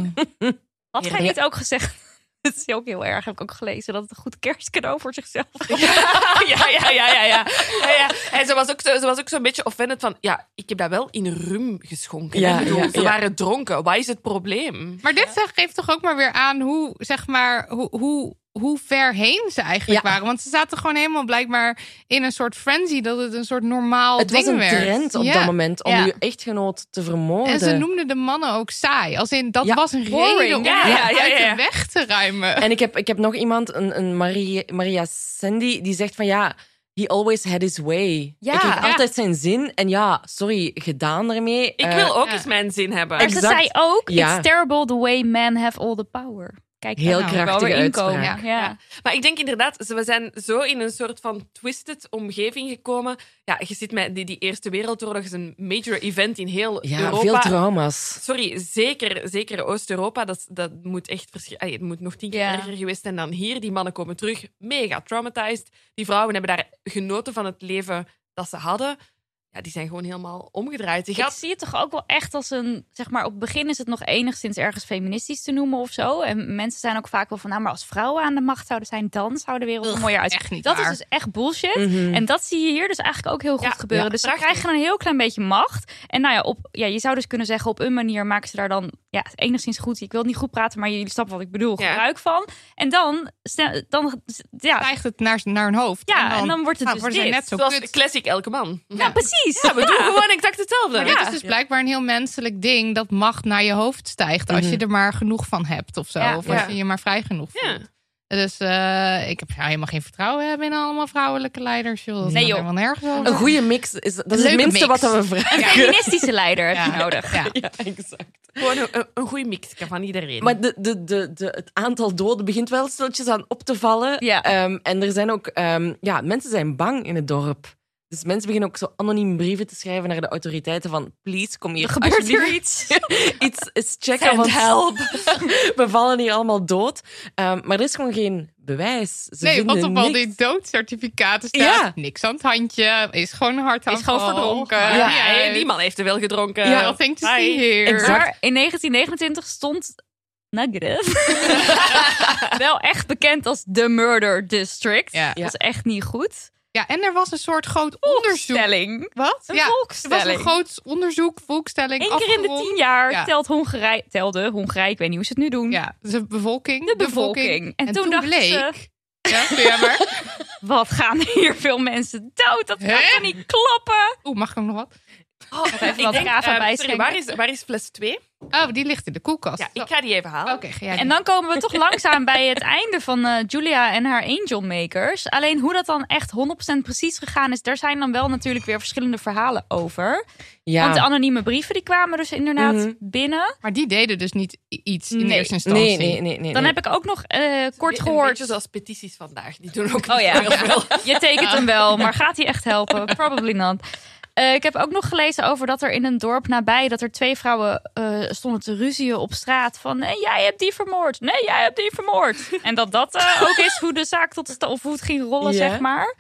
B: Had jij
F: Ja.
B: niet ook gezegd? Dat is ook heel erg, heb ik ook gelezen, dat het een goed kerstcadeau voor zichzelf is.
G: ja, ja, ja, ja, ja. ja, ja. En ze was ook, zo- ze was ook zo'n beetje offended van, ja, ik heb dat wel in rum geschonken.
F: Ja,
G: Ik bedoel,
F: ja,
G: ze
F: ja.
G: waren dronken. Wat is het probleem?
H: Maar dit zeg, geeft toch ook maar weer aan hoe, zeg maar, hoe, hoe, hoe ver heen ze eigenlijk
F: Ja.
H: waren. Want ze zaten gewoon helemaal blijkbaar in een soort frenzy dat het een soort normaal
F: Het
H: ding
F: was een
H: werd.
F: trend op
H: Ja.
F: dat moment om
H: Ja.
F: je echtgenoot te vermoorden.
H: En ze noemden de mannen ook saai. Als in, dat
F: Ja.
H: was een
G: Boring.
H: reden om
G: Ja,
H: het
G: ja, ja,
H: uit
G: ja.
H: de weg te ruimen.
F: En ik heb, ik heb nog iemand, een, een Marie, Maria Sandy, die zegt van ja, he always had his way.
B: Ja.
F: Hij kreeg
B: Ja.
F: altijd zijn zin. En ja, sorry, gedaan ermee.
G: Ik
F: Eh,
G: wil ook
H: ja.
G: eens mijn zin hebben.
B: Maar ze
F: Exact.
B: zei ook,
F: Ja.
B: it's terrible the way men have all the power. Kijk,
F: Heel
B: daar moet ik wel
F: krachtige
B: weer inkomen.
F: uitspraak.
B: Ja.
G: Ja. Maar ik denk inderdaad, ze- we zijn zo in een soort van twisted omgeving gekomen. Ja, je ziet met die, die Eerste Wereldoorlog is een major event in heel
F: ja,
G: Europa.
F: veel trauma's.
G: Sorry, zeker, zeker Oost-Europa. Dat, dat moet echt verschi- ay, Het moet nog tien keer
B: Ja.
G: erger geweest zijn dan hier. Die mannen komen terug, mega traumatized. Die vrouwen hebben daar genoten van het leven dat ze hadden. Ja, die zijn gewoon helemaal omgedraaid. Je
B: Ik
G: gaat-
B: zie het toch ook wel echt als een, zeg maar, op het begin is het nog enigszins ergens feministisch te noemen of zo. En mensen zijn ook vaak wel van, nou, maar als vrouwen aan de macht zouden zijn, dan zou de wereld er mooier uitzien.
H: echt niet
B: dat
H: waar.
B: is dus echt bullshit.
F: Mhm.
B: En dat zie je hier dus eigenlijk ook heel goed
G: Ja,
B: gebeuren.
G: ja,
B: dus ze
G: prachtig.
B: krijgen een heel klein beetje macht. En nou ja, op, ja, je zou dus kunnen zeggen, op een manier maken ze daar dan ja, enigszins goed. Ik wil het niet goed praten, maar jullie snappen wat ik bedoel.
G: Ja.
B: Gebruik van. En dan, stel- dan ja,
H: Krijgt het naar, naar hun hoofd.
B: ja, en dan wordt het
H: nou,
B: dus
H: worden
B: dit.
H: zij net zo
G: Zoals
H: kut.
G: classic elke man.
B: Ja, precies.
G: Ja, we doen gewoon exact hetzelfde.
H: Maar dit is dus blijkbaar een heel menselijk ding dat macht naar je hoofd stijgt. Als je er maar genoeg van hebt of zo.
B: Ja.
H: of als
G: Ja.
H: je je maar vrij genoeg
G: Ja.
H: voelt. Dus eh, ik heb nou helemaal geen vertrouwen hebben in allemaal vrouwelijke leiders. Joh. Dat
B: Nee,
H: gaat
B: joh.
H: helemaal nergens over.
F: Een goede mix, is, dat is
H: Leuke
F: het minste
H: mix.
F: wat we vragen.
B: Een feministische leider heb je
H: Ja.
B: nodig.
H: Ja.
F: Ja, exact.
G: Gewoon een, een, een goede mix van iedereen.
F: Maar de, de, de, de, het aantal doden begint wel stiltjes aan op te vallen.
B: Ja.
F: Ehm, en er zijn ook... ehm, ja, mensen zijn bang in het dorp. Dus mensen beginnen ook zo anoniem brieven te schrijven naar de autoriteiten van... Please, kom hier
B: Er gebeurt
F: alsjeblieft
B: hier iets.
F: iets is checken. Want help. we vallen hier allemaal dood. Ehm, maar er is gewoon geen bewijs. Ze
H: nee,
F: vinden
H: want op al
F: niks.
H: die doodcertificaten staat
F: Ja.
H: niks aan het handje. Is gewoon een hartaanval.
B: Is gewoon verdronken.
H: Maakt
G: ja,
H: niet
G: hey,
H: uit.
G: die man heeft er wel gedronken.
H: Ja, nothing to see here.
F: Exact.
B: Maar in 1929 stond Nagrev wel echt bekend als de Murder District.
H: Ja.
B: Dat is echt niet goed.
H: Ja, en er was een soort groot onderzoek.
B: Stelling.
H: Wat?
B: Een
H: ja, er was een
B: volkstelling.
H: groot onderzoek, volkstelling.
B: Eén keer in de
H: afgerond.
B: tien jaar
H: Ja.
B: telt Hongarije, telde Hongarije, ik weet niet hoe ze het nu doen,
H: Ja, dus de bevolking.
B: de bevolking. En, toen, dacht
H: bleek...
B: ze,
H: Ja, doe jij maar.
B: wat gaan hier veel mensen dood? Dat kan
H: Hè?
B: toch niet kloppen?
H: Oeh, mag ik nog wat?
G: Oh, ik
B: Even wat
G: denk,
B: Kava
G: ehm, sorry,
B: bijschenken.
G: waar, is, waar is fles 2?
H: Oh, die ligt in de koelkast.
G: Ja,
H: Zo.
G: ik ga die even halen.
H: Oké, ga jij
B: En
H: doen.
B: dan komen we toch langzaam bij het einde van eh, Julia en haar Angel Makers. Alleen hoe dat dan echt 100% precies gegaan is, daar zijn dan wel natuurlijk weer verschillende verhalen over.
F: Ja.
B: Want de anonieme brieven die kwamen dus inderdaad
F: Mhm.
B: binnen.
H: Maar die deden dus niet i- iets in
B: Nee.
H: eerste instantie.
F: Nee, nee, nee. nee
B: Dan
F: nee.
B: heb ik ook nog eh, kort
G: Een
B: gehoord.
G: beetje zoals petities vandaag. Die doen ook
B: Oh ja,
G: heel veel.
B: je tekent hem wel, maar gaat hij echt helpen? Probably not. Eh, ik heb ook nog gelezen over dat er in een dorp nabij... dat er twee vrouwen eh, stonden te ruzien op straat van... "Nee, jij hebt die vermoord, nee, jij hebt die vermoord. En dat dat eh, ook is hoe de zaak tot stand... of hoe het ging rollen,
F: Ja.
B: zeg maar.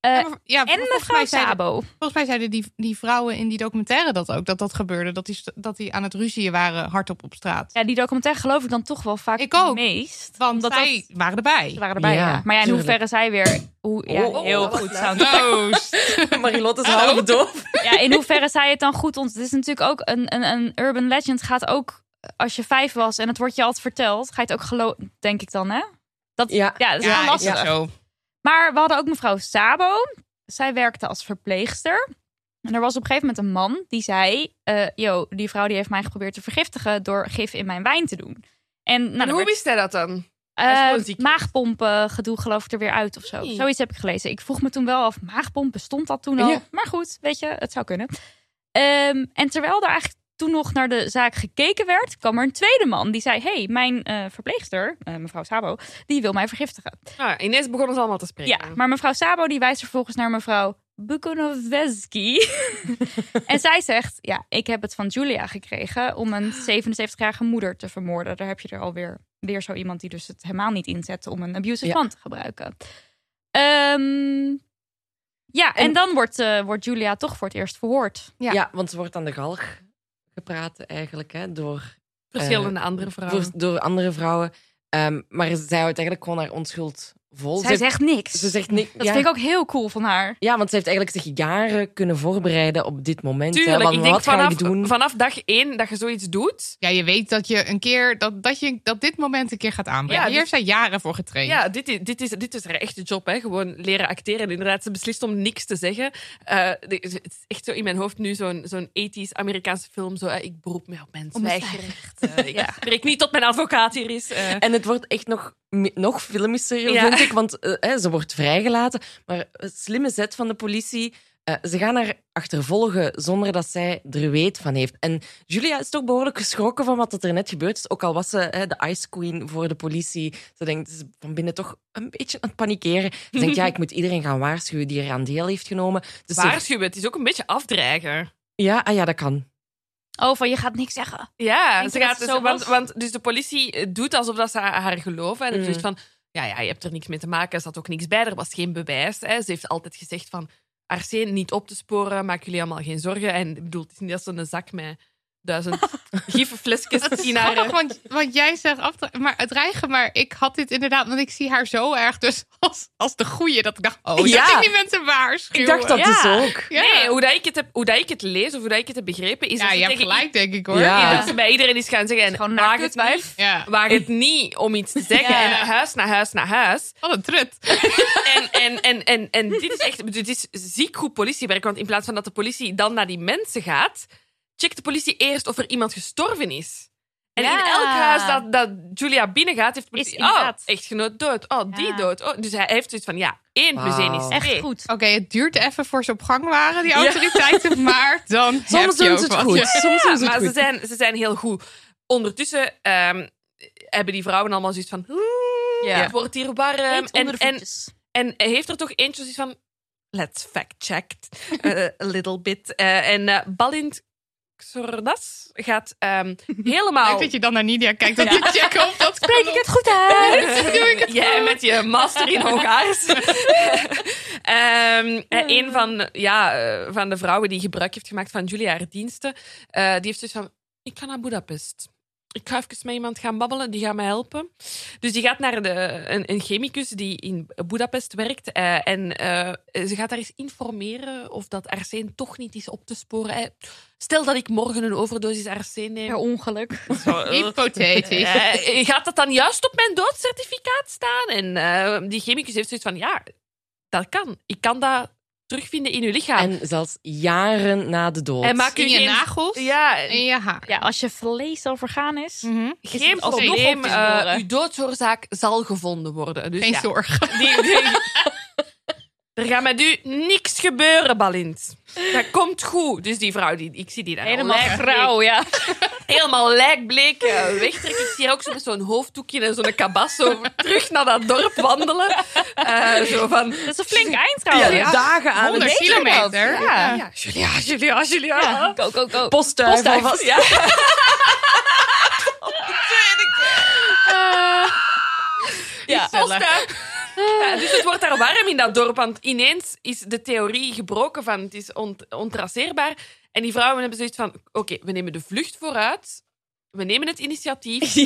B: Eh,
H: Ja, maar- ja,
B: En
H: volgens
B: mevrouw
H: mij zeiden,
B: Sabo.
H: volgens mij zeiden die, die vrouwen in die documentaire dat ook. Dat dat gebeurde. Dat die, st- dat die aan het ruzieën waren hardop op straat.
B: Ja, die documentaire geloof ik dan toch wel vaak
H: Ik ook.
B: het meest.
H: Want
B: Omdat
H: zij waren erbij.
B: Ze waren erbij, ja.
F: Ja,
B: Maar ja, in
F: tuurlijk.
B: hoeverre zij weer... Hoe, ja,
F: Oh, oh,
B: heel
F: dat
B: goed
F: was
B: sound.
H: Proost.
F: Marilotte is half doof.
B: Ja, in hoeverre zij het dan goed ont... Het is natuurlijk ook een, een, een urban legend gaat ook... Als je vijf was en het wordt je altijd verteld... ga je het ook geloven, denk ik dan, hè? Dat, ja.
F: Ja.
B: dat is wel
H: Ja, is
B: lastig.
H: het zo.
B: Maar we hadden ook mevrouw Sabo. Zij werkte als verpleegster. En er was op een gegeven moment een man die zei... eh, yo, die vrouw die heeft mij geprobeerd te vergiftigen... door gif in mijn wijn te doen. En, nou,
G: En
B: dan
G: hoe
B: werd-
G: wist hij dat dan? Hij is
B: eh
G: gewoon ziek.
B: maagpompen gedoe geloof ik er weer uit of zo.
G: Nee.
B: Zoiets heb ik gelezen. Ik vroeg me toen wel af, maagpomp bestond dat toen al?
F: Ja.
B: Maar goed, weet je, het zou kunnen. Ehm, en terwijl er eigenlijk toen nog naar de zaak gekeken werd, kwam er een tweede man die zei: hey, mijn eh, verpleegster, eh, mevrouw Sabo, die wil mij vergiftigen.
G: Ah, ineens begonnen ze allemaal te spreken.
B: Ja, maar mevrouw Sabo die wijst vervolgens naar mevrouw Bukonoveski. en zij zegt: Ja, ik heb het van Julia gekregen om een 77-jarige moeder te vermoorden. Daar heb je er alweer weer zo iemand die dus het helemaal niet inzet om een abusive
F: Ja.
B: man te gebruiken. Ehm, ja, en,
F: En-
B: dan wordt, eh, wordt Julia toch voor het eerst verhoord.
H: Ja.
F: Ja. want ze wordt aan de galg gepraat eigenlijk hè, door,
G: Verschillende andere vrouwen.
F: voor- door andere vrouwen. Ehm, maar zij houdt eigenlijk gewoon haar onschuld vol.
G: Oh,
B: Zij
F: ze,
B: zegt niks.
F: ze zegt niks.
B: dat
F: ja.
B: vind ik ook heel cool van haar.
F: Ja, want ze heeft eigenlijk zich jaren kunnen voorbereiden op dit moment. hè,
G: Tuurlijk,
F: want
G: ik denk
F: eh, wat ga
G: vanaf,
F: ik doen?
G: vanaf dag één dat je zoiets doet.
H: Ja, je weet dat je een keer dat, dat je dat dit moment een keer gaat aanbrengen.
G: Ja,
H: Hier
G: dus-
H: heeft zij jaren voor getraind.
G: Ja, dit is, dit, is, dit is haar echte job, hè? gewoon leren acteren. En inderdaad, ze beslist om niks te zeggen. Eh, de- het is echt zo in mijn hoofd nu zo'n zo'n 80s Amerikaanse film. Zo, eh, ik beroep me op mijn
B: Om mijn
G: zwijgrecht. Eh, ik spreek niet tot mijn advocaat hier is. eh.
F: En het wordt echt nog, mi- nog filmischer,
G: Ja.
F: vind ik. Want eh, hè, ze wordt vrijgelaten. Maar een slimme zet van de politie. eh, ze gaan haar achtervolgen zonder dat zij er weet van heeft. En Julia is toch behoorlijk geschrokken van wat er net gebeurd is. Ook al was ze hè, de Ice Queen voor de politie. Ze denkt ze is van binnen toch een beetje aan het panikeren. Ze denkt, ja, ik moet iedereen gaan waarschuwen die eraan deel heeft genomen. Dus ze-
G: Waarschuwen, het is ook een beetje afdreigen.
F: ja, ah, ja, dat kan.
B: Oh, van je gaat niks zeggen.
G: Ja,
B: Denk
G: ze
B: je
G: gaat,
B: dat het zo
G: want,
B: was?
G: want dus de politie eh, doet alsof dat ze haar, haar geloven. En
F: Mm.
G: mm. zegt van, ja, ja, je hebt er niks mee te maken. Er zat ook niks bij, er was geen bewijs. Hè. Ze heeft altijd gezegd van, Arsene niet op te sporen, maak jullie allemaal geen zorgen. En ik bedoel, het is niet dat ze een zak met duizend gifflesjes
H: Het is
G: in haar...
H: grappig, want, want jij zegt af, maar het dreigen, maar ik had dit inderdaad, want ik zie haar zo erg dus als, als de goeie dat ik dacht, oh, ja.
F: Ja.
H: dat ik die mensen waarschuwen.
F: Ik dacht dat
G: Ja.
F: dus ook.
H: Ja,
G: Nee, hoe, dat ik het heb, hoe dat ik het lees of hoe dat ik het heb begrepen, is
H: ja,
G: dat ze
H: je hebt
G: tegen
H: gelijk, denk ik hoor.
F: Ja.
G: i- dat ze bij iedereen is gaan zeggen,
B: Gewoon
G: en
B: naar
G: waag
B: kut
G: het, wijf,
H: Ja.
G: waag het niet om iets te zeggen.
B: Ja.
G: En huis naar huis naar huis.
H: Wat een trut.
G: En, en, en, en, en dit is echt dit is ziek goed politiewerk. Want in plaats van dat de politie dan naar die mensen gaat, checkt de politie eerst of er iemand gestorven is. En
B: Ja.
G: in elk huis dat, dat Julia binnengaat, heeft de
B: Is
G: politie... oh,
B: inderdaad.
G: echtgenoot dood. Oh,
B: Ja.
G: die dood. Oh, dus hij heeft zoiets van, ja, één plus één is
F: Wauw.
G: twee.
B: Echt goed.
H: Oké, het duurt even voor ze op gang waren, die autoriteiten, maar dan heb
F: Soms
H: je
F: doen
H: ook
F: ze het
H: wat.
F: goed.
H: Ja.
F: Soms doen ze het
G: Maar
F: goed.
G: ze zijn, ze zijn heel goed. Ondertussen ehm, hebben die vrouwen allemaal zoiets van...
B: Ja.
G: Het wordt hier warm.
B: Eet
G: Ehm, En,
B: onder de
G: en,
B: voetjes.
G: En heeft er toch eentje zoiets van... Let's fact-check eh, a little bit. Eh, en eh, Balint Xordas gaat ehm, helemaal...
H: Leuk dat je dan naar Nidia kijkt om te checken of dat
B: Spreek ik het goed uit?
H: Doe ik het
G: Jij
H: goed?
G: met je master in Hongaars. Ehm, en een van, ja, eh, van de vrouwen die gebruik heeft gemaakt van Julia haar diensten, eh, die heeft zoiets van, ik ga naar Budapest. Ik ga even met iemand gaan babbelen, die gaat mij helpen. Dus die gaat naar de, een, een chemicus die in Budapest werkt. eh, en eh, ze gaat daar eens informeren of dat arsene toch niet is op te sporen. Eh, stel dat ik morgen een overdosis arsene
B: Per
G: neem.
B: ongeluk.
G: Zo, eh.
H: Hypothetisch.
G: Eh, gaat dat dan juist op mijn doodcertificaat staan? En eh, die chemicus heeft zoiets van, ja, dat kan. Ik kan dat terugvinden in uw lichaam.
F: En zelfs jaren na de dood.
G: En maak
H: In
G: u
H: je
G: geen...
H: nagels
G: Ja,
H: en je haar.
B: Ja, als je vlees al vergaan is.
A: Mm.
H: Mhm.
G: geen
B: alsnog op
G: probleem.
B: te sporen?
G: eh, uw doodsoorzaak zal gevonden worden. Dus
H: Geen
G: ja,
H: zorgen.
G: die- die- er gaat met u niks gebeuren, Balint. Dat komt goed. Dus die vrouw, die, ik zie die daar al lijkbleek-
B: ja.
G: Helemaal lijkbleek eh, wegtrekken. Ik zie haar ook zo met zo'n hoofddoekje en zo'n kabas zo terug naar dat dorp wandelen. Eh, zo van,
B: Dat is een flink eind
F: ja,
B: trouwens.
F: dagen aan het
H: 100 kilometer.
B: Ja.
G: Ja, Julia, Julia, Julia.
B: Ja, Go, go, go.
F: postduif.
B: Postduif.
F: alvast.
G: Ja.
B: Ja.
G: Posta. Ja, dus het wordt daar warm in dat dorp, want ineens is de theorie gebroken van het is ont- ontraceerbaar. En die vrouwen hebben zoiets van, oké, we nemen de vlucht vooruit, we nemen het initiatief.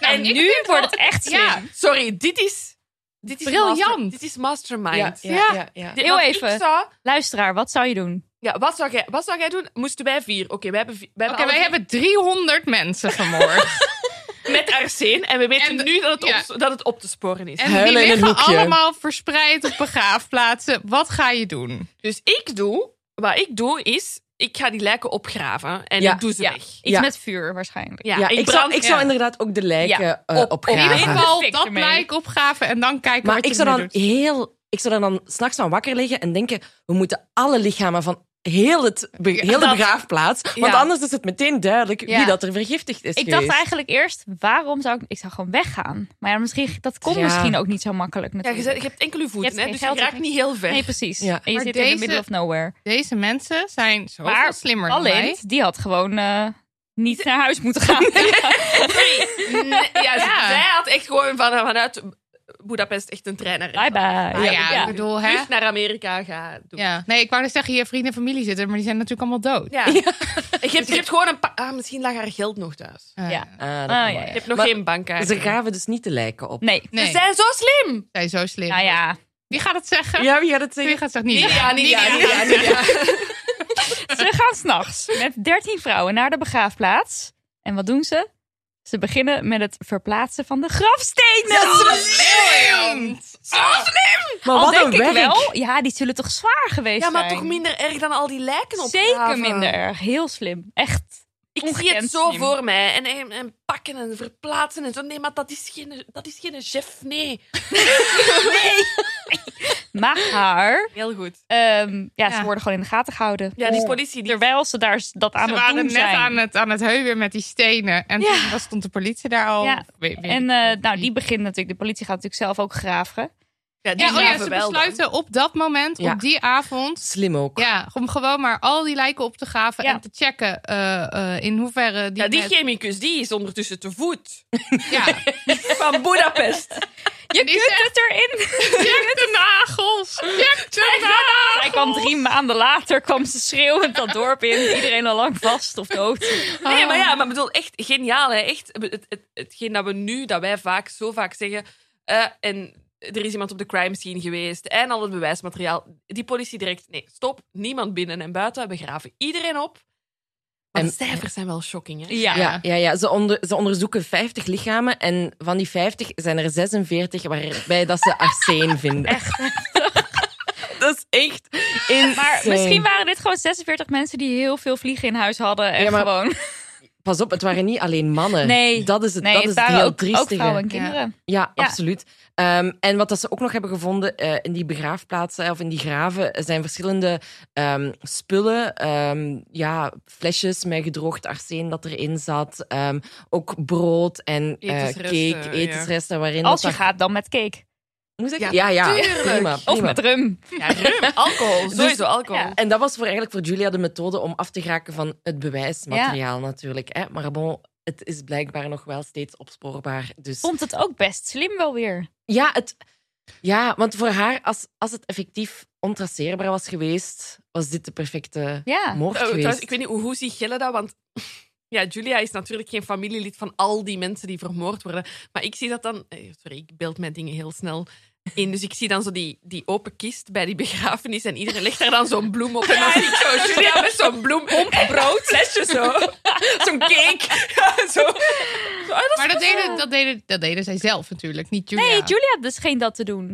B: En nu wordt het echt slim.
H: Ja.
G: Sorry, dit is... Dit is
H: Briljant.
G: master- dit is mastermind.
F: Ja, ja,
H: Ja.
F: ja, ja.
G: Dit-
B: Heel
G: want ik
B: even.
G: zou-
B: Luisteraar, wat zou je doen?
G: ja, wat, zou jij, wat zou jij doen? Moesten wij vier? Oké, wij hebben, vi- wij
H: Oké,
G: hebben
H: wij
G: alle
H: hebben 300 mensen vermoord.
G: vier met arsene en we weten
H: En-
G: nu dat het, op-
H: ja.
G: dat het op te sporen is.
H: en die
F: Huilen in een
H: liggen
F: hoekje.
H: allemaal verspreid op begraafplaatsen. Wat ga je doen?
G: Dus ik doe, wat ik doe is, ik ga die lijken opgraven en
F: Ja.
G: ik doe ze
B: Ja.
G: weg.
B: Iets
F: Ja.
B: met vuur waarschijnlijk.
G: Ja,
F: Ja, ik, zou,
G: brand-
F: ik zou
G: ja.
F: inderdaad ook de lijken
B: Ja,
F: eh,
G: op- op
H: In
F: opgraven.
H: ieder geval
B: Perfect
H: dat
B: ermee.
H: blijk opgraven en dan kijken
F: maar
H: wat
F: ik
H: je
F: zou
H: ermee
F: dan
H: doet.
F: heel... Ik zou er dan s'nachts van wakker liggen en denken... We moeten alle lichamen van heel, het be- heel de
B: dat-
F: begraafplaats. Want
B: Ja.
F: anders is het meteen duidelijk
H: Ja.
F: wie dat er vergiftigd is
B: Ik
F: geweest.
B: dacht eigenlijk eerst, waarom zou ik... Ik zou gewoon weggaan. Maar ja, misschien, dat kon
F: Ja.
B: misschien ook niet zo makkelijk
G: Ja, je,
B: natuurlijk.
G: zet- je hebt enkel je voeten,
B: Je hebt
G: hè,
B: geen
G: dus
B: geld,
G: je raakt
B: hè?
G: niet heel ver.
B: Nee, precies.
F: Ja.
B: En je
H: Maar
B: zit in
H: deze-
B: the middle of nowhere.
H: Deze mensen zijn zo
B: Maar
H: slimmer dan
B: Alleen,
H: wij.
B: die had gewoon eh, niet naar huis moeten gaan.
G: Nee, ja,
H: Ja.
G: Zij had echt gewoon van, vanuit Budapest echt een trein naar
B: Bye bye.
H: Nou ja, ik bedoel, hè?
G: Vlucht naar Amerika gaan doen.
H: Ja. Nee, ik wou net zeggen, je vrienden en familie zitten, maar die zijn natuurlijk allemaal dood.
G: Ja. Je, hebt, je hebt gewoon een pa- ah, misschien lag haar geld nog thuis.
H: Eh,
B: Ja.
F: Ah, dat
B: Ah, ja,
F: kan wel,
B: ja.
G: Je hebt nog
F: Maar
G: geen bankkaart.
F: Ze graven dus niet de lijken op.
B: Nee. Dus, eh,
H: Nee,
G: Ze zijn zo slim!
H: zij zijn zo slim.
B: Nou ja,
H: Wie gaat het zeggen?
F: Ja, wie had het
H: Wie
F: zeggen?
H: gaat het zeggen? Niet.
G: Ja, niet ja, niet ja, niet ja.
B: ze gaan s'nachts met 13 vrouwen naar de begraafplaats. En wat doen ze? Ze beginnen met het verplaatsen van de grafstenen.
F: Maar
B: Al
F: wat
B: denk
F: een
B: ik
F: werk.
B: wel. Ja, die zullen toch zwaar geweest
G: Ja,
B: zijn?
G: maar toch minder erg dan al die lijken op
B: Zeker minder erg. Heel slim. Echt.
G: Ik zie
B: Ongekend
G: het zo
B: slim.
G: voor mij. En, en, en pakken en verplaatsen en zo. Nee, maar dat is geen, dat is geen chef, nee.
B: Maar haar,
G: Heel goed.
B: ehm, ja, ze
H: Ja.
B: worden gewoon in de gaten gehouden.
G: Ja, die politie, die...
B: Terwijl ze daar s- dat aan
H: Ze
B: het doen
H: waren net
B: zijn.
H: aan het, aan het heuwen met die stenen. En
B: Ja.
H: toen was, stond de politie daar al.
B: Ja.
H: Weet- weet
B: En
H: ik
B: eh,
H: veel.
B: nou, die begint natuurlijk. De politie gaat natuurlijk zelf ook graven.
G: Ja, die
H: ja, oh ja,
G: graven
H: ze
G: wel dan.
H: besluiten op dat moment,
F: Ja.
H: op die avond...
F: Slim ook.
H: Ja, om gewoon maar al die lijken op te graven
B: Ja.
H: en te checken eh, eh, in hoeverre die...
G: Ja, die
H: met-
G: chemicus, die is ondertussen te voet.
H: ja.
G: Van Budapest.
B: Je
H: Die
B: kunt
H: zegt-
B: het erin.
H: Check de nagels! Check de nagels!
B: Hij kwam drie maanden later, kwam ze schreeuwend dat dorp in. Iedereen al lang vast of dood.
G: Nee, maar ja, maar bedoel, echt geniaal. Hè? Echt, het, het, hetgeen dat we nu, dat wij vaak, zo vaak zeggen. eh, en er is iemand op de crime scene geweest en al het bewijsmateriaal. Die politie direct, nee, stop. Niemand binnen en buiten. We graven iedereen op. Maar
F: En-
G: de cijfers zijn wel shocking, hè?
B: Ja.
F: Ja, ja, ja. Ze, onder, ze onderzoeken 50 lichamen en van die 50 zijn er 46 waarbij dat ze arsene vinden. Echt? Dat is echt insane.
B: Maar misschien waren dit gewoon 46 mensen die heel veel vliegen in huis hadden. En
F: Ja, maar-
B: gewoon.
F: Pas op, het waren niet alleen mannen.
B: Nee.
F: Dat is het,
B: Nee,
F: dat
B: het
F: is het
B: waren
F: heel
B: ook, ook
F: triestige.
B: vrouwen en kinderen.
F: Ja,
B: Ja.
F: absoluut. Ehm, en wat dat ze ook nog hebben gevonden eh, in die begraafplaatsen eh, of in die graven, eh, zijn verschillende ehm, spullen. Ehm, ja, flesjes met gedroogd arsene dat erin zat. Ehm, ook brood en eh,
G: Etensresten,
F: cake,
G: ja.
F: etensresten waarin
B: Als je
F: dat... dat-
B: gaat dan met cake.
F: Moest ik?
G: Ja,
F: Ja, ja.
G: tuurlijk.
F: Prima,
B: Of
F: prima.
B: met rum.
G: Ja, rum, alcohol. Sowieso alcohol.
B: ja.
F: En dat was voor, eigenlijk voor Julia de methode om af te raken van het bewijsmateriaal natuurlijk. Hè? Maar bon, het is blijkbaar nog wel steeds opspoorbaar. Dus...
B: Vond het ook best slim wel weer.
F: Ja, het, ja want voor haar, als, als het effectief ontraceerbaar was geweest, was dit de perfecte
B: Ja.
F: moord
G: Eh,
F: geweest.
G: trouwens, ik weet niet hoe, hoe zie Gelle dat, want ja, Julia is natuurlijk geen familielid van al die mensen die vermoord worden. Maar ik zie dat dan... eh, Sorry, ik beeld mijn dingen heel snel in. Dus ik zie dan zo die, die open kist bij die begrafenis en iedereen legt daar dan zo'n bloem op. En dan zie ik zo Julia met zo'n bloem op brood, flesje zo. Zo'n cake. Ja, zo. Zo, ah, dat
H: Maar dat deden, dat, deden, dat deden zij zelf natuurlijk, niet Julia.
B: Nee, Julia had dus geen dat te doen.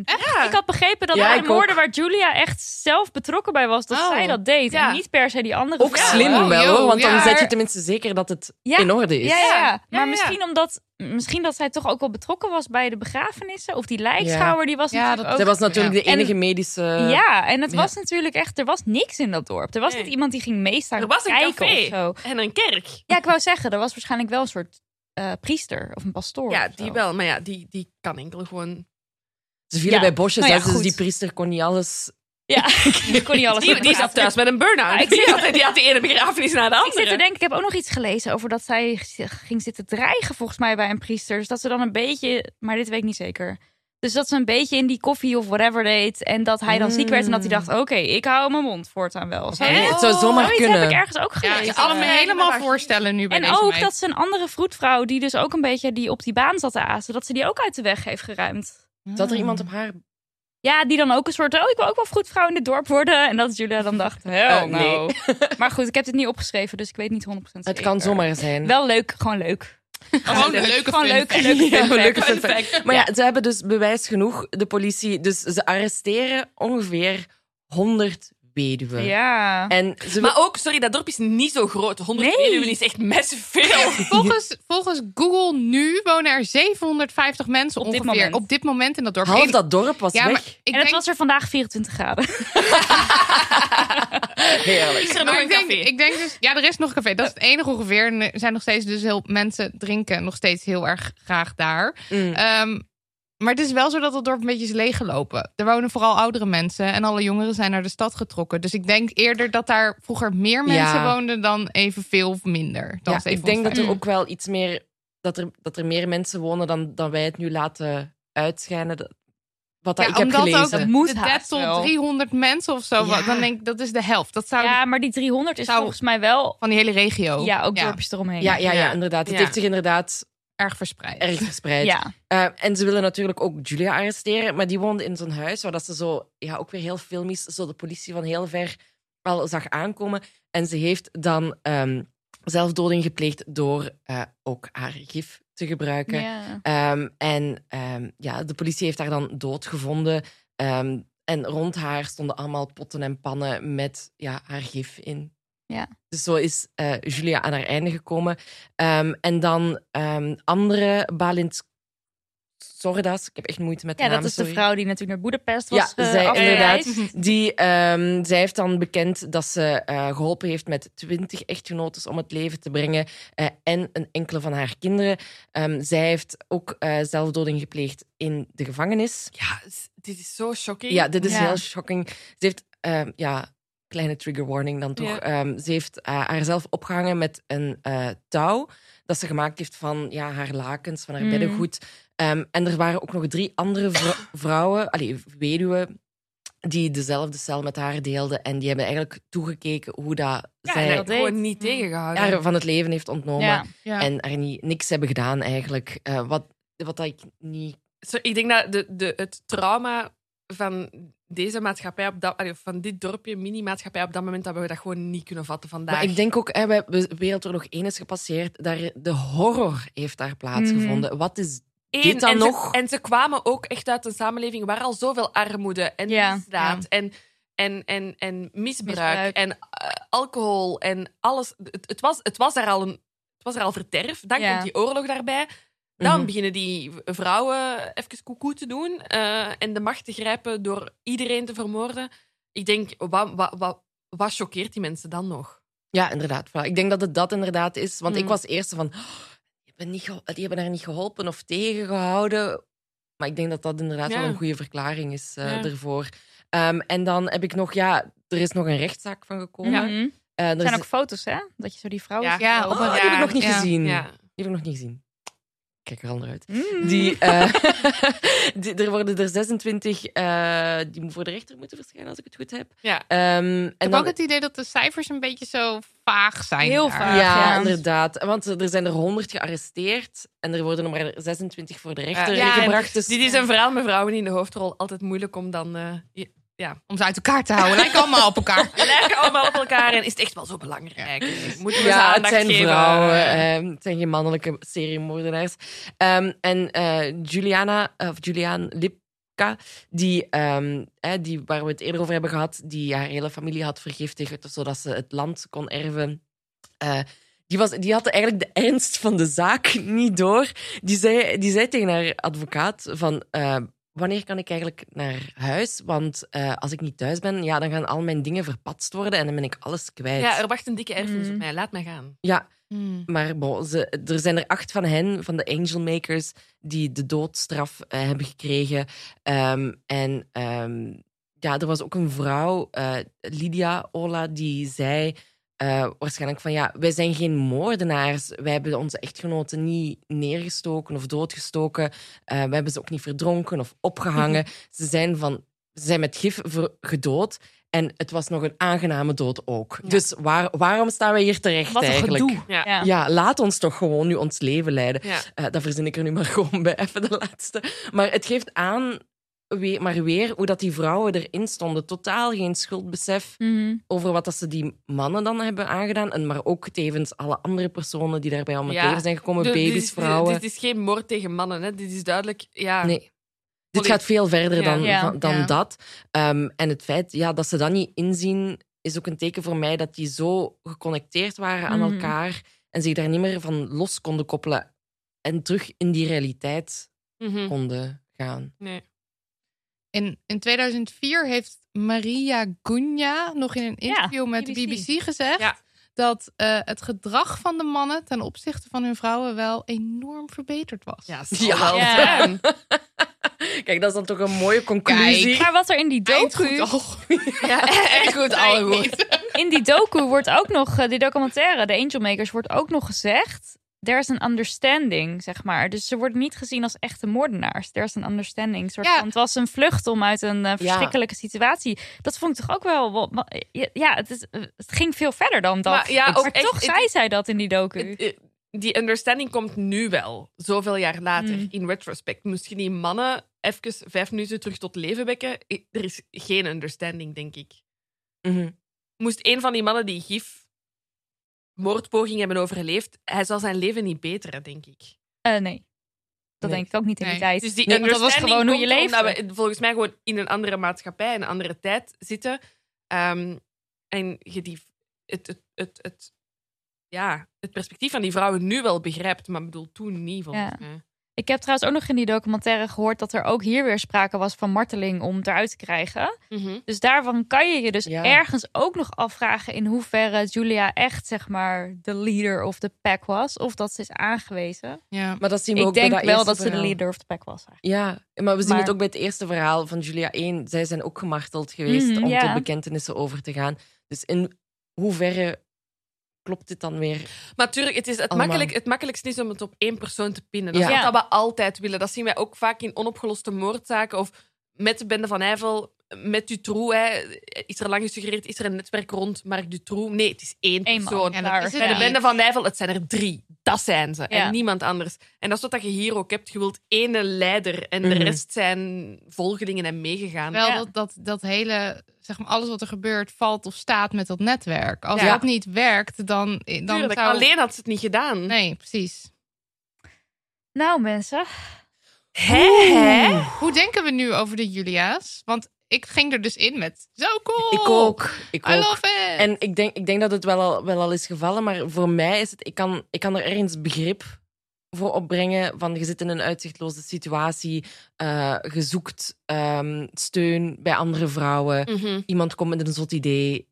B: Ik had begrepen dat
F: Ja,
B: bij
F: ik
B: de
F: ook.
B: moorden waar Julia echt zelf betrokken bij was, dat
H: Oh.
B: zij dat deed.
G: Ja.
B: En niet per se die andere
F: Ook
B: vrouwen.
F: slim
H: Oh,
F: wel,
H: joh,
F: hoor, want dan
H: ja.
F: zet je tenminste zeker dat het
B: Ja.
F: in orde is.
B: Ja, ja, ja.
G: Ja,
B: maar
G: ja.
B: misschien omdat misschien dat zij toch ook wel betrokken was bij de begrafenissen of die lijkschouwer die was
H: Ja,
B: natuurlijk
H: dat-
F: Zij
B: ook.
F: was natuurlijk de
B: En-
F: enige medische...
B: ja, en het
F: ja.
B: was natuurlijk echt, er was niks in dat dorp. Er was
G: eh, Nee.
B: niet iemand die ging meestaan
G: Er was een
B: kijken
G: café.
B: of zo.
G: is- En een kerk.
B: Ja, ik wou zeggen, er was waarschijnlijk wel een soort eh, priester of een pastoor.
G: Ja,
B: of
G: die
B: Oh, zo.
G: wel. Maar ja, die, die kan enkel gewoon...
F: Ze vielen
B: Ja.
F: bij bosjes,
B: Nou ja,
F: hè, dus
B: goed.
F: die priester kon niet alles...
B: Ja, die kon niet alles
G: Die, die zat thuis met een burn-out.
B: Ja, ik zie
G: Die had- die had de ene begrafenis na de andere.
B: Ik zit te denken, ik heb ook nog iets gelezen over dat zij ging zitten dreigen volgens mij bij een priester. Dus dat ze dan een beetje, maar dit weet ik niet zeker. Dus dat ze een beetje in die koffie of whatever deed. En dat hij dan ziek werd en dat hij dacht, oké, ik hou mijn mond voortaan wel. Zo,
F: Nee,
B: Zoiets
F: het zou zomaar kunnen.
B: heb ik ergens ook gelezen.
H: ik kan me helemaal voorstellen nu bij
B: en
H: deze
B: ook
H: meid.
B: dat ze een andere vroedvrouw, die dus ook een beetje die op die baan zat te azen, dat ze die ook uit de weg heeft geruimd.
F: Zat er iemand op haar...
B: Ja, die dan ook een soort, oh, ik wil ook wel vroedvrouw in het dorp worden. En dat Julia dan dacht, hell
F: Eh, nee.
B: no. Maar goed, ik heb dit niet opgeschreven, dus ik weet niet 100% zeker.
F: Het kan zomaar zijn.
B: Wel leuk, gewoon leuk.
H: Gewoon een leuke
B: gewoon
H: fun
B: leuk,
H: fact.
B: leuk,
F: Ja, leuke
B: leuk.
F: fun fact. Maar ja, ze hebben dus bewijs genoeg, de politie. Dus ze arresteren ongeveer 100 weduwe.
B: Ja.
F: En ze
G: Maar ook, sorry, dat dorp is niet zo groot. 100
B: Nee.
G: weduwen is echt massive veel.
H: Volgens, volgens Google nu wonen er 750 mensen
B: Op dit
H: ongeveer
B: moment.
H: op dit moment in dat dorp.
F: half
H: En-
F: dat dorp was
H: ja, maar
F: weg.
B: en
H: ik
B: het
H: denk,
B: was er vandaag 24 graden.
F: Heerlijk.
G: Is er nog
H: maar
G: een
H: ik, denk,
G: café?
H: ik denk dus, ja, er is nog een café. Dat is het enige ongeveer. En er zijn nog steeds dus heel mensen drinken nog steeds heel erg graag daar.
F: Mm.
H: Ehm, maar het is wel zo dat het dorp een beetje is leeggelopen. Er wonen vooral oudere mensen en alle jongeren zijn naar de stad getrokken. Dus ik denk eerder dat daar vroeger meer mensen
F: Ja.
H: woonden dan evenveel of minder. Dan
F: Ja, ik denk
H: 750.
F: dat er ook wel iets meer dat er, dat er meer mensen wonen dan, dan wij het nu laten uitschijnen. Dat- Wat dat,
H: Ja,
F: ik heb
H: omdat
F: gelezen.
H: ook
B: Dat moet
H: de
B: haast
H: dead
B: wel.
H: tot 300 mensen of zo.
F: Ja.
H: Dan denk ik, dat is de helft. Dat zou
B: Ja, maar die 300 is
H: Zou-
B: volgens mij wel...
H: van die hele
A: Oh.
H: regio
B: Ja, ook dorpjes eromheen.
F: Ja, ja, ja, inderdaad. Het
H: Ja.
F: heeft zich inderdaad
H: erg verspreid.
F: erg verspreid.
B: Ja.
F: Eh, en ze willen natuurlijk ook Julia arresteren, maar die woonde in zo'n huis waar dat ze zo, ja, ook weer heel filmisch, zo de politie van heel ver al zag aankomen. En ze heeft dan ehm, zelfdoding gepleegd door eh, ook haar gif te gebruiken.
B: Ja.
F: Ehm, en ehm, ja, de politie heeft haar dan doodgevonden. Ehm en rond haar stonden allemaal potten en pannen met ja, haar gif in.
B: Ja.
F: Dus zo is eh, Julia aan haar einde gekomen. Ehm, en dan ehm, andere Balint Sordas. Ik heb echt moeite met de
B: Ja,
F: naam,
B: dat is de
F: sorry.
B: vrouw die natuurlijk naar Boedapest was
F: Ja,
B: eh,
F: zij
B: afgereisd.
F: inderdaad. Die, ehm, zij heeft dan bekend dat ze eh, geholpen heeft met twintig echtgenotes om het leven te brengen eh, en een enkele van haar kinderen. Ehm, zij heeft ook eh, zelfdoding gepleegd in de gevangenis.
G: Ja, s- dit is zo shocking.
F: Ja, dit is
B: Ja.
F: heel shocking. Ze heeft, ehm, ja, kleine trigger warning dan toch.
G: Ja.
F: Ehm, ze heeft eh, haarzelf opgehangen met een eh, touw dat ze gemaakt heeft van ja, haar lakens, van haar
B: Mm.
F: beddengoed. Ehm, en er waren ook nog drie andere vrou- vrouwen, allee, weduwen, die dezelfde cel met haar deelden. En die hebben eigenlijk toegekeken hoe dat
G: Ja,
F: zij
G: dat
B: deed.
G: gewoon niet tegengehouden.
F: haar van het leven heeft ontnomen.
B: Ja.
H: Ja.
F: En er niet, niks hebben gedaan eigenlijk. Eh, wat, wat dat ik niet
G: Zo, ik denk dat de, de, het trauma van deze maatschappij, op dat, allee, van dit dorpje, mini-maatschappij op dat moment, dat we dat gewoon niet kunnen vatten vandaag.
F: Maar ik denk ook, hè, we hebben Wereldoorlog 1 is gepasseerd. Daar, de horror heeft daar plaatsgevonden. Wat is...
G: Eén,
F: dit dan
G: en
F: nog?
G: Ze, en ze kwamen ook echt uit een samenleving waar al zoveel armoede en
B: Ja,
G: misdaad en, en, en, en misbruik,
B: Misbruik.
G: en eh, alcohol en alles. Het, het, was, het, was daar al een, het was er al verderf. Dan
B: Ja.
G: komt die oorlog daarbij. Dan
F: Mhm.
G: beginnen die v- vrouwen even koekoe te doen eh, en de macht te grijpen door iedereen te vermoorden. Ik denk, wat, wat, wat, wat choqueert die mensen dan nog?
F: Ja, inderdaad. voilà. Ik denk dat het dat inderdaad is. Want ik
G: Mm.
F: was eerst van... "Oh, die, hebben niet geho- die hebben haar niet geholpen of tegengehouden. Maar ik denk dat dat inderdaad
G: Ja.
F: wel een goede verklaring is eh
G: Ja.
F: ervoor. Ehm, en dan heb ik nog... Ja, er is nog een rechtszaak van gekomen.
B: Ja.
F: Eh, er
B: Mhm. Er zijn
F: is-
B: ook foto's, hè? Dat je zo die vrouw...
G: Ja.
H: Ja, op
F: Oh, die
H: een
F: heb ik
H: raar-
F: nog niet
H: ja.
F: gezien.
G: Ja.
F: Die heb ik nog niet gezien. Ik Kijk er al naar uit.
B: Mm.
F: Die, eh, die- er worden er 26 eh, die voor de rechter moeten verschijnen, als ik het goed heb.
G: Ja.
F: Ehm,
H: Ik
F: en
H: heb
F: dan,
H: ook het idee dat de cijfers een beetje zo vaag zijn.
B: Heel
H: daar.
B: vaag.
F: ja,
B: Ja.
F: inderdaad. Want er zijn er 100 gearresteerd en er worden er maar 26 voor de rechter
H: Ja, en
F: gebracht. Dus
G: Dit is een verhaal met vrouwen in de hoofdrol. Altijd moeilijk om dan eh,
H: Om ze uit elkaar te houden. Lijken allemaal op elkaar.
G: We lijken allemaal op elkaar en is het echt wel zo belangrijk? Moeten we ze
F: ja, het
G: aandacht
F: zijn
G: geven?
F: vrouwen, ehm, het zijn geen mannelijke seriemoordenaars. Ehm, en eh, Juliana, of Julian Lipka, die, ehm, eh, die, waar we het eerder over hebben gehad, die haar hele familie had vergiftigd, zodat ze het land kon erven. eh, die, was, die had eigenlijk de ernst van de zaak niet door. Die zei, die zei tegen haar advocaat van... eh, Wanneer kan ik eigenlijk naar huis? Want eh, als ik niet thuis ben, ja, dan gaan al mijn dingen verpatst worden en dan ben ik alles kwijt.
G: Ja, er wacht een dikke erfenis op
B: Mm.
G: mij. Laat mij gaan.
F: Ja,
H: Hmm.
F: maar bon, ze, er zijn er acht van hen, van de Angel Makers, die de doodstraf eh, hebben gekregen. Ehm, en ehm, ja, er was ook een vrouw, eh, Lydia Ola, die zei eh, waarschijnlijk van ja, wij zijn geen moordenaars. Wij hebben onze echtgenoten niet neergestoken of doodgestoken. Eh, we hebben ze ook niet verdronken of opgehangen. ze, zijn van, ze zijn met gif ver- gedood. En het was nog een aangename dood ook. Dus waar, waarom staan wij hier terecht
B: Wat een
F: eigenlijk?
B: gedoe.
G: Ja.
B: Ja.
F: Ja, laat ons toch gewoon nu ons leven leiden.
G: Ja.
F: Eh dat verzin ik er nu maar gewoon bij, even de laatste. Maar het geeft aan, weer, maar weer, hoe dat die vrouwen erin stonden. Totaal geen schuldbesef
B: Mhm.
F: over wat dat ze die mannen dan hebben aangedaan. En maar ook tevens alle andere personen die daarbij om het
G: Ja.
F: leven zijn gekomen.
G: Dus dit
F: baby's,
G: is-
F: vrouwen.
G: Dit, dit is geen moord tegen mannen. Hè. Dit is duidelijk... Ja,
F: Nee. Dit gaat veel verder
H: Ja.
F: dan,
B: Ja.
F: van- dan
H: Ja.
F: dat. Ehm, en het feit ja, dat ze dat niet inzien, is ook een teken voor mij dat die zo geconnecteerd waren aan
B: Mhm.
F: elkaar en zich daar niet meer van los konden koppelen en terug in die realiteit
G: Mhm.
F: konden gaan.
G: Nee.
H: In, in 2004 heeft Maria Gunja nog in een
B: Ja,
H: interview met de
B: BBC.
H: BBC gezegd
G: Ja.
H: dat eh, het gedrag van de mannen ten opzichte van hun vrouwen wel enorm verbeterd was.
G: Ja,
F: Ja.
G: wel
B: Ja.
G: zijn.
F: Kijk, dat is dan toch een mooie conclusie.
B: Maar wat er in die docu...
H: Eindgoed al.
G: Ja, echt goed, alle goed.
B: in die docu wordt ook nog, eh, die documentaire, de Angel Makers, wordt ook nog gezegd. There's an understanding, zeg maar. Dus ze worden niet gezien als echte moordenaars. There's an understanding. Soort
H: Ja.
B: van, het was een vlucht om uit een eh, verschrikkelijke situatie. Dat vond ik toch ook wel. wel- wel- Ja, het, is, eh, het ging veel verder dan dat.
G: Maar ja, ook
B: Maar
G: echt-
B: toch
G: het-
B: zei zij dat in die docu.
G: Het- eh, Die understanding komt nu wel, zoveel jaar later,
B: Mm.
G: in retrospect. Moest je die mannen even vijf minuten terug tot leven wekken? eh, Er is geen understanding, denk ik.
F: Mhm.
G: Moest een van die mannen die gif moordpoging hebben overleefd, hij zal zijn leven niet beteren, denk ik.
B: Eh, nee, dat
F: Nee.
B: denk ik ook niet in die
H: Nee.
B: tijd.
G: Dus die
B: Nee, want dat was
G: understanding
B: gewoon hoe je
G: komt
B: leefde.
G: Omdat we volgens mij gewoon in een andere maatschappij, een andere tijd zitten. Ehm, en je die, het, het, het, het, ja, het perspectief van die vrouwen nu wel begrijpt, maar ik bedoel toen niet, volgens
B: Ja.
G: mij.
B: Ik heb trouwens ook nog in die documentaire gehoord dat er ook hier weer sprake was van marteling om het eruit te krijgen.
G: Mhm.
B: Dus daarvan kan je je dus
F: Ja.
B: ergens ook nog afvragen in hoeverre Julia echt zeg maar de leader of de pack was. Of dat ze is aangewezen.
H: Ja.
F: Maar dat zien we
B: Ik
F: ook bij
B: denk
F: dat
B: wel
F: eerste
B: dat ze de
F: verhaal.
B: leader of de pack was. eigenlijk.
F: Ja, maar we zien
B: Maar-
F: het ook bij het eerste verhaal van Julia 1. Zij zijn ook gemarteld geweest
B: Mhm,
F: om
B: ja.
F: tot bekentenissen over te gaan. Dus in hoeverre klopt dit dan weer?
G: Maar tuurlijk, het, is het,
F: Allemaal.
G: makkelijk, het makkelijkste is om het op één persoon te pinnen. Dat
F: Oh, Ja.
G: is wat
B: Ja.
G: dat we altijd willen. Dat zien wij ook vaak in onopgeloste moordzaken of met de Bende van Eivel, met Dutroux. Hè. Is er lang gesuggereerd, is er een netwerk rond Mark Dutroux? Nee, het is één
B: Eén
G: persoon.
B: man.
H: Ja, dat
B: daar.
H: is het
G: Bij de
H: Ja.
G: Bende van Nijvel, het zijn er drie. Dat zijn ze.
B: Ja.
G: En niemand anders. En dat is wat je hier ook hebt. Je wilt ene leider en
F: Mhm.
G: de rest zijn volgelingen en meegegaan.
H: Wel
B: Ja.
H: dat, dat, dat hele, zeg maar, alles wat er gebeurt valt of staat met dat netwerk. Als
G: Ja.
H: dat niet werkt, dan, eh, dan
G: Tuurlijk,
H: zou...
G: Alleen had ze het niet gedaan.
H: Nee, precies.
B: Nou mensen,
G: Hè? Hè?
H: Hoe denken we nu over de Julia's? Want ik ging er dus in met zo cool.
F: Ik ook. Ik
H: I
F: ook.
H: love it.
F: En ik denk, ik denk dat het wel al, wel al is gevallen, maar voor mij is het... Ik kan, ik kan er ergens begrip voor opbrengen van je zit in een uitzichtloze situatie, eh, je zoekt ehm, steun bij andere vrouwen.
G: Mhm.
F: iemand komt met een zot idee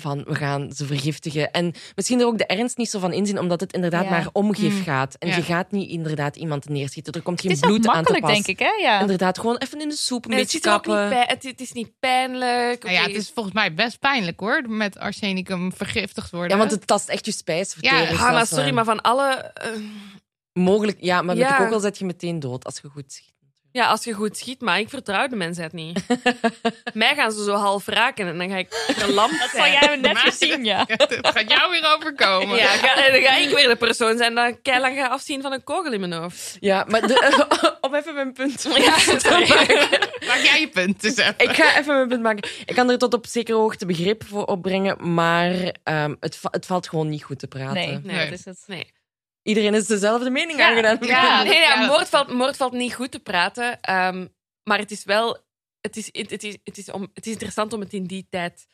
F: van we gaan ze vergiftigen. En misschien er ook de ernst niet zo van inzien, omdat het inderdaad
B: Ja.
F: maar om gif
H: Mm.
F: gaat. En
H: Ja.
F: je gaat niet inderdaad iemand neerschieten. Er komt
B: het
F: geen
B: is ook
F: bloed aan te
B: makkelijk
F: pas.
B: denk ik hè? Ja.
F: Inderdaad, gewoon even in de soep een
G: En het,
F: beetje
G: zit er ook
F: kappen.
G: niet bij, het, het is niet pijnlijk.
H: Nou ja,
G: Oké,
H: het is volgens mij best pijnlijk hoor, met arsenicum vergiftigd worden.
F: Ja, want het tast echt je spijsvertering.
H: Ja,
G: Ah, maar sorry, maar van alle. eh,
F: Mogelijk, ja, maar met
G: Ja.
F: de kogel zet je meteen dood als je goed schiet.
G: ja, als je goed schiet, maar ik vertrouw de mensheid niet. Mij gaan ze zo half raken en dan ga ik gelamd
B: Dat zal
G: zijn.
B: jij me net
H: Maar-
B: weer zien ja.
H: Het gaat jou weer overkomen.
G: Ja, ga- en dan ga ik weer de persoon zijn dat keilang ga afzien van een kogel in mijn hoofd.
F: Ja, maar de, om even mijn punt te maken.
H: Maak jij je punt dus even.
F: Ik ga even mijn punt maken. Ik kan er tot op zekere hoogte begrip voor opbrengen, maar ehm, het, va- het valt gewoon niet goed te praten.
B: Nee,
G: Nee.
B: dat is het.
G: Nee,
F: Iedereen is dezelfde mening
B: Ja,
F: aangedaan.
H: ja.
G: nee, ja,
H: Ja.
G: moord, valt, moord valt niet goed te praten, ehm, maar het is wel. Het is, het, het is, het, is om, het is interessant om het in die tijd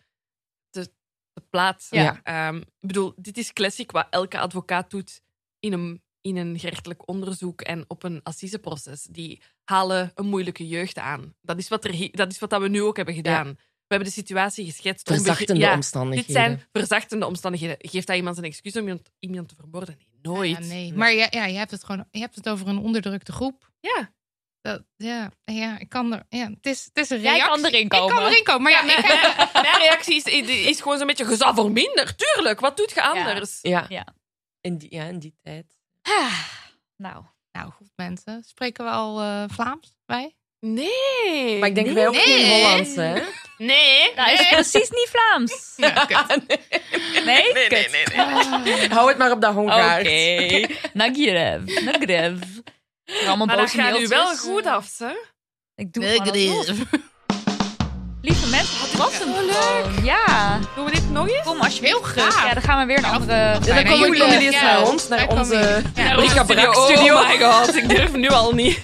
G: te, te plaatsen.
F: Ja.
G: Ehm, ik bedoel, dit is classic wat elke advocaat doet in een, in een gerechtelijk onderzoek en op een assiseproces. Die halen een moeilijke jeugd aan. Dat is wat, er, hi- dat is wat dat we nu ook hebben gedaan. We hebben de situatie geschetst. om
F: Verzachtende
G: ja, Dit
F: omstandigheden.
G: zijn verzachtende omstandigheden. Geeft dat iemand een excuus om iemand, iemand te vermoorden? Nee, nooit.
H: Ah Ja, nee. Maar ja, ja, je hebt het gewoon je hebt het over een onderdrukte groep.
G: Ja.
H: Dat, ja, ja, ik kan er. Ja, het, is, het is een
B: Jij
H: reactie.
B: kan erin komen.
H: Ik kan erin komen. Maar ja, ik heb-
G: Mijn reactie is, is- is gewoon zo'n beetje gezag voor minder. Tuurlijk, wat doet je anders?
F: Ja.
B: Ja.
F: In die, ja, in die tijd.
B: Ah, nou,
H: Nou goed, mensen. Spreken we al eh, Vlaams? Wij?
G: Nee.
F: Maar ik denk wij ook
H: Nee.
F: geen Hollands, hè?
G: Nee.
B: nou is het precies niet Vlaams.
H: Ja, kut.
B: Nee?
F: Nee, nee, nee.
H: Ah.
F: Hou het maar op dat Hongaars.
B: Oké. Nagirev. Nagirev. Allemaal
G: Maar dat
B: boze
G: gaat nu wel
B: mailtjes.
G: goed af, ze.
B: Ik doe gewoon alsnog. Lieve mensen, wat was het
G: Zo leuk.
F: Oh,
B: gewoon. Ja.
G: Doen we dit nog eens? Nou.
B: Kom alsjeblieft
H: Heel graag.
B: terug. Ja, dan gaan we weer een
H: Ja,
B: andere...
F: En dan
H: Bijna
F: komen
H: jullie.
F: jullie eens
H: Ja.
F: naar ons,
H: Wij
F: naar
H: komen
F: onze
H: hier. Ja.
F: Rika Brak
G: Oh
F: studio.
G: my god, ik durf nu al niet.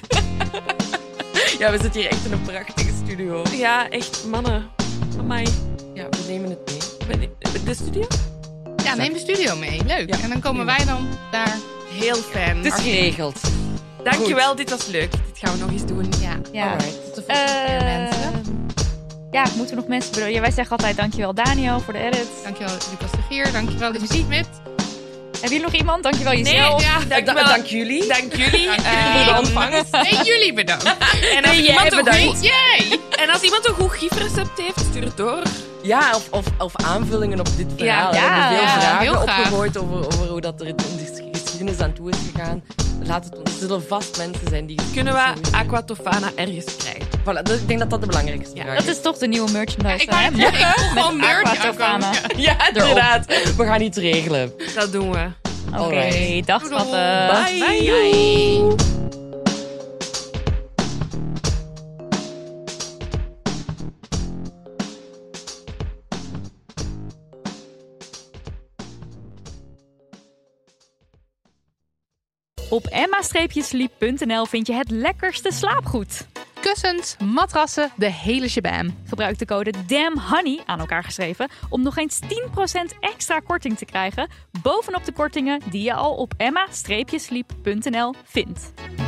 F: Ja, we zitten hier echt in een prachtige studio.
G: Ja, echt mannen. Amai.
F: Ja, we nemen het mee.
G: Ben- De studio?
H: Ja, neem de studio mee. Leuk.
F: Ja.
H: En dan komen wij dan daar.
G: Heel fijn.
F: Het is geregeld.
G: Dankjewel, dit was leuk. Dit gaan we nog eens doen.
H: Ja.
B: Ja.
F: Alright, tot de volgende
B: Eh,
H: mensen.
B: ja, moeten we nog mensen bedoelen? Ja, wij zeggen altijd dankjewel Daniel voor de edit.
H: Dankjewel Lucas de Gier. Dankjewel de muziekmit.
B: Hebben jullie nog iemand? Dankjewel jezelf.
G: Nee,
H: ja,
G: dank,
F: Da- Dank jullie.
G: dank jullie.
H: jullie.
G: Ehm,
F: ontvangen.
H: Nee, jullie bedankt.
G: en, als iemand een
H: bedankt.
G: goed,
H: Yay!
G: en als iemand een goed gifrecept heeft, stuur het door.
F: Ja, of, of, of aanvullingen op dit verhaal.
B: ja,
F: we hebben veel
H: ja,
F: vragen
H: heel graag.
F: opgegooid over, over hoe dat er in de geschiedenis aan toe is gegaan. Laat het ons. Er zullen vast mensen zijn die...
G: Kunnen we
F: Sowieso.
G: Aquatofana ergens krijgen?
F: Voilà, dat- ik denk dat dat de belangrijkste
G: Ja,
F: vraag
B: Dat is toch de nieuwe merchandise.
H: Ik
B: hè?
H: wou net zeggen, ik voel gewoon
B: Met
H: merch
B: Aquatofana.
H: aankomen.
F: Ja, inderdaad. We gaan iets regelen.
G: Dat doen we.
B: Oké,
F: Alright.
B: dag
H: Doei.
B: schatten.
F: Bye.
H: Bye.
B: Op emma-sleep.nl vind je het lekkerste slaapgoed.
H: Kussens, matrassen, de hele shebam.
B: Gebruik de code DAMHONEY aan elkaar geschreven om nog eens 10% extra korting te krijgen bovenop de kortingen die je al op emma-sleep.nl vindt.